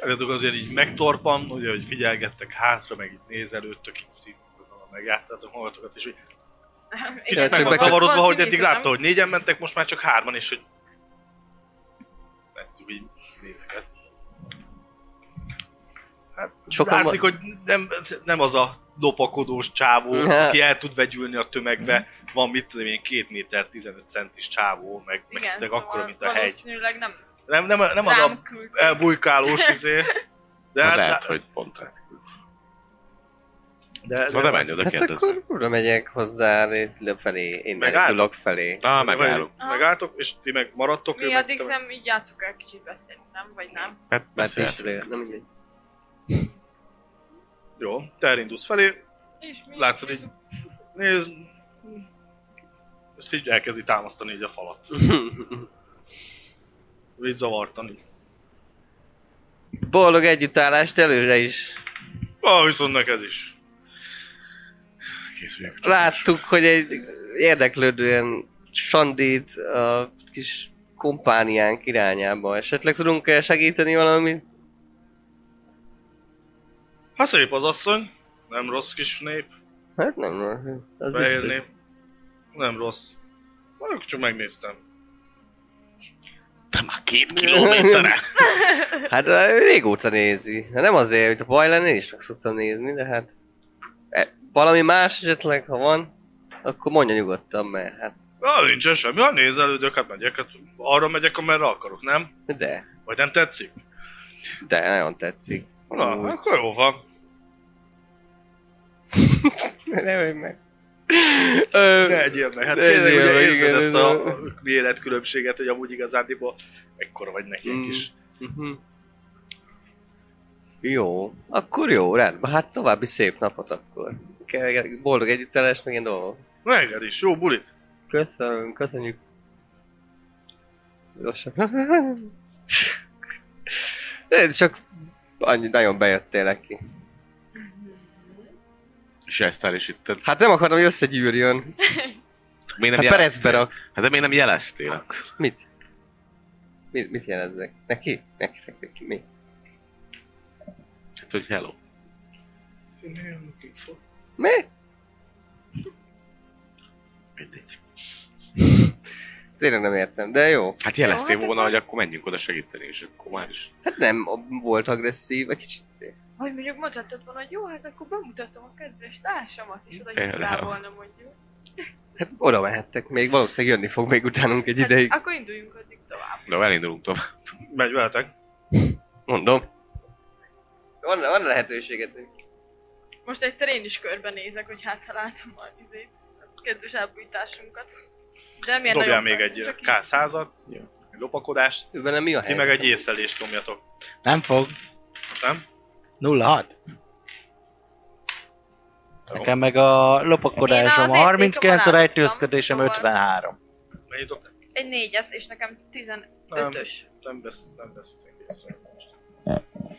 B: Előttük azért így megtorpan, ugye, hogy figyelgettek hátra, meg itt nézelődtök, így, így megjátszátok magatokat, és úgy Kicsit
F: Igen,
B: meg
C: csak
B: van
C: be-
B: zavarodva,
F: van
B: hogy eddig
F: színészetem.
B: látta, hogy négyen mentek, most már csak hárman, és hogy... Mentük így néveket. Hát,
C: Sokan
B: látszik, hogy nem, nem az a lopakodós csávó,
C: Ne.
B: aki el tud vegyülni a tömegbe. Van mit tudom én, két méter, 15 centis csávó, meg, meg,
F: Igen, szóval
B: meg akkora, mint a hegy.
F: valószínűleg nem,
B: Nem, nem, nem az a
F: rám küldte.
B: elbujkálós
F: (laughs)
B: izé. De,
D: hát
B: hát,
D: lehet, hogy pont.
B: de, de,
D: Na de menj oda,
C: Hát
D: kérdezd meg.
C: akkor oda megyek hozzá, le felé, én
B: Megáll?
C: menekülök felé.
D: Na,
B: de-
D: megállunk.
F: Aha.
B: Megálltok, és ti meg maradtok. ő
F: Mi
B: meg
F: addig
B: te-
F: szem így játsszuk el kicsit beszélni, nem? Vagy nem?
D: Hát
C: Mert
D: beszélt.
C: nincs rá, nem mindegy.
B: Jó, te elindulsz felé,
F: És mi?
B: Látod, így nézd, és így elkezdi támasztani így a falat.
D: (laughs)
B: Így zavartani.
C: Boldog együttállást előre is.
B: Ah, viszont neked is.
D: Készüljünk.
C: Láttuk, hogy egy érdeklődően Sandit a kis kompániánk irányába. Esetleg tudunk -e segíteni valamit?
B: Hát szép az asszony, nem rossz kis nép,
C: Hát nem, az
B: fehér nép. nem rossz. Mondjuk csak megnéztem.
D: Te már két kilométerre!
B: (laughs)
C: Hát ő régóta nézi. Hát nem azért, hogy a baj lenne, én is meg szoktam nézni, de hát... e, Valami más esetleg, ha van, akkor mondja nyugodtan, mert hát...
B: Na, nincsen semmi, ha nézelődök, hát megyek, hát arra megyek, amerre akarok, nem?
C: De,
B: Vagy nem tetszik?
C: de nagyon tetszik.
B: Na,
C: Úgy.
B: akkor jó van.
C: Nem, hogy meg. Ö,
B: Ne egyél meg, hát
C: ne egyél
B: tényleg ugye
C: meg,
B: érzed
C: igen,
B: ezt
C: ez
B: a
C: a-
B: méretkülönbséget, hogy amúgy igazándiból ekkora vagy nekik
C: Mm.
B: is.
C: mhm. Jó, akkor jó, rendben. Hát további szép napot akkor. Ke- Boldog együttelés, meg ilyen dolgok.
B: Na igen is, jó bulit.
C: Köszönöm, köszönjük. Gyorsan. (laughs) De csak annyi, nagyon bejöttél neki.
D: És ezt el is itt.
C: Hát nem akartam, hogy összegyűrjön.
D: Miért
C: Hát percbe
D: nem jeleztél?
C: rak.
D: Hát de miért nem jeleztél akkor?
C: Mit? Mit, mit jelezzek? Neki? Neki, neki, neki, mi?
D: Hát, hogy hello.
C: Mi?
D: Mindegy.
C: Tényleg nem értem, de jó.
D: Hát jeleztél
F: Jó, hát
D: volna,
F: akkor-
D: hogy akkor menjünk oda segíteni, és akkor már is.
C: Hát nem volt agresszív, egy kicsit.
F: Vagy mondjuk mondhatod volna, hogy jó, hát akkor bemutatom a kedves társamat, és oda
D: Például.
F: jutottál volna mondjuk.
C: Hát oda mehettek még, valószínűleg jönni fog még utánunk egy
F: Hát,
C: ideig.
F: akkor induljunk addig tovább.
D: De elindulunk tovább.
B: Megy veletek.
C: Mondom. Van, van lehetőséget, hogy
F: Most egyszer én is körbenézek, hogy hát ha látom a izét, a kedves elbújtásunkat. De nem ilyen
B: Dobjál
F: nagyon
B: még
F: fel-
B: egy
F: csak így-
B: K100-at,
E: Jó.
B: egy lopakodást,
C: ő vele mi a
B: ti
C: helyzet.
B: meg egy észlelést nyomjatok.
E: Nem fog.
B: Hát Nem?
E: 06.
B: Jó.
E: Nekem meg a lopakodásom
F: Én az
E: 39, a
F: értékom
E: rejtőzködésem
F: alá tudtam,
E: 53.
B: Mennyit dobtál?
F: Egy négyet, és nekem 15-ös.
B: Nem, vesz, nem veszitek észre.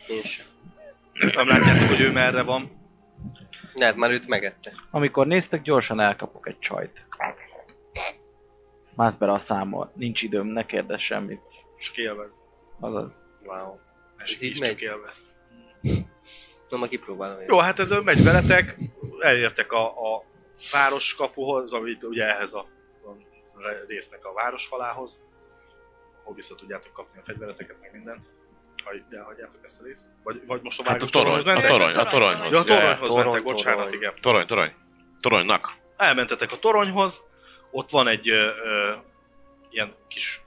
C: Én sem.
B: Nem látjátok, hogy ő merre van.
C: Lehet már őt megette.
E: Amikor néztek, gyorsan elkapok egy csajt. Mász bele a számol, nincs időm, ne kérdezz semmit.
B: Csak élvez.
E: Azaz.
C: Wow.
B: És
C: Ez így
B: így
C: megy?
B: csak élvez.
C: Na, ma kipróbálom. én.
B: Jó, hát ezzel megy veletek. Elértek a, a városkapuhoz, amit ugye ehhez a, a résznek a városfalához. Ahol vissza tudjátok kapni a fegyvereteket, meg mindent. Ha így elhagyjátok ezt a részt. Vagy, vagy most a
D: Hát a
B: város
D: torony, a
F: mentek?
D: torony, a toronyhoz.
B: Ja, a toronyhoz
C: Torony,
B: mentek, bocsánat,
C: torony.
B: igen.
D: Torony, torony. Toronynak.
B: elmentetek a toronyhoz, ott van egy ö, ö, ilyen kis,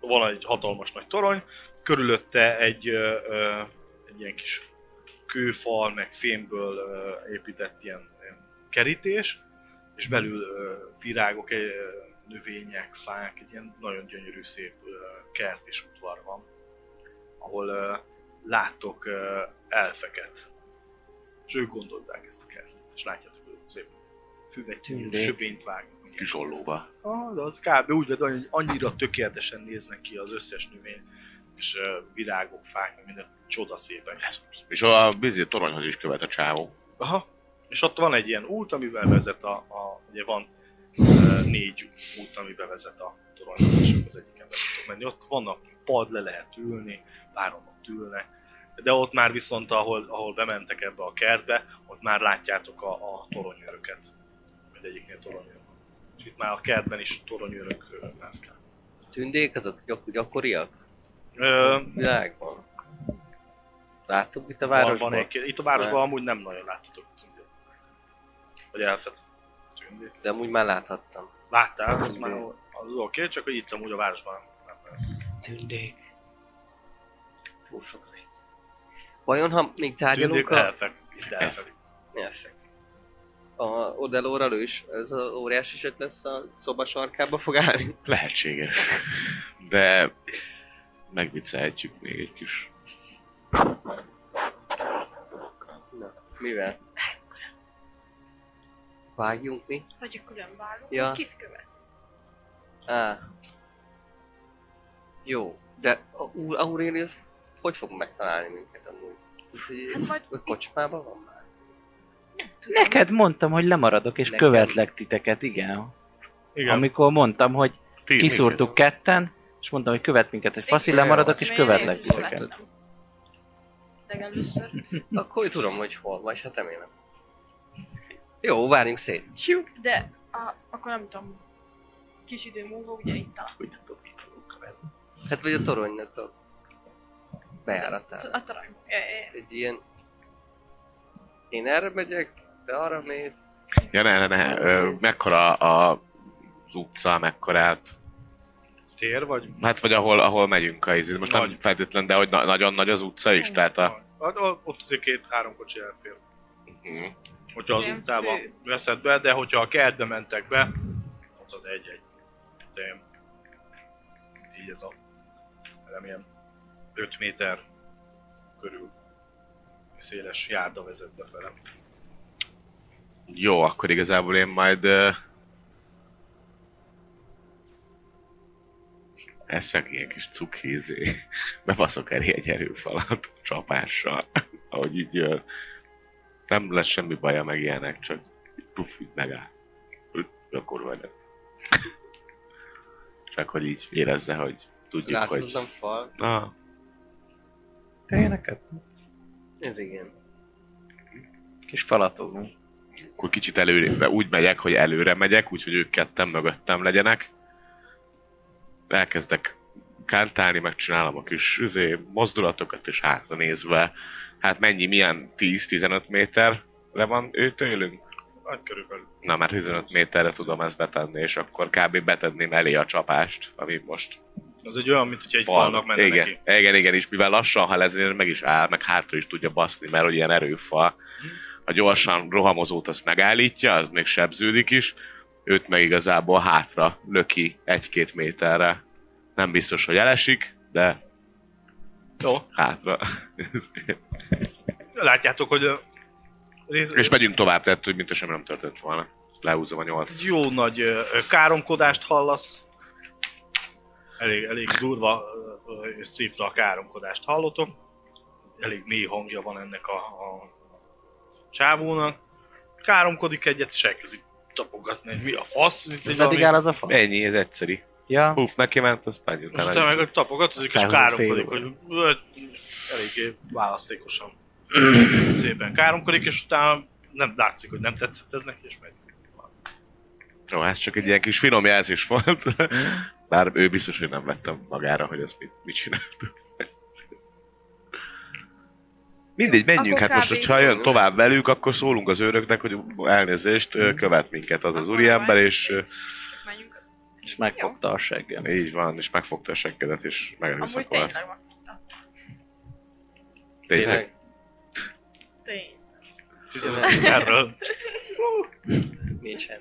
B: van egy hatalmas nagy torony, körülötte egy, ö, ö, egy ilyen kis kőfal, meg fémből ö, épített ilyen, ilyen kerítés, és belül ö, virágok, ö, növények, fák, egy ilyen nagyon gyönyörű, szép ö, kert és udvar van, ahol ö, láttok ö, elfeket. És ők gondolták ezt a kertet, és látjátok, hogy szép füvet,
C: Tündék.
B: söpényt vágnak. meg
D: Kis ollóba.
B: Ah, de az kb. úgy lett, hogy annyira tökéletesen néznek ki az összes növény, és ö, virágok, fák, meg minden csodaszépen.
D: És a bizi toronyhoz is követ a csávó.
B: Aha. És ott van egy ilyen út, amivel vezet a, a ugye van ö, négy út, amivel vezet a toronyhoz, és akkor az egyiken be tudtok menni. Ott vannak pad, le lehet ülni, páran ott ülnek, de ott már viszont, ahol, ahol bementek ebbe a kertbe, ott már látjátok a, a toronyőröket. Mindegyiknél toronyőr van. És itt már a kertben is toronyőrök ö, mászkálnak.
C: Tündék azok gyak- gyakoriak?
B: Ö,
C: Világban. Láttuk itt a
B: van,
C: városban?
B: van egy, itt a városban
C: Nem.
B: amúgy nem nagyon láthatok tündét. Vagy elfet tündét.
C: De amúgy már láthattam.
B: Láttál, az már o- az oké, csak hogy itt amúgy a városban nem. nem.
C: Tündék. Túl sok rész. Vajon, ha még tárgyalunk
B: Tündék
C: a...
B: elfek, itt elfek.
C: Nyertek. A Odellóra lős, ez az óriás eset lesz a szoba sarkába fog állni.
D: Lehetséges. De megviccelhetjük még egy kis.
C: Na, mivel? Vágjunk mi?
F: Vagy a külön válló.
C: Ja.
F: Ja. Kiszkövet.
C: Á. Jó, de a Ú- Aurelius hogy fog megtalálni minket amúgy? Úgyhogy
F: Hát majd
C: a kocsmában van már?
E: Neked mondtam, hogy lemaradok és
C: Nekem.
E: követlek titeket, igen.
B: Igen.
E: igen. Amikor mondtam, hogy
D: Ti,
E: kiszúrtuk ketten, és mondtam, hogy követ minket egy faszi, lemaradok és
F: Még
E: követlek
F: Jézus
E: titeket.
F: láttam. Legelőször.
C: Akkor tudom, hogy hol vagy, hát remélem. Jó, várjunk szét.
F: Csuk, de Ah, akkor nem tudom. Kis idő múlva ugye itt a,
E: Hogy nem tudom, mit fogok venni.
C: Hát vagy a toronynak a bejáratán.
F: a torony. Ja, ja, ja.
C: Egy ilyen... Én erre megyek, te arra mész.
D: Ja, ne, ne, ne. Ö, mekkora a, az utca, mekkorát?
B: Tér vagy?
D: Hát vagy ahol, ahol megyünk a izit. Most
B: Nagy.
D: nem feltétlen, de hogy na- nagyon nagy az utca is, tehát a...
B: Hát, o- Ott azért két-három kocsi elfér.
D: Mhm.
B: Hogyha az
F: Igen,
B: utcába
F: fő.
B: veszed be, de hogyha a kertbe mentek be, ott az egy-egy. De így ez a remélem 5 méter körül széles járda vezet be velem.
D: Jó, akkor igazából én majd... Ö... Eszek ilyen kis cukhézé. (laughs) Bebaszok elé egy erőfalat csapással. (laughs) Ahogy így jön. Nem lesz semmi baja meg ilyenek, csak így puf, így megáll. Üt, Akkor vagy Csak hogy így érezze, hogy tudjuk, hogy...
C: Láthatatlan fal.
D: Na,
E: Te ilyeneket?
C: Ez igen.
E: Kis falatogunk.
D: akkor kicsit előre, úgy megyek, hogy előre megyek, úgyhogy ők ketten mögöttem legyenek. Elkezdek kántálni, megcsinálom a kis üzé, mozdulatokat, és hátra nézve, hát mennyi, milyen 10-15 méterre van ő tőlünk?
B: Hát körülbelül.
D: Na már 15 méterre tudom ezt betenni, és akkor kb. betenném elé a csapást, ami most
B: Az egy olyan, mint hogyha egy
D: fal.
B: falnak menne
D: igen,
B: neki.
D: igen, igen, és mivel lassan, ha lezér, meg is áll, meg hátra is tudja baszni, mert hogy ilyen erőfal.
B: Mhm.
D: A gyorsan rohamozót azt megállítja, az még sebződik is, őt meg igazából hátra löki egy-két méterre. Nem biztos, hogy elesik, de jó, hátra. (laughs)
B: Látjátok, hogy ö, rész-
D: és megyünk tovább, tehát hogy mintha semmi nem történt volna. Leúzom a nyolc.
B: jó nagy ö, ö, káromkodást hallasz. Elég, elég durva ö, ö, és szívra a káromkodást hallotok. Elég mély hangja van ennek a, a csávónak. Káromkodik egyet, és elkezdi tapogatni, hogy mi a fasz, mint egy
E: Meddig áll
B: valami.
E: az a fa?
D: Ennyi, ez egyszerű.
E: Ja.
D: Puf, neki ment, aztán jött
B: És te meg hogy tapogatozik, és
E: Felhúzott
B: káromkodik,
E: fél
B: hogy ö, hát, eléggé
E: (clears throat)
B: választékosan szépen káromkodik, és utána nem látszik, hogy nem tetszett ez neki, és megy.
D: Jó, ez csak egy ilyen kis finom jelzés volt. Bár ő biztos, hogy nem vettem magára, hogy ezt mit, mit csináltuk. Mindegy, menjünk,
F: Akkor
D: hát most,
F: kb.
D: hogyha jön tovább velük, akkor szólunk az őröknek, hogy elnézést, ö, követ minket az az
F: Akkor
D: úriember,
F: majd
D: és ö,
F: Menjünk az.
E: És megfogta a seggem.
D: így van, és megfogta a seggedet, és megelőzte
F: Amúgy
D: volt.
F: tényleg van.
D: Tényleg?
F: Tény.
C: Tényleg.
B: Erről
C: Nincsen.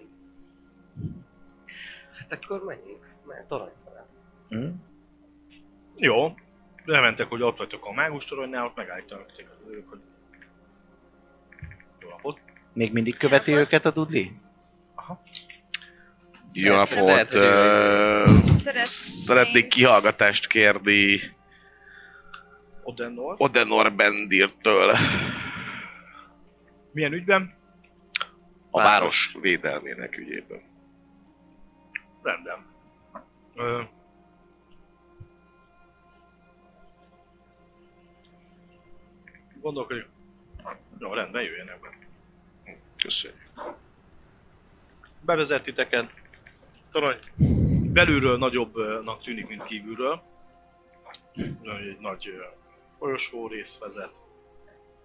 C: Hát akkor menjünk. Mert torony felé.
E: Hm?
B: Jó. Lementek, hogy ott vagytok a mágustoronynál, ott megállítanak téged az őrök, hogy... Jó napot.
E: Még mindig követi őket a Dudli?
D: Jó
C: Lehet, hogy- lehet, hogy
D: napot! ö,
F: Szeretnénk-
D: Szeretnék kihallgatást kérni
B: Odennor.
D: Odenor Bendirtől
B: Milyen ügyben?
D: a város védelmének ügyében.
B: Rendben. Ö... Gondolkodik. Jó, rendben, jöjjön ebben.
D: Köszönjük.
B: bevezet titeket. Torony belülről nagyobbnak tűnik, mint kívülről. Nagy- Egy nagy ö, folyosó rész vezet,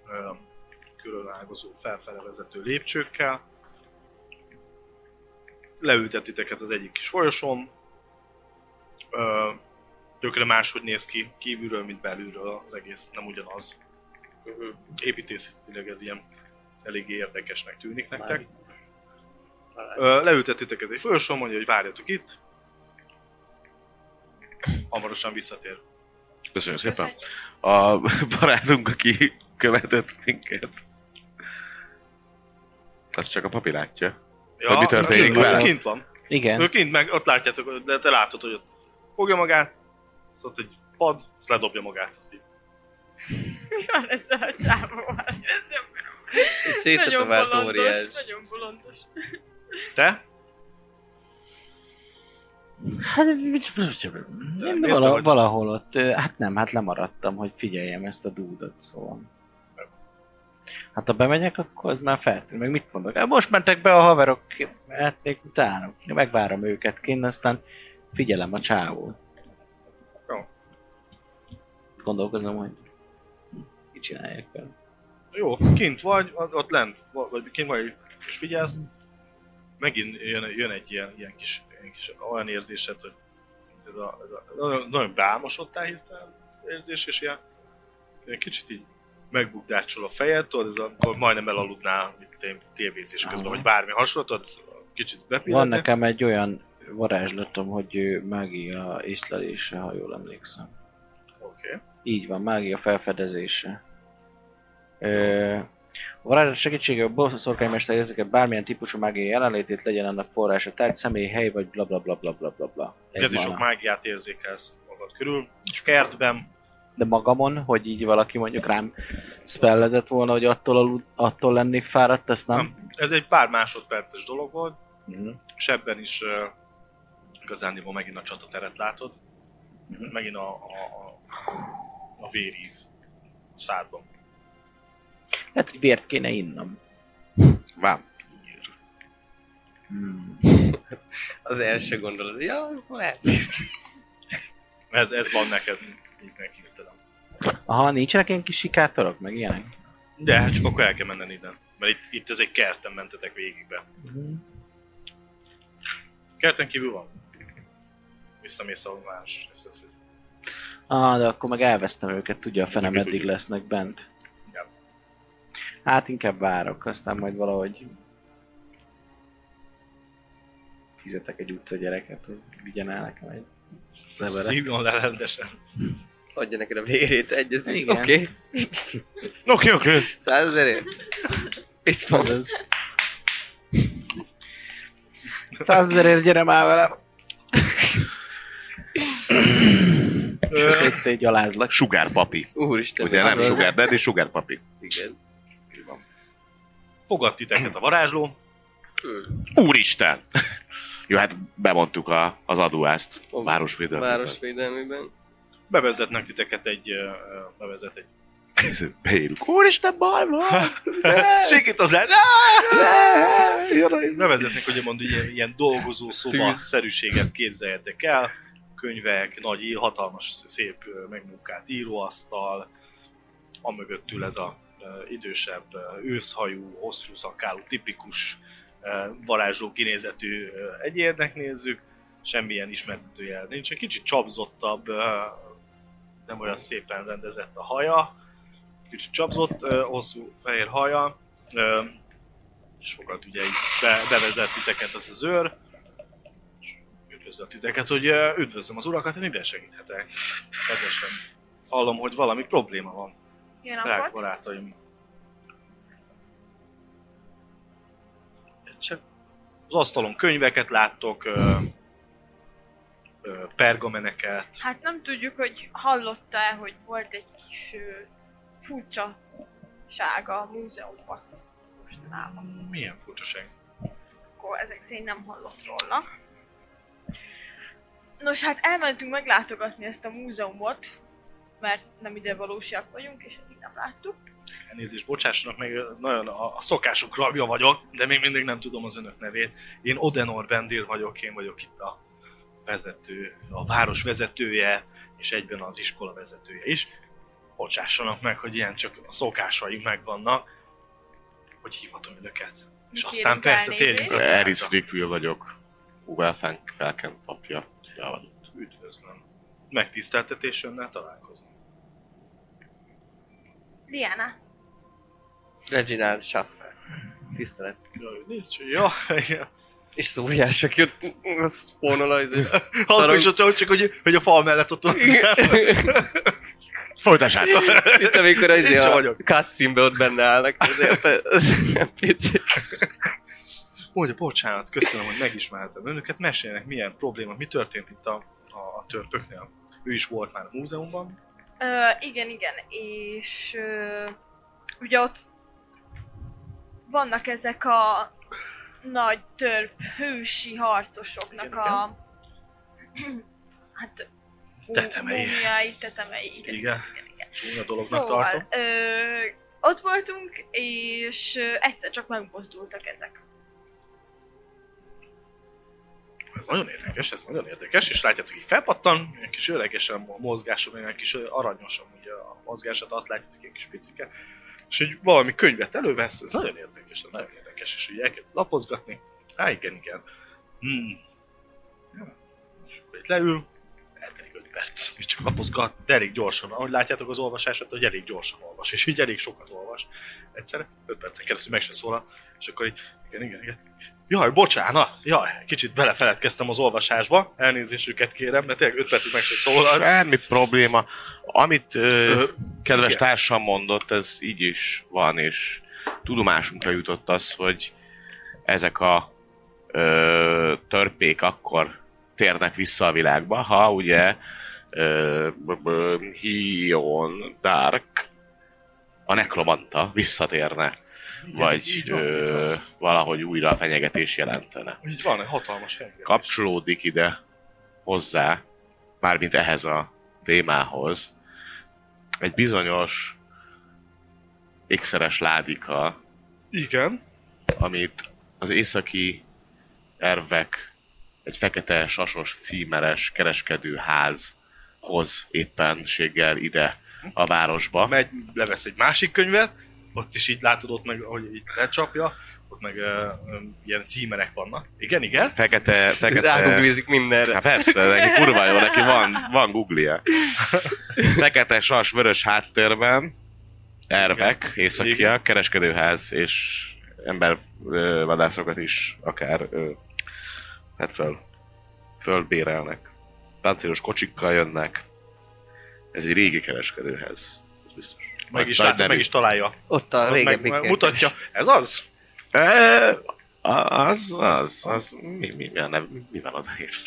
B: ö, külön ágazó felfele vezető lépcsőkkel. Leültet titeket az egyik kis folyosón. Ö, Tökre máshogy néz ki kívülről, mint belülről az egész, nem ugyanaz. Ö, Építészetileg ez ilyen eléggé érdekesnek tűnik nektek. Ö, Leültet titeket egy folyosón, mondja, hogy várjatok itt. Hamarosan visszatér.
D: Köszönjük szépen. A (laughs) barátunk, aki követett minket. Azt csak a papi látja. Hogy mi történik
B: kint van,
E: vele?
B: Kint van. Ő
E: Igen.
B: kint meg, ott látjátok, de te látod, hogy ott fogja magát, az ott egy pad, azt ledobja magát. Azt így.
F: Mi van ezzel a csávóval? Ez nem Nagyon
C: Szétetovált óriás.
F: bolondos, nagyon bolondos.
B: Te?
E: Hát, én
B: nézd meg,
E: vala,
B: hogy-
E: valahol ott, ö, hát nem, hát lemaradtam, hogy figyeljem ezt a dúdot, szóval. Hát ha bemegyek, akkor az már feltűnt. Meg mit mondok? Hát most mentek be a haverok, mehetnék utána. Megvárom őket kint, aztán figyelem a csávót.
B: Jó.
E: Gondolkozom, hogy mit csináljak vele.
B: Jó, kint vagy, ott ott lent, va- vagy kint vagy, és figyelsz. Megint jön, jön egy ilyen, ilyen, kis, ilyen kis, olyan érzésed, hogy ez a, ez a, nagyon, nagyon beámosodtál hirtelen érzés, és ilyen, ilyen kicsit így megbukdácsol a fejed, tudod, ez akkor majdnem elaludnál, mint én tévézés közben,
E: Aha.
B: vagy bármi hasonló, tudod, ez kicsit
E: Van
B: bepillantek.
E: nekem egy olyan varázslatom, hogy ö, mágia észlelése, ha jól emlékszem.
B: Oké. Okay.
E: Így van, mágia felfedezése. Ö, a varázslat segítségével a boss szorkánymester érzékel bármilyen típusú mágia jelenlétét, legyen annak forrása, tárgy, személy, hely, vagy bla bla bla bla bla bla bla. Egy
B: Kezdi sok
E: mana.
B: mágiát érzékelsz magad körül, és kertben
E: De magamon, hogy így valaki mondjuk rám spellezett volna, hogy attól, alud, attól lennék fáradt, ezt nem?
B: Nem. ez egy pár másodperces dolog volt,
E: Mhm.
B: és ebben is uh, igazándiból megint a csatateret látod,
E: Mhm.
B: megint a, a, a, a véríz szádban.
E: Lehet, Hát, hogy vért kéne innom.
D: Vám.
E: Hmm.
C: Az első gondolat, hogy ja, lehet.
B: Ez, ez van neked, így neki hirtelen.
E: Aha, nincsenek ilyen kis sikátorok, meg ilyenek?
B: De hát csak akkor el kell menned innen, mert itt, itt ez egy kerten mentetek végigbe.
E: Mhm.
B: Kerten kívül van. Visszamész a más. Ez, ez,
E: Ah, de akkor meg elvesztem őket, tudja a fenem,
D: Ezeket
E: meddig
D: tudjuk.
E: lesznek bent.
B: Igen.
E: Hát inkább várok, aztán majd valahogy fizetek egy utca gyereket, hogy vigyen el nekem egy
B: ez
E: szeveret.
B: így van le rendesen.
C: Adja neked a vérét egyezést.
E: Igen.
C: Oké. Okay.
D: Oké, oké.
C: Százezerért. Itt van.
E: Azaz. Hát Százezerért gyere már velem!
B: Ö,
E: Itt egy alázlak.
D: Sugárpapi.
C: Úristen.
D: Ugye nem sugar daddy, sugar papi.
C: Igen.
B: Fogad titeket a varázsló,
D: Úristen! Jó, hát bemondtuk a, az adóást.
C: Ó,
D: Városvédelmi.
C: Városvédelmében.
B: bevezetnek titeket egy, ö, ö, bevezet egy
D: (laughs) Beírjuk. Úristen, baj van!
B: Sikít az el! Nevezetnek, ugye mondjuk ilyen, ilyen dolgozó szoba szerűséget képzeljetek el. Könyvek, nagy, í- hatalmas, szép, ö, megmunkált íróasztal, amögött ül ez a ö, idősebb, ö, őszhajú, hosszú szakálú, tipikus ö, varázsló kinézetű ö, egyének nézzük. Semmilyen ismertetőjel nincs. Egy kicsit csapzottabb, ö, nem olyan szépen rendezett a haja, kicsit csapzott, ö, hosszú fehér haja, ö, és fogad ugye így be, bevezet titeket az az őr, és üdvözlök titeket, hogy ö, üdvözlöm az urakat, miben segíthetek? Kedvesen hallom, hogy valami probléma van,
F: Jó
B: drága
F: napot!
B: barátaim. Csak az asztalon könyveket láttok, ö, ö, pergameneket,
F: Hát nem tudjuk, hogy hallotta-e, hogy volt egy kis ö, furcsa sága a múzeumban mostanában.
B: milyen furcsaság.
F: akkor ezek szerint nem hallott róla. Nos, hát elmentünk meglátogatni ezt a múzeumot, mert nem ide valósiak vagyunk, és eddig nem láttuk.
B: Elnézést, bocsássanak meg, nagyon a, a szokásuk rabja vagyok, de még mindig nem tudom az önök nevét. Én Odenor Bendir vagyok, én vagyok itt a vezető, a város vezetője, és egyben az iskola vezetője is. Bocsássanak meg, hogy ilyen csak a szokásaim megvannak, hogy hívatom önöket. És
F: Mi
B: aztán
F: kérünk
B: persze
F: elnézést.
B: térjünk a
D: Eris Rickville vagyok. Uvelfenk felkent papja. Ja, vagy.
B: Üdvözlöm. Megtiszteltetés önnel találkozni.
F: Diana,
C: Reginald Schaffer. Tisztelet.
B: Jaj, nincs. Ja, igen.
C: És szúrjás, aki ott a spónolaj. (laughs)
B: Akkor is ott, csak, hogy, hogy a fal mellett ott
D: Folytassát!
C: Mint amikor az
B: Itt sem
C: a
B: vagyok.
C: cutscene ott benne állnak. Azért az ilyen pici.
B: Mondja, bocsánat, köszönöm, hogy megismertem önöket, meséljenek milyen probléma, mi történt itt a, a, a törpöknél. Ő is volt már a múzeumban.
F: Ö, igen, igen, és ö, ugye ott vannak ezek a nagy törp hősi harcosoknak
B: Igen,
F: a (clears throat) hát mú-
B: Tetemei.
F: múmiái, tetemei, igen.
B: Igen. Csúnya dolognak
F: Szóval,
B: tartom.
F: ö, ott voltunk, és ö, egyszer csak megmozdultak ezek.
B: Ez nagyon érdekes, ez nagyon érdekes, és látjátok, hogy felpattan, ilyen kis öregesen a mozgása, meg egy kis aranyosan ugye a mozgását, azt látjátok, ilyen kis picike. És hogy valami könyvet elővesz, ez nagyon érdekes, ez nagyon érdekes, és ugye elkezd lapozgatni. Á, igen, igen. Hmm. Ja. És akkor itt leül, eltelik 5 perc, és csak lapozgat, de elég gyorsan. Ahogy látjátok az olvasását, hogy elég gyorsan olvas, és így elég sokat olvas. Egyszerre, 5 percen keresztül meg se szólal, és akkor így, igen, igen, igen. Jaj, bocsánat, jaj, kicsit belefeledkeztem az olvasásba, elnézésüket kérem, de tényleg 5 percig meg se szólal.
D: Semmi szóval probléma. Amit ö,
B: Ö,
D: kedves
B: igen.
D: társam mondott, ez így is van, és tudomásunkra jutott az, hogy ezek a ö, törpék akkor térnek vissza a világba, ha ugye ö, b- b- Hion Dark a nekromanta visszatérne, vagy
B: így van, így
D: ö,
B: van.
D: valahogy újra a fenyegetés jelentene
B: Így van, egy hatalmas fenyegetés.
D: kapcsolódik ide hozzá, mármint ehhez a témához, egy bizonyos ékszeres ládika,
B: Igen,
D: amit az északi ervek egy fekete sasos címeres kereskedőházhoz éppenséggel ide a városba.
B: megy, levesz egy másik könyvet, ott is így látod, ott meg, ahogy így lecsapja, ott meg ö, ö, ilyen címerek vannak. Igen, igen.
D: Fekete, fekete,
C: Rágugrizik mindenre.
D: Hát persze, neki kurva jó, neki van, van
B: (laughs)
D: google Fekete sas, vörös háttérben, ervek,
B: Igen.
D: északiak, kereskedőház és embervadászokat is akár ö, hát föl, fölbérelnek. Páncélos kocsikkal jönnek. Ez egy régi kereskedőház. Ez biztos.
B: Meg is,
D: Nagy
B: lát,
D: derű.
B: meg is találja.
C: Ott a
B: Ott
C: régebbi
B: meg,
C: kertes.
B: mutatja. Ez az?
D: Ö, az, az, az, mi, mi, mi, a nev, mi van odaírva?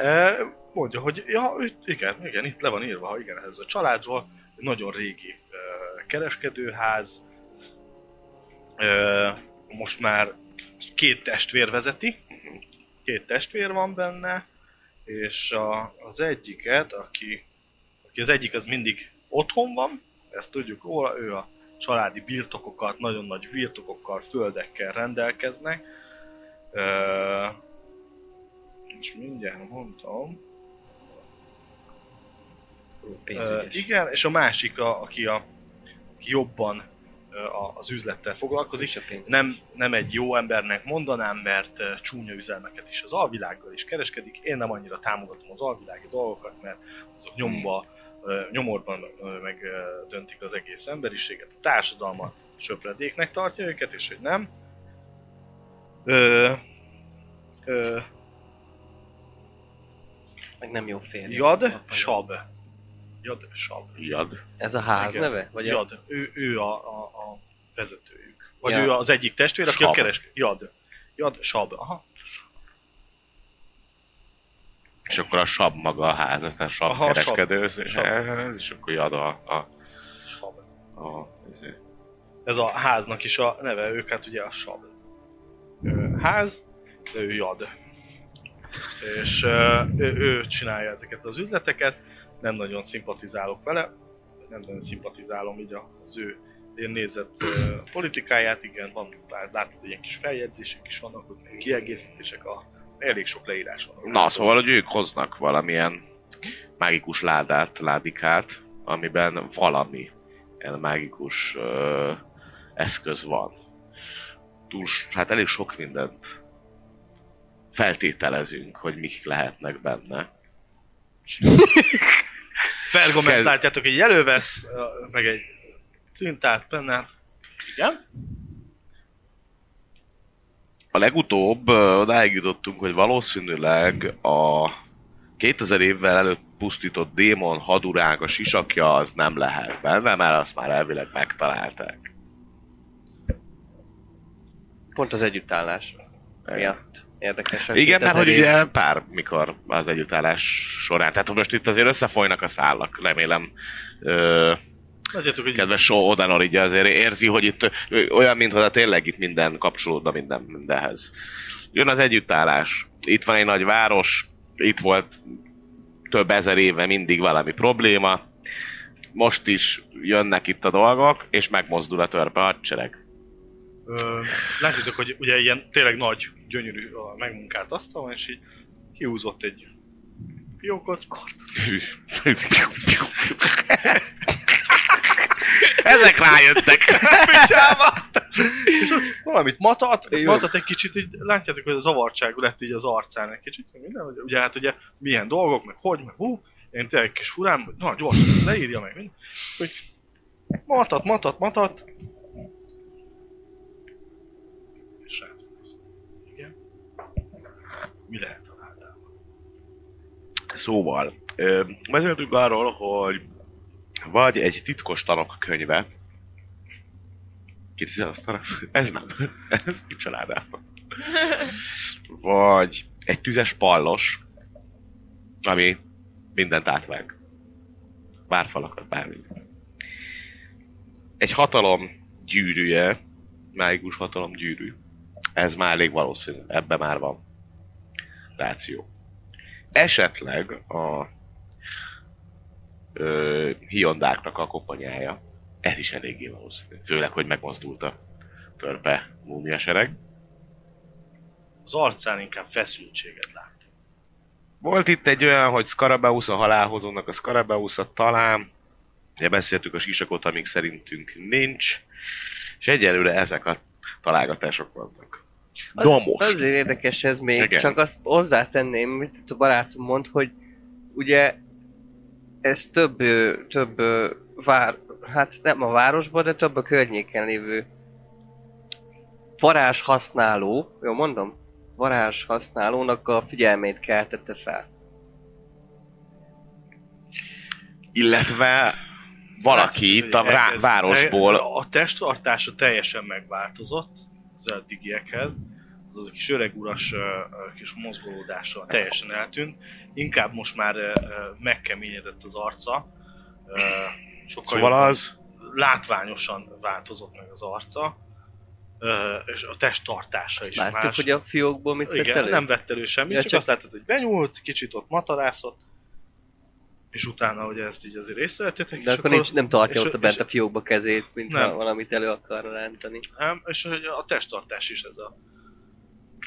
B: E, mondja, hogy ja, itt- igen, igen, itt le van írva, ha igen, ez a családról. Nagyon régi e, kereskedőház. E, most már két testvér vezeti. Két testvér van benne. És a, az egyiket, aki, aki az egyik, az mindig otthon van, ezt tudjuk róla, ő a családi birtokokat, nagyon nagy birtokokkal, földekkel rendelkeznek. Ö, és mindjárt mondtam. Ö,
C: Pénzügyes.
B: igen, és a másik, a, aki, a, aki jobban ö, a, az üzlettel foglalkozik,
C: Is a pénz.
B: nem, nem egy jó embernek mondanám, mert ö, csúnya üzelmeket is az alvilággal is kereskedik. Én nem annyira támogatom az alvilági dolgokat, mert azok nyomba, ö, nyomorban ö, meg ö, döntik az egész emberiséget, a társadalmat söpredéknek tartja őket, és hogy nem. Ö, ö,
C: Meg nem jó férj.
B: Jad Sab. Jad Sab.
D: Jad.
C: Ez a ház
B: Igen.
C: neve? Vagy a...
B: Jad. Ő, ő a, a, a vezetőjük. Vagy
C: Ja.
B: ő az egyik testvér, aki a
D: Sab.
B: keres. Jad. Jad Sab. Aha.
D: És akkor a sab maga a ház, tehát a sab
B: Aha,
D: Aha,
B: a sab.
D: kereskedő,
B: Sab.
D: sab. és akkor jad a, a,
B: Sab.
D: a izé.
B: Ez a háznak is a neve, ők hát ugye a Sab. Ö, Ház, de ő Jad. És ö, ő, ő csinálja ezeket az üzleteket, nem nagyon szimpatizálok vele, nem nagyon szimpatizálom így az ő én nézett ö, politikáját, igen, van, bár látod, ilyen kis feljegyzések is vannak, ott még kiegészítések, a, elég sok leírás van.
D: Na, szóval, hogy ők hoznak valamilyen mágikus ládát, ládikát, amiben valami ilyen mágikus ö, eszköz van. Túl, s- hát elég sok mindent feltételezünk, hogy mik lehetnek benne.
B: Pergament
D: Kezd-
B: látjátok, hogy elővesz, ö, meg egy tintát benne. Igen?
D: A legutóbb ö, odáig jutottunk, hogy valószínűleg a 2000 évvel előtt pusztított démon haduránk a sisakja az nem lehet benne, mert azt már elvileg megtalálták.
C: Pont az együttállás miatt. Érdekes. hogy
D: Igen, mert
C: 2000
D: hogy
C: év-
D: ugye pár mikor az együttállás során. Tehát most itt azért összefolynak a szálak, remélem. Ö,
B: Látjátok, hogy
D: kedves Só Odanor így azért érzi, hogy itt ö, olyan, mintha tényleg itt minden kapcsolódna minden, mindenhez. Jön az együttállás. Itt van egy nagy város, itt volt több ezer éve mindig valami probléma. most is jönnek itt a dolgok, és megmozdul a törpe hadsereg.
B: Ö, látjátok, hogy ugye ilyen tényleg nagy, gyönyörű a megmunkált asztal van, és így kihúzott egy fiókot, kart.
D: Ezek rájöttek.
B: és ott valamit matat, matat egy kicsit, így látjátok, hogy a zavartság lett így az arcán egy kicsit, meg minden, hogy ugye hát ugye milyen dolgok, meg hogy, meg hú, én tényleg kis hurám, hogy na gyorsan ezt leírja, meg minden, hogy matat, matat, matat, és rátok. Igen. Mi lehet a ládában?
D: Szóval, ö, beszéltünk arról, hogy vagy egy titkos tanok könyve. Kérdezel azt arra? Ez nem. Ez nincs a ládában. Vagy egy tüzes pallos, ami mindent átvág. Bárfalakat, bármi. Egy hatalom gyűrűje, mágikus hatalom gyűrű. Ez már elég valószínű, ebben már van ráció. Esetleg a ö, Hyondáknak a koponyája. Ez is eléggé valószínű. Főleg, hogy megmozdult a törpe múmia sereg.
B: Az arcán inkább feszültséget lát.
D: Volt itt egy olyan, hogy Scarabeus a halálhozónak a Scarabeusa talán. Ugye beszéltük a sisakot, amik szerintünk nincs. És egyelőre ezek a találgatások vannak.
C: Az,
D: Domos.
C: Azért érdekes ez még,
D: Igen.
C: Igen. csak azt hozzátenném, amit a barátom mond, hogy ugye ez több, ö, több ö, vár, hát nem a városban, de több a környéken lévő varázs használó, jó mondom? Varázs használónak a figyelmét keltette fel.
D: Illetve valaki itt a rá,
B: Elkezd-
D: városból
B: A testtartása teljesen megváltozott az eddigiekhez. Az az a kis öreg uras ö, ö, kis mozgolódása teljesen eltűnt. Inkább most már ö, ö, megkeményedett az arca. Ö, Sokkal
D: Szóval
B: jobban-
D: az-
B: látványosan változott meg az arca. Ö, És a testtartása
C: Azt
B: is
C: láttuk,
B: más.
C: hogy a fiókból mit vett
B: Igen,
C: elő?
B: nem vett elő semmit,
C: Ja,
B: ja, csak,
C: csak-
B: azt láttad, hogy benyúlt, kicsit ott matarászott, és utána hogy ezt így azért észrevettétek,
C: de
B: és
C: akkor, nincs, nem tartja
B: és-
C: ott a bent
B: és-
C: a fiókba kezét, mint
B: Nem.
C: ha valamit elő akarna rántani.
B: Nem, és hogy a testtartás is ez a...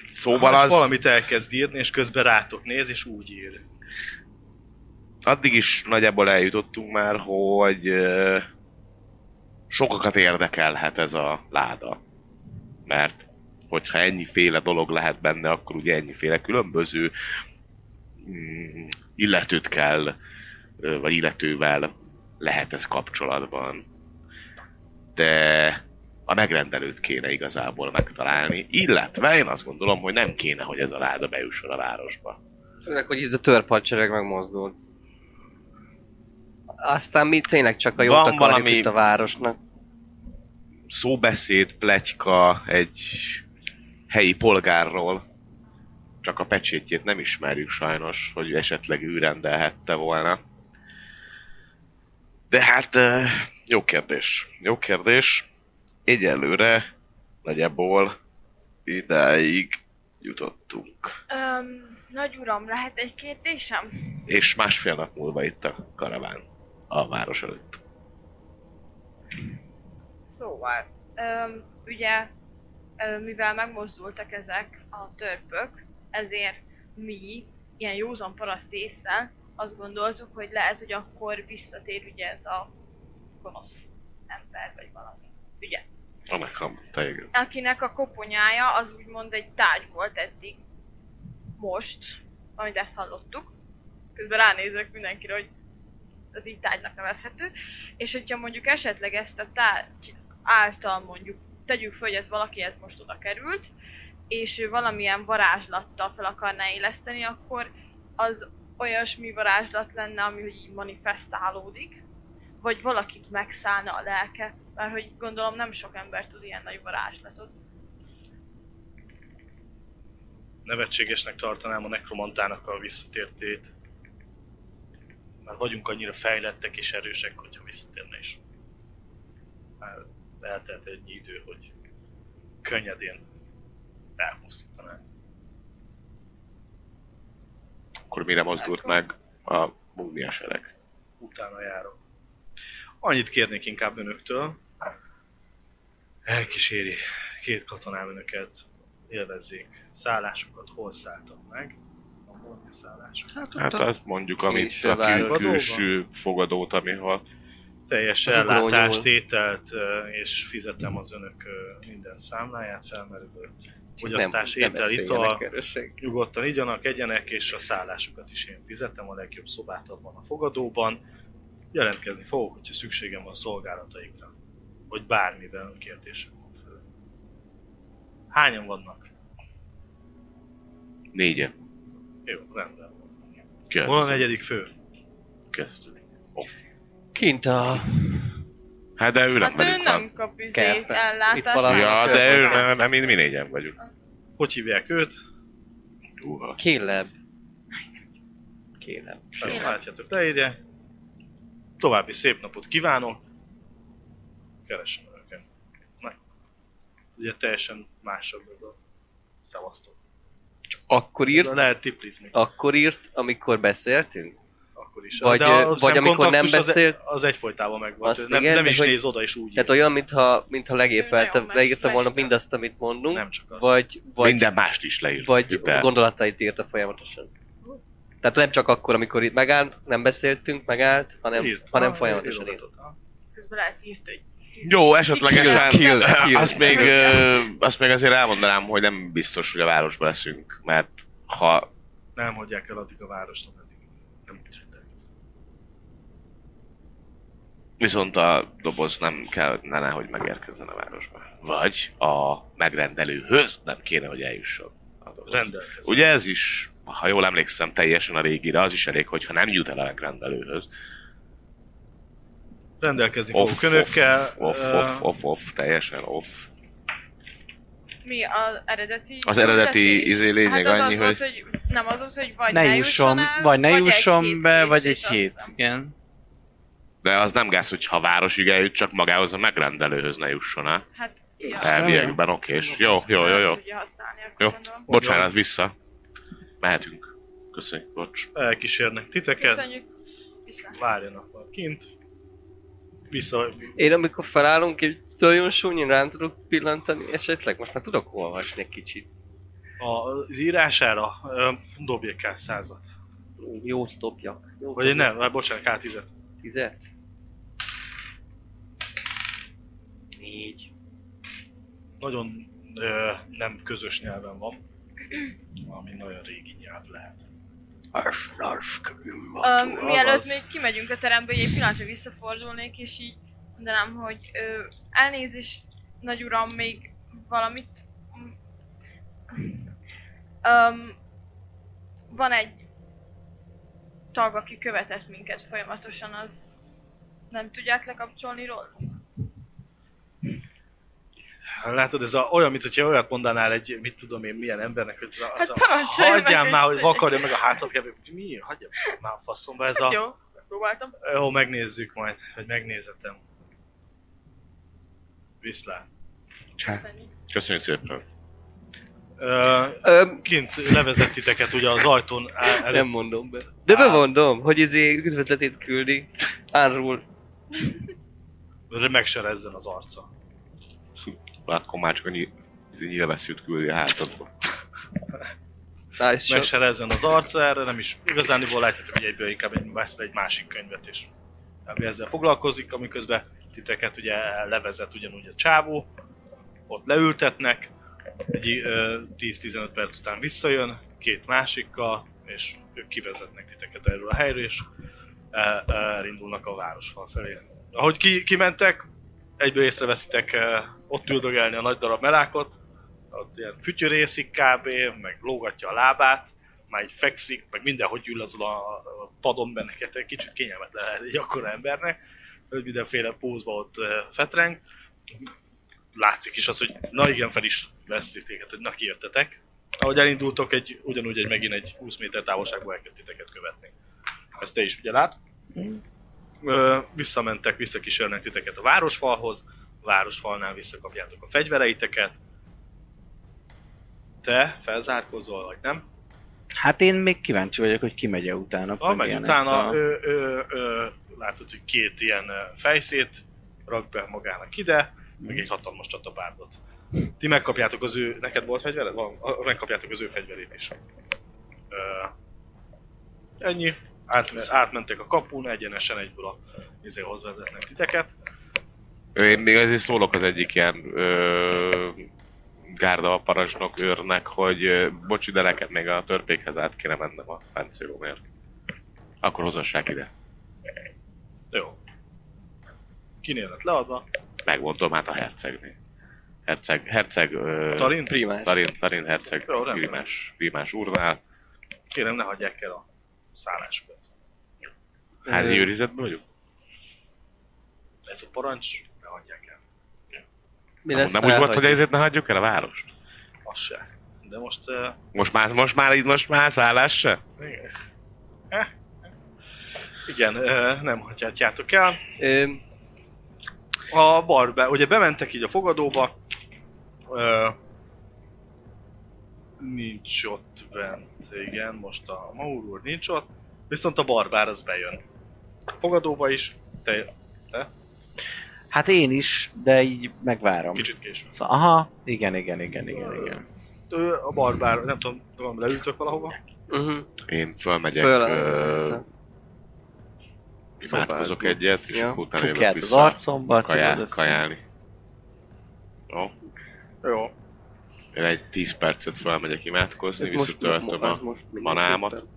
D: szóval
B: Hát
D: az...
B: Valamit elkezd írni, és közben rátok néz, és úgy ír.
D: addig is nagyjából eljutottunk már, hogy ö, sokakat érdekelhet ez a láda. Mert hogyha ennyiféle dolog lehet benne, akkor ugye ennyiféle különböző mm, illetőt kell, ö, vagy illetővel lehet ez kapcsolatban. De a megrendelőt kéne igazából megtalálni, illetve én azt gondolom, hogy nem kéne, hogy ez a láda bejusson a városba.
C: Főleg, hogy itt a törpadsereg megmozdul. Aztán mi tényleg csak a jót
D: Van
C: akarjuk
D: valami-
C: valami... itt a városnak.
D: szóbeszéd, pletyka egy helyi polgárról. Csak a pecsétjét nem ismerjük sajnos, hogy esetleg ő rendelhette volna. De hát, ö, jó kérdés. Jó kérdés. Egyelőre nagyjából idáig jutottunk.
F: Öm, nagy uram, lehet egy kérdésem?
D: És másfél nap múlva itt a karaván a város előtt.
F: Szóval, öm, ugye, öm, mivel megmozdultak ezek a törpök, ezért mi, ilyen józan paraszt észre, azt gondoltuk, hogy lehet, hogy akkor visszatér ugye ez a gonosz ember, vagy valami. Ugye?
D: Annak a teljesen.
F: akinek a koponyája az úgymond egy tárgy volt eddig. Most, amit ezt hallottuk. Közben ránézek mindenkire, hogy az így tárgynak nevezhető. És hogyha mondjuk esetleg ezt a tárgy által mondjuk, tegyük föl, hogy ez valaki ez most oda került, és ő valamilyen varázslattal fel akarná éleszteni, akkor az olyasmi varázslat lenne, ami hogy így manifestálódik, vagy valakit megszállna a lelke, mert hogy gondolom nem sok ember tud ilyen nagy varázslatot.
B: Nevetségesnek tartanám a nekromantának a visszatértét. Már vagyunk annyira fejlettek és erősek, hogyha visszatérne is. Már eltelt egy idő, hogy könnyedén elpusztítanánk.
D: Akkor mire mozdult meg a múmiasereg?
B: utána járok. Annyit kérnék inkább önöktől. Elkíséri két katonám önöket, élvezzék szállásukat, hol szálltam meg. Van valami szállás?
D: Hát azt mondjuk, amit
C: Külső
D: a kül-
C: város.
D: külső fogadót, amiha
B: Teljes
C: Az ugró
B: ellátást,
C: nyúl.
B: ételt, ö, és fizetem az önök ö, minden számláját, felmerülő fogyasztás,
C: nem
B: étel,
C: beszéljenek
B: ital,
C: erről senki.
B: nyugodtan igyanak, egyenek, és a szállásukat is én fizetem, a legjobb szobát abban a fogadóban. Jelentkezni fogok, hogyha szükségem van szolgálataikra, vagy bármiben kérdésem van föl. Hányan vannak?
D: négye
B: Jó, rendben. Hol a
D: köz.
B: negyedik fő?
D: köz.
C: Kint a...
D: Hát de ő nem
F: Hát ő
D: velünk van.
F: nem kap izét,
C: Kerpe. Itt
F: ellátást.
C: valami-
F: nem
D: Ja,
F: kap
D: de ő
F: ellátást.
D: nem, nem, mi, mi négyen vagyunk.
B: Hogy hívják őt?
D: Uha.
C: Kéleb. Kéleb.
B: Sajnos látjátok leírja. További szép napot kívánok. Keresem őket. Na. Ugye teljesen másabb ez a szevasztok.
C: Akkor
B: De
C: írt,
B: Lehet tiplizni
C: akkor írt, amikor beszéltünk?
B: akkor is.
C: Vagy,
B: a
C: ö, vagy
B: szemkontaktus
C: amikor nem beszélt-
B: Az, e- az egyfolytában megvan.
C: Azt
B: Tehát Nem,
C: igen,
B: nem
C: meg
B: is
C: hogy-
B: néz oda, és úgy
C: Tehát
B: ír.
C: olyan, mintha, mintha
F: Ő
C: legépeltem,
F: nagyon
C: leírta
F: más-
C: volna
F: más-
C: mindazt, amit mondunk,
B: Nem csak azt.
C: vagy, vagy,
D: Minden mást is leírt.
C: vagy
D: de
C: gondolatait írta folyamatosan. Tehát nem csak akkor, amikor itt megállt, nem beszéltünk, megállt, hanem,
B: Írt.
C: hanem
B: Ah,
C: folyamatosan írt.
B: írogatott. Ah,
F: Közben lehet írt, hogy
D: Jó, esetlegesen
F: Kill, kill,
C: kill.
D: azt, még, ö, azt még azért elmondanám, hogy nem biztos, hogy a városba leszünk, mert ha
B: Nem hagyják el addig a várost, ameddig nem tudják.
D: viszont a doboz nem kellene, hogy megérkezzen a városba. Vagy a megrendelőhöz nem kéne, hogy eljusson a doboz.
B: Rendelkezem.
D: Ugye ez is, ha jól emlékszem, teljesen a régire, az is elég, hogyha nem jut el a megrendelőhöz.
B: Rendelkezni
D: Off,
B: fogok önökkel.
D: off, off,
B: ö,
D: off, off, off, teljesen off.
F: mi az eredeti...
D: Az eredeti
F: küldetés?
D: izé lényeg
F: hát az
D: annyi,
F: az volt,
D: hogy
F: hogy... Nem, az az, hogy vagy
E: Ne
F: ne,
E: jusson,
F: el,
E: vagy ne
F: egy
E: jusson
F: hét
E: be,
F: késés,
E: vagy egy
F: azt
E: hét.
F: hiszem.
E: Igen.
D: de az nem gáz, hogyha a városig eljut, csak magához a megrendelőhöz ne jusson el.
F: Hát, ja.
E: Ez nem
D: Elviekben okés. Jó, jó, jó, jó.
F: Tudja használni, akkor
D: Jó.
F: gondolom.
D: Bocsánat, vissza. Mehetünk. Köszönjük, bocs.
B: Elkísérnek titeket.
F: Köszönjük. Viszlát.
B: Várjanak már kint. Vissza,
C: Én amikor felállunk, egy nagyon súnyin rám tudok pillantani, esetleg most már tudok olvasni egy kicsit.
B: az írására ö, dobj egy K100-at.
C: Jót dobjak. Jót
B: Vagy egy nem, vagy bocsánat, K10-et.
C: Tizet? Négy.
B: Nagyon ö, nem közös nyelven van, ami nagyon régi nyelv lehet.
F: Öm,
B: Azaz.
F: mielőtt még kimegyünk a teremből, egy pillanatra visszafordulnék, és így mondanám, hogy ö, elnézést, nagy uram, még valamit... Öm, van egy tag, aki követett minket folyamatosan, az nem tudják lekapcsolni róla?
B: Látod, ez a, olyan, mint hogyha olyat mondanál egy, mit tudom én, milyen embernek, hogy ez a, ez
F: Hát
B: a
F: parancsolja meg
B: hagyjál már, hogy
F: össze.
B: vakarja meg a hátat, kevés. mi, hagyjál már a faszomba, ez a,
F: Hát Jó, próbáltam.
B: jó, megnézzük majd, hogy megnézetem. Viszlát.
F: Köszönjük.
D: Köszönjük szépen.
B: Ö,
C: Öm,
B: kint levezett titeket ugye az ajtón á- előtt
C: nem mondom be. De bemondom, hogy izé üdvözletét küldi. Árul.
B: megserezzen az arca.
D: Lát Komács, hogy ny- ez így nyilvesszűt küldi a hátadba.
C: Nice shot.
B: Megserezzen az arca, erre nem is igazániból látjátok, hogy egyből inkább egy, vesz egy másik könyvet és ami ezzel foglalkozik, amiközben titeket ugye levezet ugyanúgy a csávó, ott leültetnek, egy ö, 10-15 perc után visszajön, két másikkal, és ők kivezetnek titeket erről a helyről, és el- elindulnak a városfal felé. Ahogy ki, kimentek, egyből észreveszitek ö, ott üldögelni a nagy darab melákot, ott ilyen fütyörészik kb, meg lógatja a lábát, már így fekszik, meg mindenhogy ül azon a a padon benneket, egy kicsit kényelmetlen lehet egy akkora embernek, hogy mindenféle pózba ott ö, fetreng. Látszik is az, hogy na igen, fel is veszi téged, hogy na kiértetek. Ahogy elindultok, egy, ugyanúgy egy, megint egy 20 méter távolságban elkezd titeket követni. Ezt te is ugye lát. Ö, visszamentek, visszakísérnek titeket a városfalhoz, a városfalnál visszakapjátok a fegyvereiteket, te felzárkózol, vagy nem?
E: Hát én még kíváncsi vagyok, hogy ki megy -e utána.
B: Ah, meg
E: ilyenek,
B: utána
E: szóval-
B: ö, ö, ö, látod, hogy két ilyen ö, fejszét rak be magának ide, meg egy hatalmas csatabárdot. Ti megkapjátok az ő, neked volt fegyvere? Van, a- megkapjátok az ő fegyverét is. Ö, ennyi, Átme, átmentek a kapun, egyenesen egyből a izéhoz vezetnek titeket.
D: Én még azért szólok az egyik ilyen ö, gárda parancsnok őrnek, hogy ö, bocsi, de nekem még a törpékhez át kéne mennem a páncélomért. Akkor hozassák ide.
B: Jó. Kinél lett leadva?
D: Megmondom hát a hercegnél. Herceg, herceg... Ö,
B: Tarin?
C: Primás.
D: Tarin, Tarin herceg,
B: Jó, rendben.
D: Grimás, Grimás úrnál.
B: Kérem, ne hagyják el a szállásból.
D: Házi
C: Ö,
D: őrizetben vagyunk?
B: Ez a parancs, ne hagyják el.
C: Mi
D: Nem,
C: lesz,
D: nem
C: ha
D: úgy volt, hogy
C: elhagyjuk?
D: ezért ne hagyjuk el a várost?
B: Az se. De most... Uh,
D: Most már, most már, így most már szállás se?
B: igen. Eh, eh. igen, uh, nem hagyhatjátok el.
C: Ö,
B: a barbe, ugye bementek így a fogadóba, ö, nincs ott bent, igen, most a Maur úr nincs ott, viszont a barbár az bejön. A fogadóba is, te
E: Hát én is, de így megvárom.
B: kicsit később.
E: Szóval, aha, igen, igen, igen, igen, igen.
B: Ő a barbár, nem tudom, tudom leültök valahova?
C: mhm.
D: Én fölmegyek,
C: Föl.
D: ö, imádkozok
C: szobádba.
D: egyet, és
C: Ja.
D: akkor utána jövök
E: Csukját az
D: vissza
E: arcomba,
D: kajá,
E: tudod, azt-
D: kajálni. Jó.
B: Jó.
D: Én egy 10 percet felmegyek imádkozni,
C: Ez most,
D: visszatöltöm
C: az
D: a
C: most mindig
D: manámat.
C: éppen.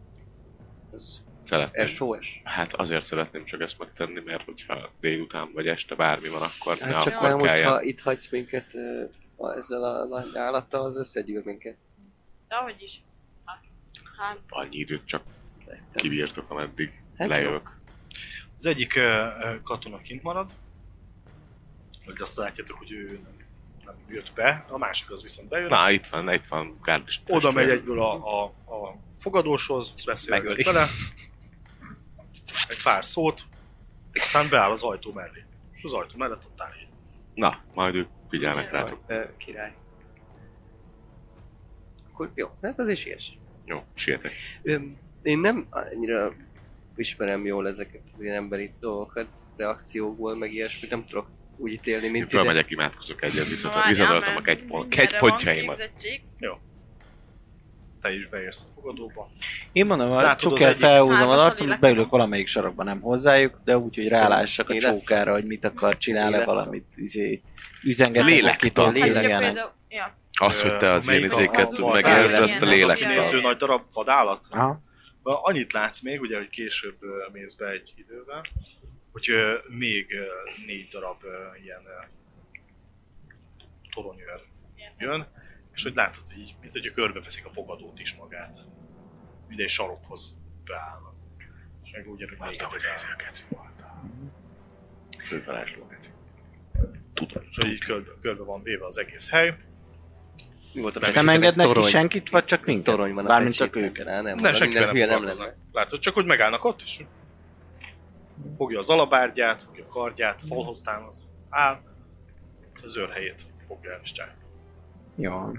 C: Ez
D: szeretném.
C: SOS.
D: Hát azért szeretném csak ezt megtenni, mert hogyha délután vagy este bármi van, akkor ne
C: Hát csak
D: akkor
C: már most,
D: kelljen.
C: ha itt hagysz minket ö, a- ezzel a nagy állattal, az összegyűr minket.
F: De hogy is. Hát, Hát,
D: Annyi időt csak
C: Szerintem.
D: kibírtok, ameddig
C: Hát jó.
D: lejövök.
B: Az egyik ö, ö, katona kint marad, hogy azt látjátok, hogy ő nem, nem jött be, a másik az viszont bejön.
D: Na, itt van, itt van Gárdis.
B: Oda
D: testvér.
B: megy egyből a, a, a fogadóshoz,
C: Megöli.
B: beszélget vele, egy pár szót, aztán beáll az ajtó mellé. És az ajtó mellett ott áll egy
D: Na, majd ők figyelnek rátok.
C: Ö, király. Akkor jó, hát az is ilyes.
D: Jó, sietek.
C: Öm, Én nem annyira ismerem jól ezeket az ilyen emberi dolgokat, reakciókból, meg ilyesmit nem tudok úgy ítélni,
D: Én
C: mint ide.
D: fölmegyek, imádkozok egyet, viszont
F: várjál,
D: visszatöltöm
F: mert
D: a kegy, pol-
F: mindenre
D: kegy
F: van
D: pontjaimat.
F: képzettség.
B: te is beérsz a fogadóba.
E: Én mondom, a
B: Látod, az
E: csukját
B: egyik-
E: felhúzom
F: Hármas
E: az
F: adilek.
E: arcomba, beülök valamelyik sarokba, nem hozzájuk, de úgy, hogy
C: Viszont
E: rálássak a
C: lélek-
E: csókára, hogy mit akar, csinál-e
C: lélektan.
E: valamit, izé, üzengetek,
D: Lélektan.
E: akitől
C: Hát,
F: Hát ugye
E: idegenek.
F: például- ja. hát,
D: Az, hogy te az ilyen
B: Melyik a-
D: izéket
F: a-
D: tud
F: a-
D: megérni,
C: a-
D: azt a
F: a-
D: lélekben.
F: a-
B: Néző nagy darab vadállat.
E: Aha.
B: Annyit látsz még, ugye, hogy később ö, mész be egy idővel, hogy ö, még ö, négy darab ö, ilyen ö, toronyőr jön, és hogy látod, hogy így, mint hogy a körbeveszik a fogadót is magát. Ide egy sarokhoz beáll. És meg ugyanúgy négy darab beáll. Mhm.
D: Fővarázsló. Tudom.
B: És hogy így körbe, körbe van véve az egész hely.
C: Mi volt a
E: És
C: másik?
E: nem
C: Ez egy
E: engednek ki
C: torony.
E: senkit, vagy csak minket?
C: Torony van a
E: Bármint
C: pecséten.
E: csak őket.
C: Á, nem,
B: Nem,
C: nem
B: senki
C: minden
B: nem
C: hülye nem lenne.
B: foglalkoznak. Látod, csak hogy megállnak ott, és fogja az alabárgyát, fogja a kardját, falhoz támaszt, áll, az őrhelyét fogja el és csinálja.
E: Jó.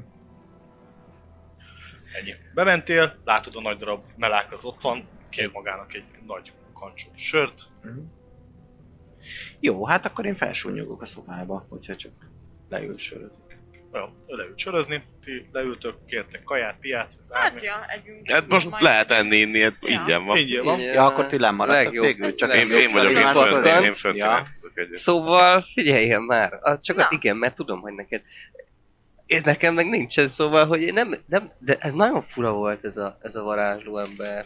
B: Ennyi. Bementél, látod a nagy darab melák az ott van, kér magának egy nagy kancsó sört,
E: Jó, hát akkor én felsúnyogok a szobába, hogyha csak leül söröt.
B: jó, leült sörözni, ti leültök, kértek kaját, piát,
F: Hát,
B: bármi.
F: ja, együnk.
D: Hát most
F: Majd-
D: lehet enni, inni, hát
F: Ja.
D: ingyen van.
B: Mindjárt van.
E: Ja, akkor ti lemaradtak
C: legjobb-
E: végül, csak
D: Én,
C: legjobb
D: én vagyok, én
C: sztori-
E: sztorimátok
D: fönt, én,
E: lent.
D: én fönt
E: Ja.
D: imádkozok egyet.
C: Szóval figyeljen már, a, csak
F: Na.
C: a, igen, mert tudom, hogy neked... Én nekem meg nincsen, szóval, hogy én nem, nem, de ez nagyon fura volt ez a, ez a varázsló ember.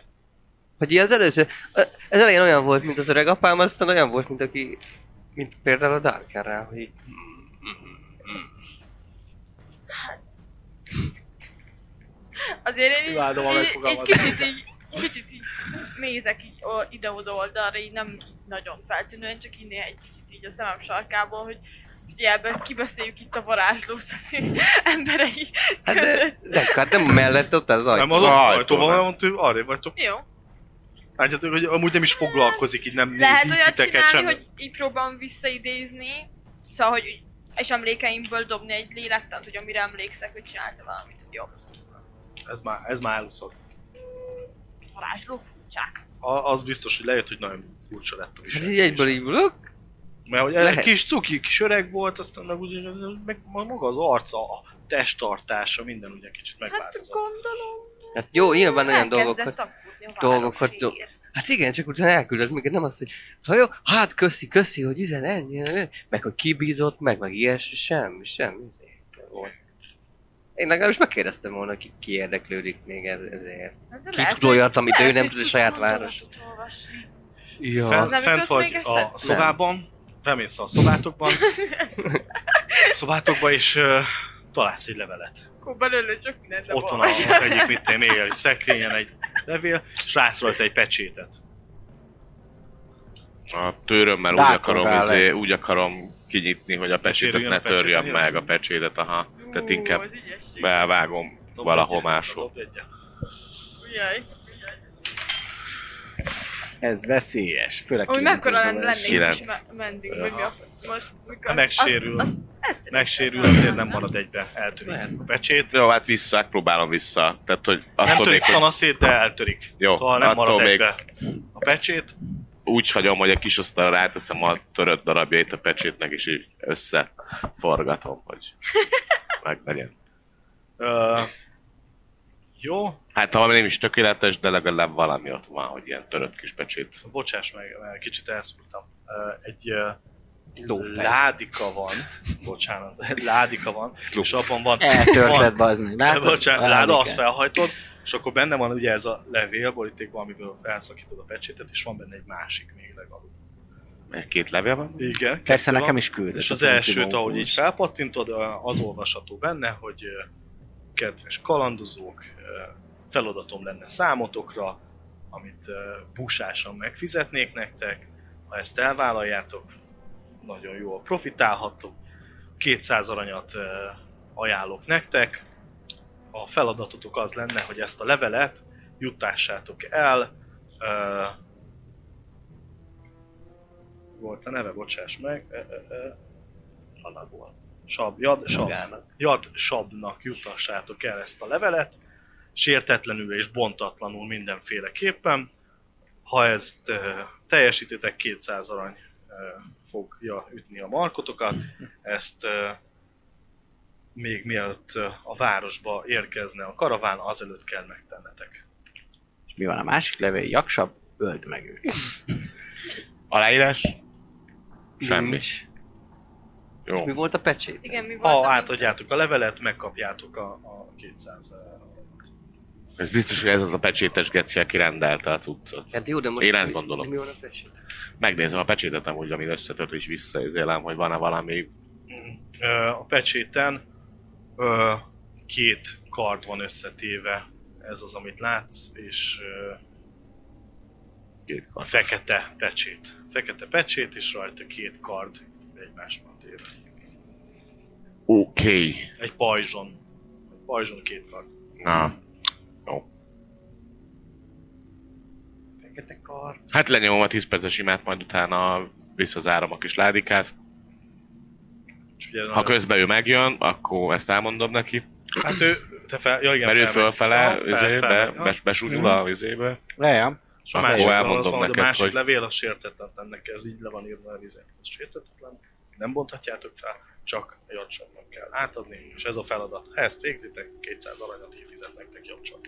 C: Hogy így az előző, az elején olyan volt, mint az öreg apám, aztán olyan volt, mint aki, mint például a Darkerrel, hogy így- mm,
F: Azért én így,
B: Imádom a
F: így, így
B: megfogalmazást.
F: kicsit így, kicsit így nézek így o- ide-oda oldalra, így nem így nagyon feltűnően, csak így néha egy kicsit így a szemem sarkából, hogy ugye ebben kibeszéljük itt a varázslót az ő emberei
C: hát
F: között.
C: de, de hát nem mellett ott az
B: Nem az
C: ajtó.
B: ott
D: Ajtó,
B: ajtóban
D: nem.
B: van, ott arra vagytok.
F: Jó.
B: Látjátok, hogy amúgy nem is foglalkozik, így nem
F: Lehet
B: néz így
F: olyat
B: titeket
F: csinálni,
B: sem.
F: hogy így próbálom visszaidézni, szóval, hogy így- és emlékeimből dobni egy lélektant, hogy amire emlékszek, hogy csinálta valamit, hogy jobb.
B: Ez már, ez már eluszok.
F: Varázsló furcsák. Hát
B: A- az biztos, hogy lejött, hogy nagyon furcsa lett a
G: Hát
B: viselkedés.
G: így egyből így ülök.
B: Mert hogy
G: Lehet.
B: egy kis cuki, kis öreg volt, aztán meg, úgy, meg maga az arca, a testtartása, minden ugye kicsit
F: Hát
B: megváltozott.
F: gondolom.
C: Hát jó, nyilvan olyan
F: elkezdett
C: dolgokat.
F: aggódni a
C: dolgokat
F: városért.
C: do- Hát igen, csak utána elküldött minket, nem azt, hogy ha jó, hát köszi, köszi, hogy üzen ennyi, ennyi, meg hogy kibízott, meg meg ilyesmi, semmi, semmi. izé, volt. Én legalábbis megkérdeztem volna, ki, ki érdeklődik még ez- ezért.
F: Hát de
C: Ki
F: lehet,
C: tud olyat,
F: hogy-
C: amit ő
F: lehet,
C: nem
F: hogy
C: tud a saját
F: gondolatot
C: város.
F: olvasni.
C: Ja.
B: Fent,
F: nem
B: fent
F: jutott
B: vagy
F: még
B: a
F: eszedbe?
B: szobában, bemész a
F: (laughs)
B: szobátokban, szobátokba és ö, találsz egy levelet.
F: Akkor belőle csak mindent
B: Ott van
F: leolvas.
B: az egyik mit én éjjel, egy szekrényen egy levél, és látsz rajta egy pecsétet.
D: A törömmel úgy
E: Rákod
D: akarom,
E: rá
D: izé,
E: lesz.
D: úgy akarom kinyitni, hogy a pecsétet
B: Sérüljön
D: ne
B: a pecsét,
D: törjem
B: ugye?
D: meg a pecsétet, aha.
F: Ú,
D: Tehát inkább
F: az
B: hát
F: ügyesség.
D: bevágom
B: Dobd
D: valahol
B: egyet,
D: máshol.
B: dobd egyet.
F: Jaj.
E: Ez veszélyes, főleg
F: Úgy mekkora
E: kilences dobás.
F: lennék
D: Kilenc.
F: is me- mending, hogy mi a... Most, mikor...
B: Ha megsérül.
F: Azt, azt, ezt
B: Megsérül, azért nem marad egybe, eltörik
C: Lehet.
B: a pecsét.
D: Jó, hát vissza, próbálom vissza. Tehát, hogy
B: Nem
D: attól
B: törik
D: még, hogy
B: szanaszét, de eltörik.
D: Jó,
B: szóval nem marad
D: attól még-
B: egybe a pecsét.
D: úgy hagyom, hogy a kis asztalra ráteszem a törött darabjait a pecsétnek, és így összeforgatom, hogy meglegyen.
B: Ö, jó,
D: Hát ha nem is tökéletes, de legalább valami ott van, hogy ilyen törött kis pecsét.
B: bocsáss meg, mert kicsit elszúrtam. Ö, Egy ö,
C: Lófej.
B: ládika van, bocsánat, (laughs) egy ládika van,
D: Ló.
B: és abban van,
E: Eltörted, bazd meg.
B: van (laughs)
E: Látod?
B: bocsánat,
E: Valamikkel.
B: láda, azt felhajtod, és akkor benne van ugye ez a levél, borítékban, amiből felszakítod a pecsétet, és van benne egy másik még legalább.
D: Két levél van?
B: Igen.
E: Persze
B: kettő van.
E: nekem is küldött.
B: És az
E: a
B: elsőt,
E: Timókus.
B: ahogy így felpattintod, az olvasható benne, hogy ö, kedves kalandozók, ö, feladatom lenne számotokra, amit ö, búsásan megfizetnék nektek, ha ezt elvállaljátok, nagyon jól profitálhattok, 200 aranyat ö, ajánlok nektek, a feladatotok az lenne, hogy ezt a levelet juttassátok el, ö, volt a neve, bocsáss meg, ö, ö, ö, Annak volt. Sab, jad, sab,
C: Magának.
B: jad, sabnak jutassátok el ezt a levelet, sértetlenül és bontatlanul mindenféleképpen. Ha ezt ö, teljesítitek, 200 arany ö, fogja ütni a markotokat, ezt ö, még mielőtt ö, a városba érkezne a karaván, azelőtt kell megtennetek.
E: És Mi van a másik levél? Jaksabb, öld meg őt.
D: Aláírás? Semmi.
C: Nincs.
D: Jó.
C: Mi volt a pecsét?
F: Igen, mi volt?
B: Ha
F: a-
C: hát,
B: átadjátok a levelet, megkapjátok a, a 200 aranyat.
D: Ez biztos, hogy ez az a pecsétes geci, aki rendelte a cuccot.
C: Hát jó, de most...
D: Én ezt gondolom.
C: de Mi van a pecsét?
D: Megnézem a pecsétet amúgy, amit összetört, és visszaizélem, hogy van-e valami...
B: Ö, a pecséten ö, két kard van összetéve, ez az, amit látsz, és ö,
D: Két kard.
B: fekete pecsét. Fekete pecsét, és rajta két kard egymásban téve.
D: Oké. Okay.
B: Egy pajzson. Egy pajzson két kard.
D: Na.
C: Fekete kar.
D: Hát lenyomom a 10 perces imát, majd utána visszazárom a kis ládikát.
B: És ugye
D: Ha közben ő megjön, akkor ezt elmondom neki.
B: Hát ő, te fel, ja, igen,
D: Mert ő
B: felmegy.
D: fölfele,
B: Ja, fel-
D: izé, be,
B: felmegy, ja.
D: be, besúnyul a vizébe.
E: Leja.
B: És a
D: Akkor
B: másik
D: elmondom
B: az van, hogy
D: neked,
B: a másik
D: hogy-
B: levél a sértetetlennek, ez így le van írva a vizet. Ez sértetetlen, nem bonthatjátok fel, csak a jogcsapnak kell átadni, és ez a feladat. Ha ezt végzitek, 200 aranyat kifizet nektek jogcsap.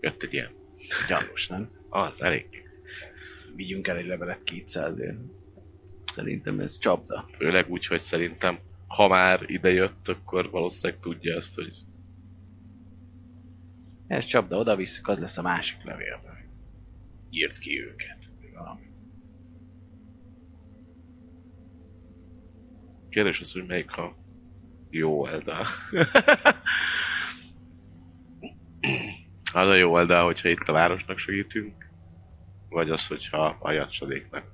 D: Jött egy ilyen.
E: Gyanús, nem?
D: Az, elég.
E: Vigyünk el egy levelet 200 ért. Szerintem ez csapda.
D: Főleg úgy, hogy szerintem, ha már ide jött, akkor valószínűleg tudja azt, hogy
E: Ez csapda, oda visszük, az lesz a másik levélben. Írt ki őket. vagy Valami.
D: Kérdés az, hogy melyik a jó oldal. az a jó oldal, hogyha itt a városnak segítünk, vagy az, hogyha a jacsadéknak.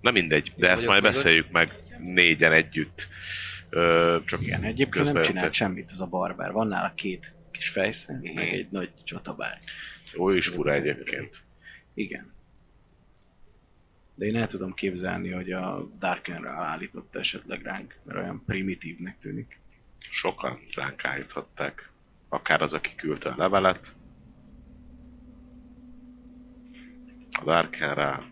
D: Na mindegy, de
C: Én
D: ezt majd
C: vagyok,
D: beszéljük meg négyen együtt. Ö, csak
E: Igen, egyébként
D: közben
E: nem
D: jött
E: csinált
D: egy-
E: semmit az a barbár. Van nála két kis fejszem,
D: Mhm.
E: meg egy nagy csatabár.
D: Ó, is fura egyébként.
E: Igen. De én el tudom képzelni, hogy a Darkenre állította esetleg ránk, mert olyan primitívnek tűnik.
D: Sokan ránk állíthatták. Akár az, aki küldte a levelet. A Darken rá.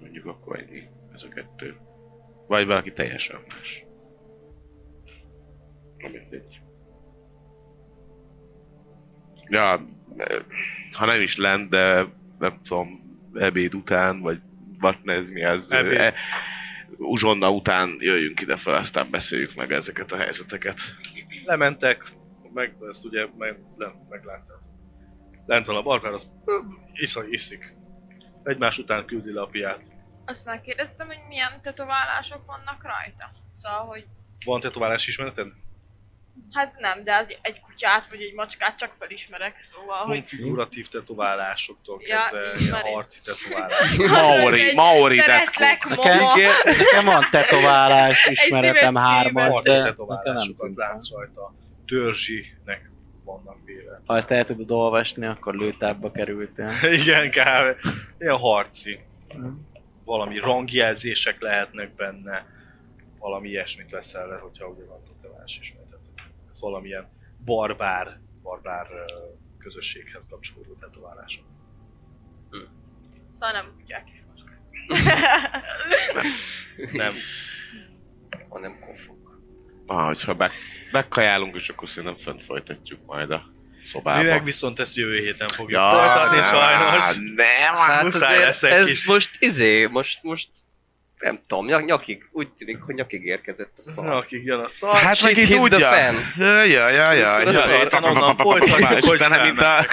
D: Mondjuk akkor ennyi. Ez a kettő. Vagy valaki teljesen más. Na mindegy. Ja, eh, ha nem is lent, de nem tudom, ebéd után, vagy vatne ez mi az.
B: Ebéd.
D: E, uzsonna után jöjjünk ide fel, aztán beszéljük meg ezeket a helyzeteket.
B: lementek, meg ezt ugye meg, nem, megláttátok. Lent van a barbár, az iszony, iszik. Egymás után küldi le a piát.
F: Azt megkérdeztem, hogy milyen tetoválások vannak rajta. Szóval, hogy
B: Van tetoválás ismereted?
F: hát nem, de az egy kutyát vagy egy macskát csak felismerek, szóval, hogy...
B: Figuratív tetoválásoktól
F: Ja,
B: kezdve ilyen
F: ismerem.
B: harci tetoválás.
D: Maori-
F: (laughs) Egy
D: Maori
F: Szeretlek,
D: tetkó.
F: mama!
E: Nekem, nekem van tetoválás, ismeretem
F: szíves
E: hármat,
B: Harci
E: de nekem nem
B: tetoválásokat
E: tudom.
B: látsz rajta. Törzsinek vannak véve. (laughs)
E: Ha ezt el tudod olvasni, akkor lőtábba kerültél.
B: Igen, kávé. Ilyen harci.
E: Mhm.
B: Valami rangjelzések lehetnek benne. Valami ilyesmit leszel le, hogyha ugye van tetoválás ismereted. Ez valamilyen barbár, barbár ö, közösséghez kapcsolódó tetoválás.
F: Szóval nem kutyák és macskák.
C: (laughs)
B: Nem.
C: hanem kofok.
D: Ah, hogyha be, bekajálunk, és akkor szerintem fönt folytatjuk majd a szobában.
B: Műveg viszont ezt jövő héten fogjuk
D: Ja,
B: folytatni,
D: nem,
B: sajnos.
D: Nem,
B: Hát
D: hát
B: muszáj
C: azért
B: leszek
C: ez
B: is.
C: most izé, most, most nem tudom, nyak, nyakig, úgy tűnik, hogy nyakig érkezett a szar.
B: Na, akik jön a szar.
D: Hát
C: Shit
D: meg
C: hits
D: így
C: the
D: tudja.
C: fan.
D: Jaj, jaj, jaj, jaj.
C: Tudod,
D: jaj,
B: szar, onnan
D: jaj,
B: folytatjuk,
D: jaj,
B: hogy
D: benne, mint a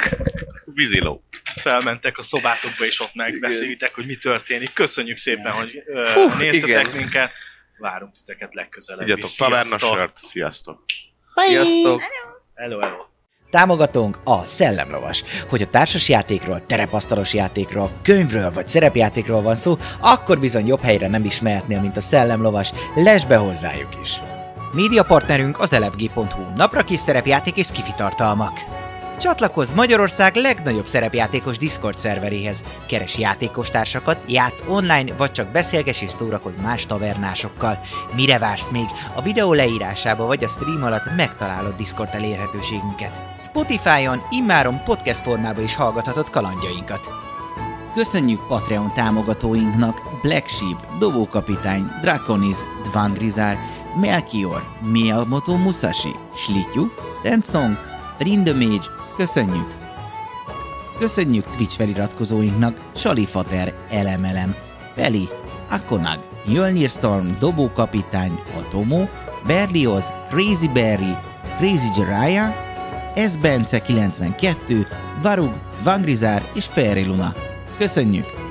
D: víziló.
B: felmentek a szobátokba, és ott megbeszélitek, hogy mi történik. Köszönjük szépen, hogy ö,
C: Fú,
B: néztetek
C: igen.
B: minket. Várunk titeket legközelebb.
D: Igyatok
B: is.
D: taverna
B: Sziasztok.
D: sört. Sziasztok.
C: Sziasztok!
B: Hello, hello.
A: Támogatónk a Szellemlovas. Hogy a társasjátékról, terepasztalos játékról, könyvről vagy szerepjátékról van szó, akkor bizony jobb helyre nem is mehetnél, mint a Szellemlovas. Lesz be hozzájuk is! Média partnerünk az elefg.hu, napra kis szerepjáték és kifitartalmak. Csatlakozz Magyarország legnagyobb szerepjátékos Discord szerveréhez. Keres játékostársakat, játsz online, vagy csak beszélges és szórakozz más tavernásokkal. Mire vársz még? A videó leírásába vagy a stream alatt megtalálod Discord elérhetőségünket. Spotify-on immáron podcast formában is hallgathatod kalandjainkat. Köszönjük Patreon támogatóinknak Black Sheep, Dobókapitány, Draconis, Dvangrizár, Melchior, Miyamoto Musashi, Slityu, Rensong, Rindomage, köszönjük! Köszönjük Twitch feliratkozóinknak Salifater, Elemelem, Peli, Akonag, Jölnir Storm, Dobókapitány, Atomo, Berlioz, Crazy Berry, Crazy Jiraiya, S. Bence 92, Varug, Vangrizár és Fairy Luna. Köszönjük!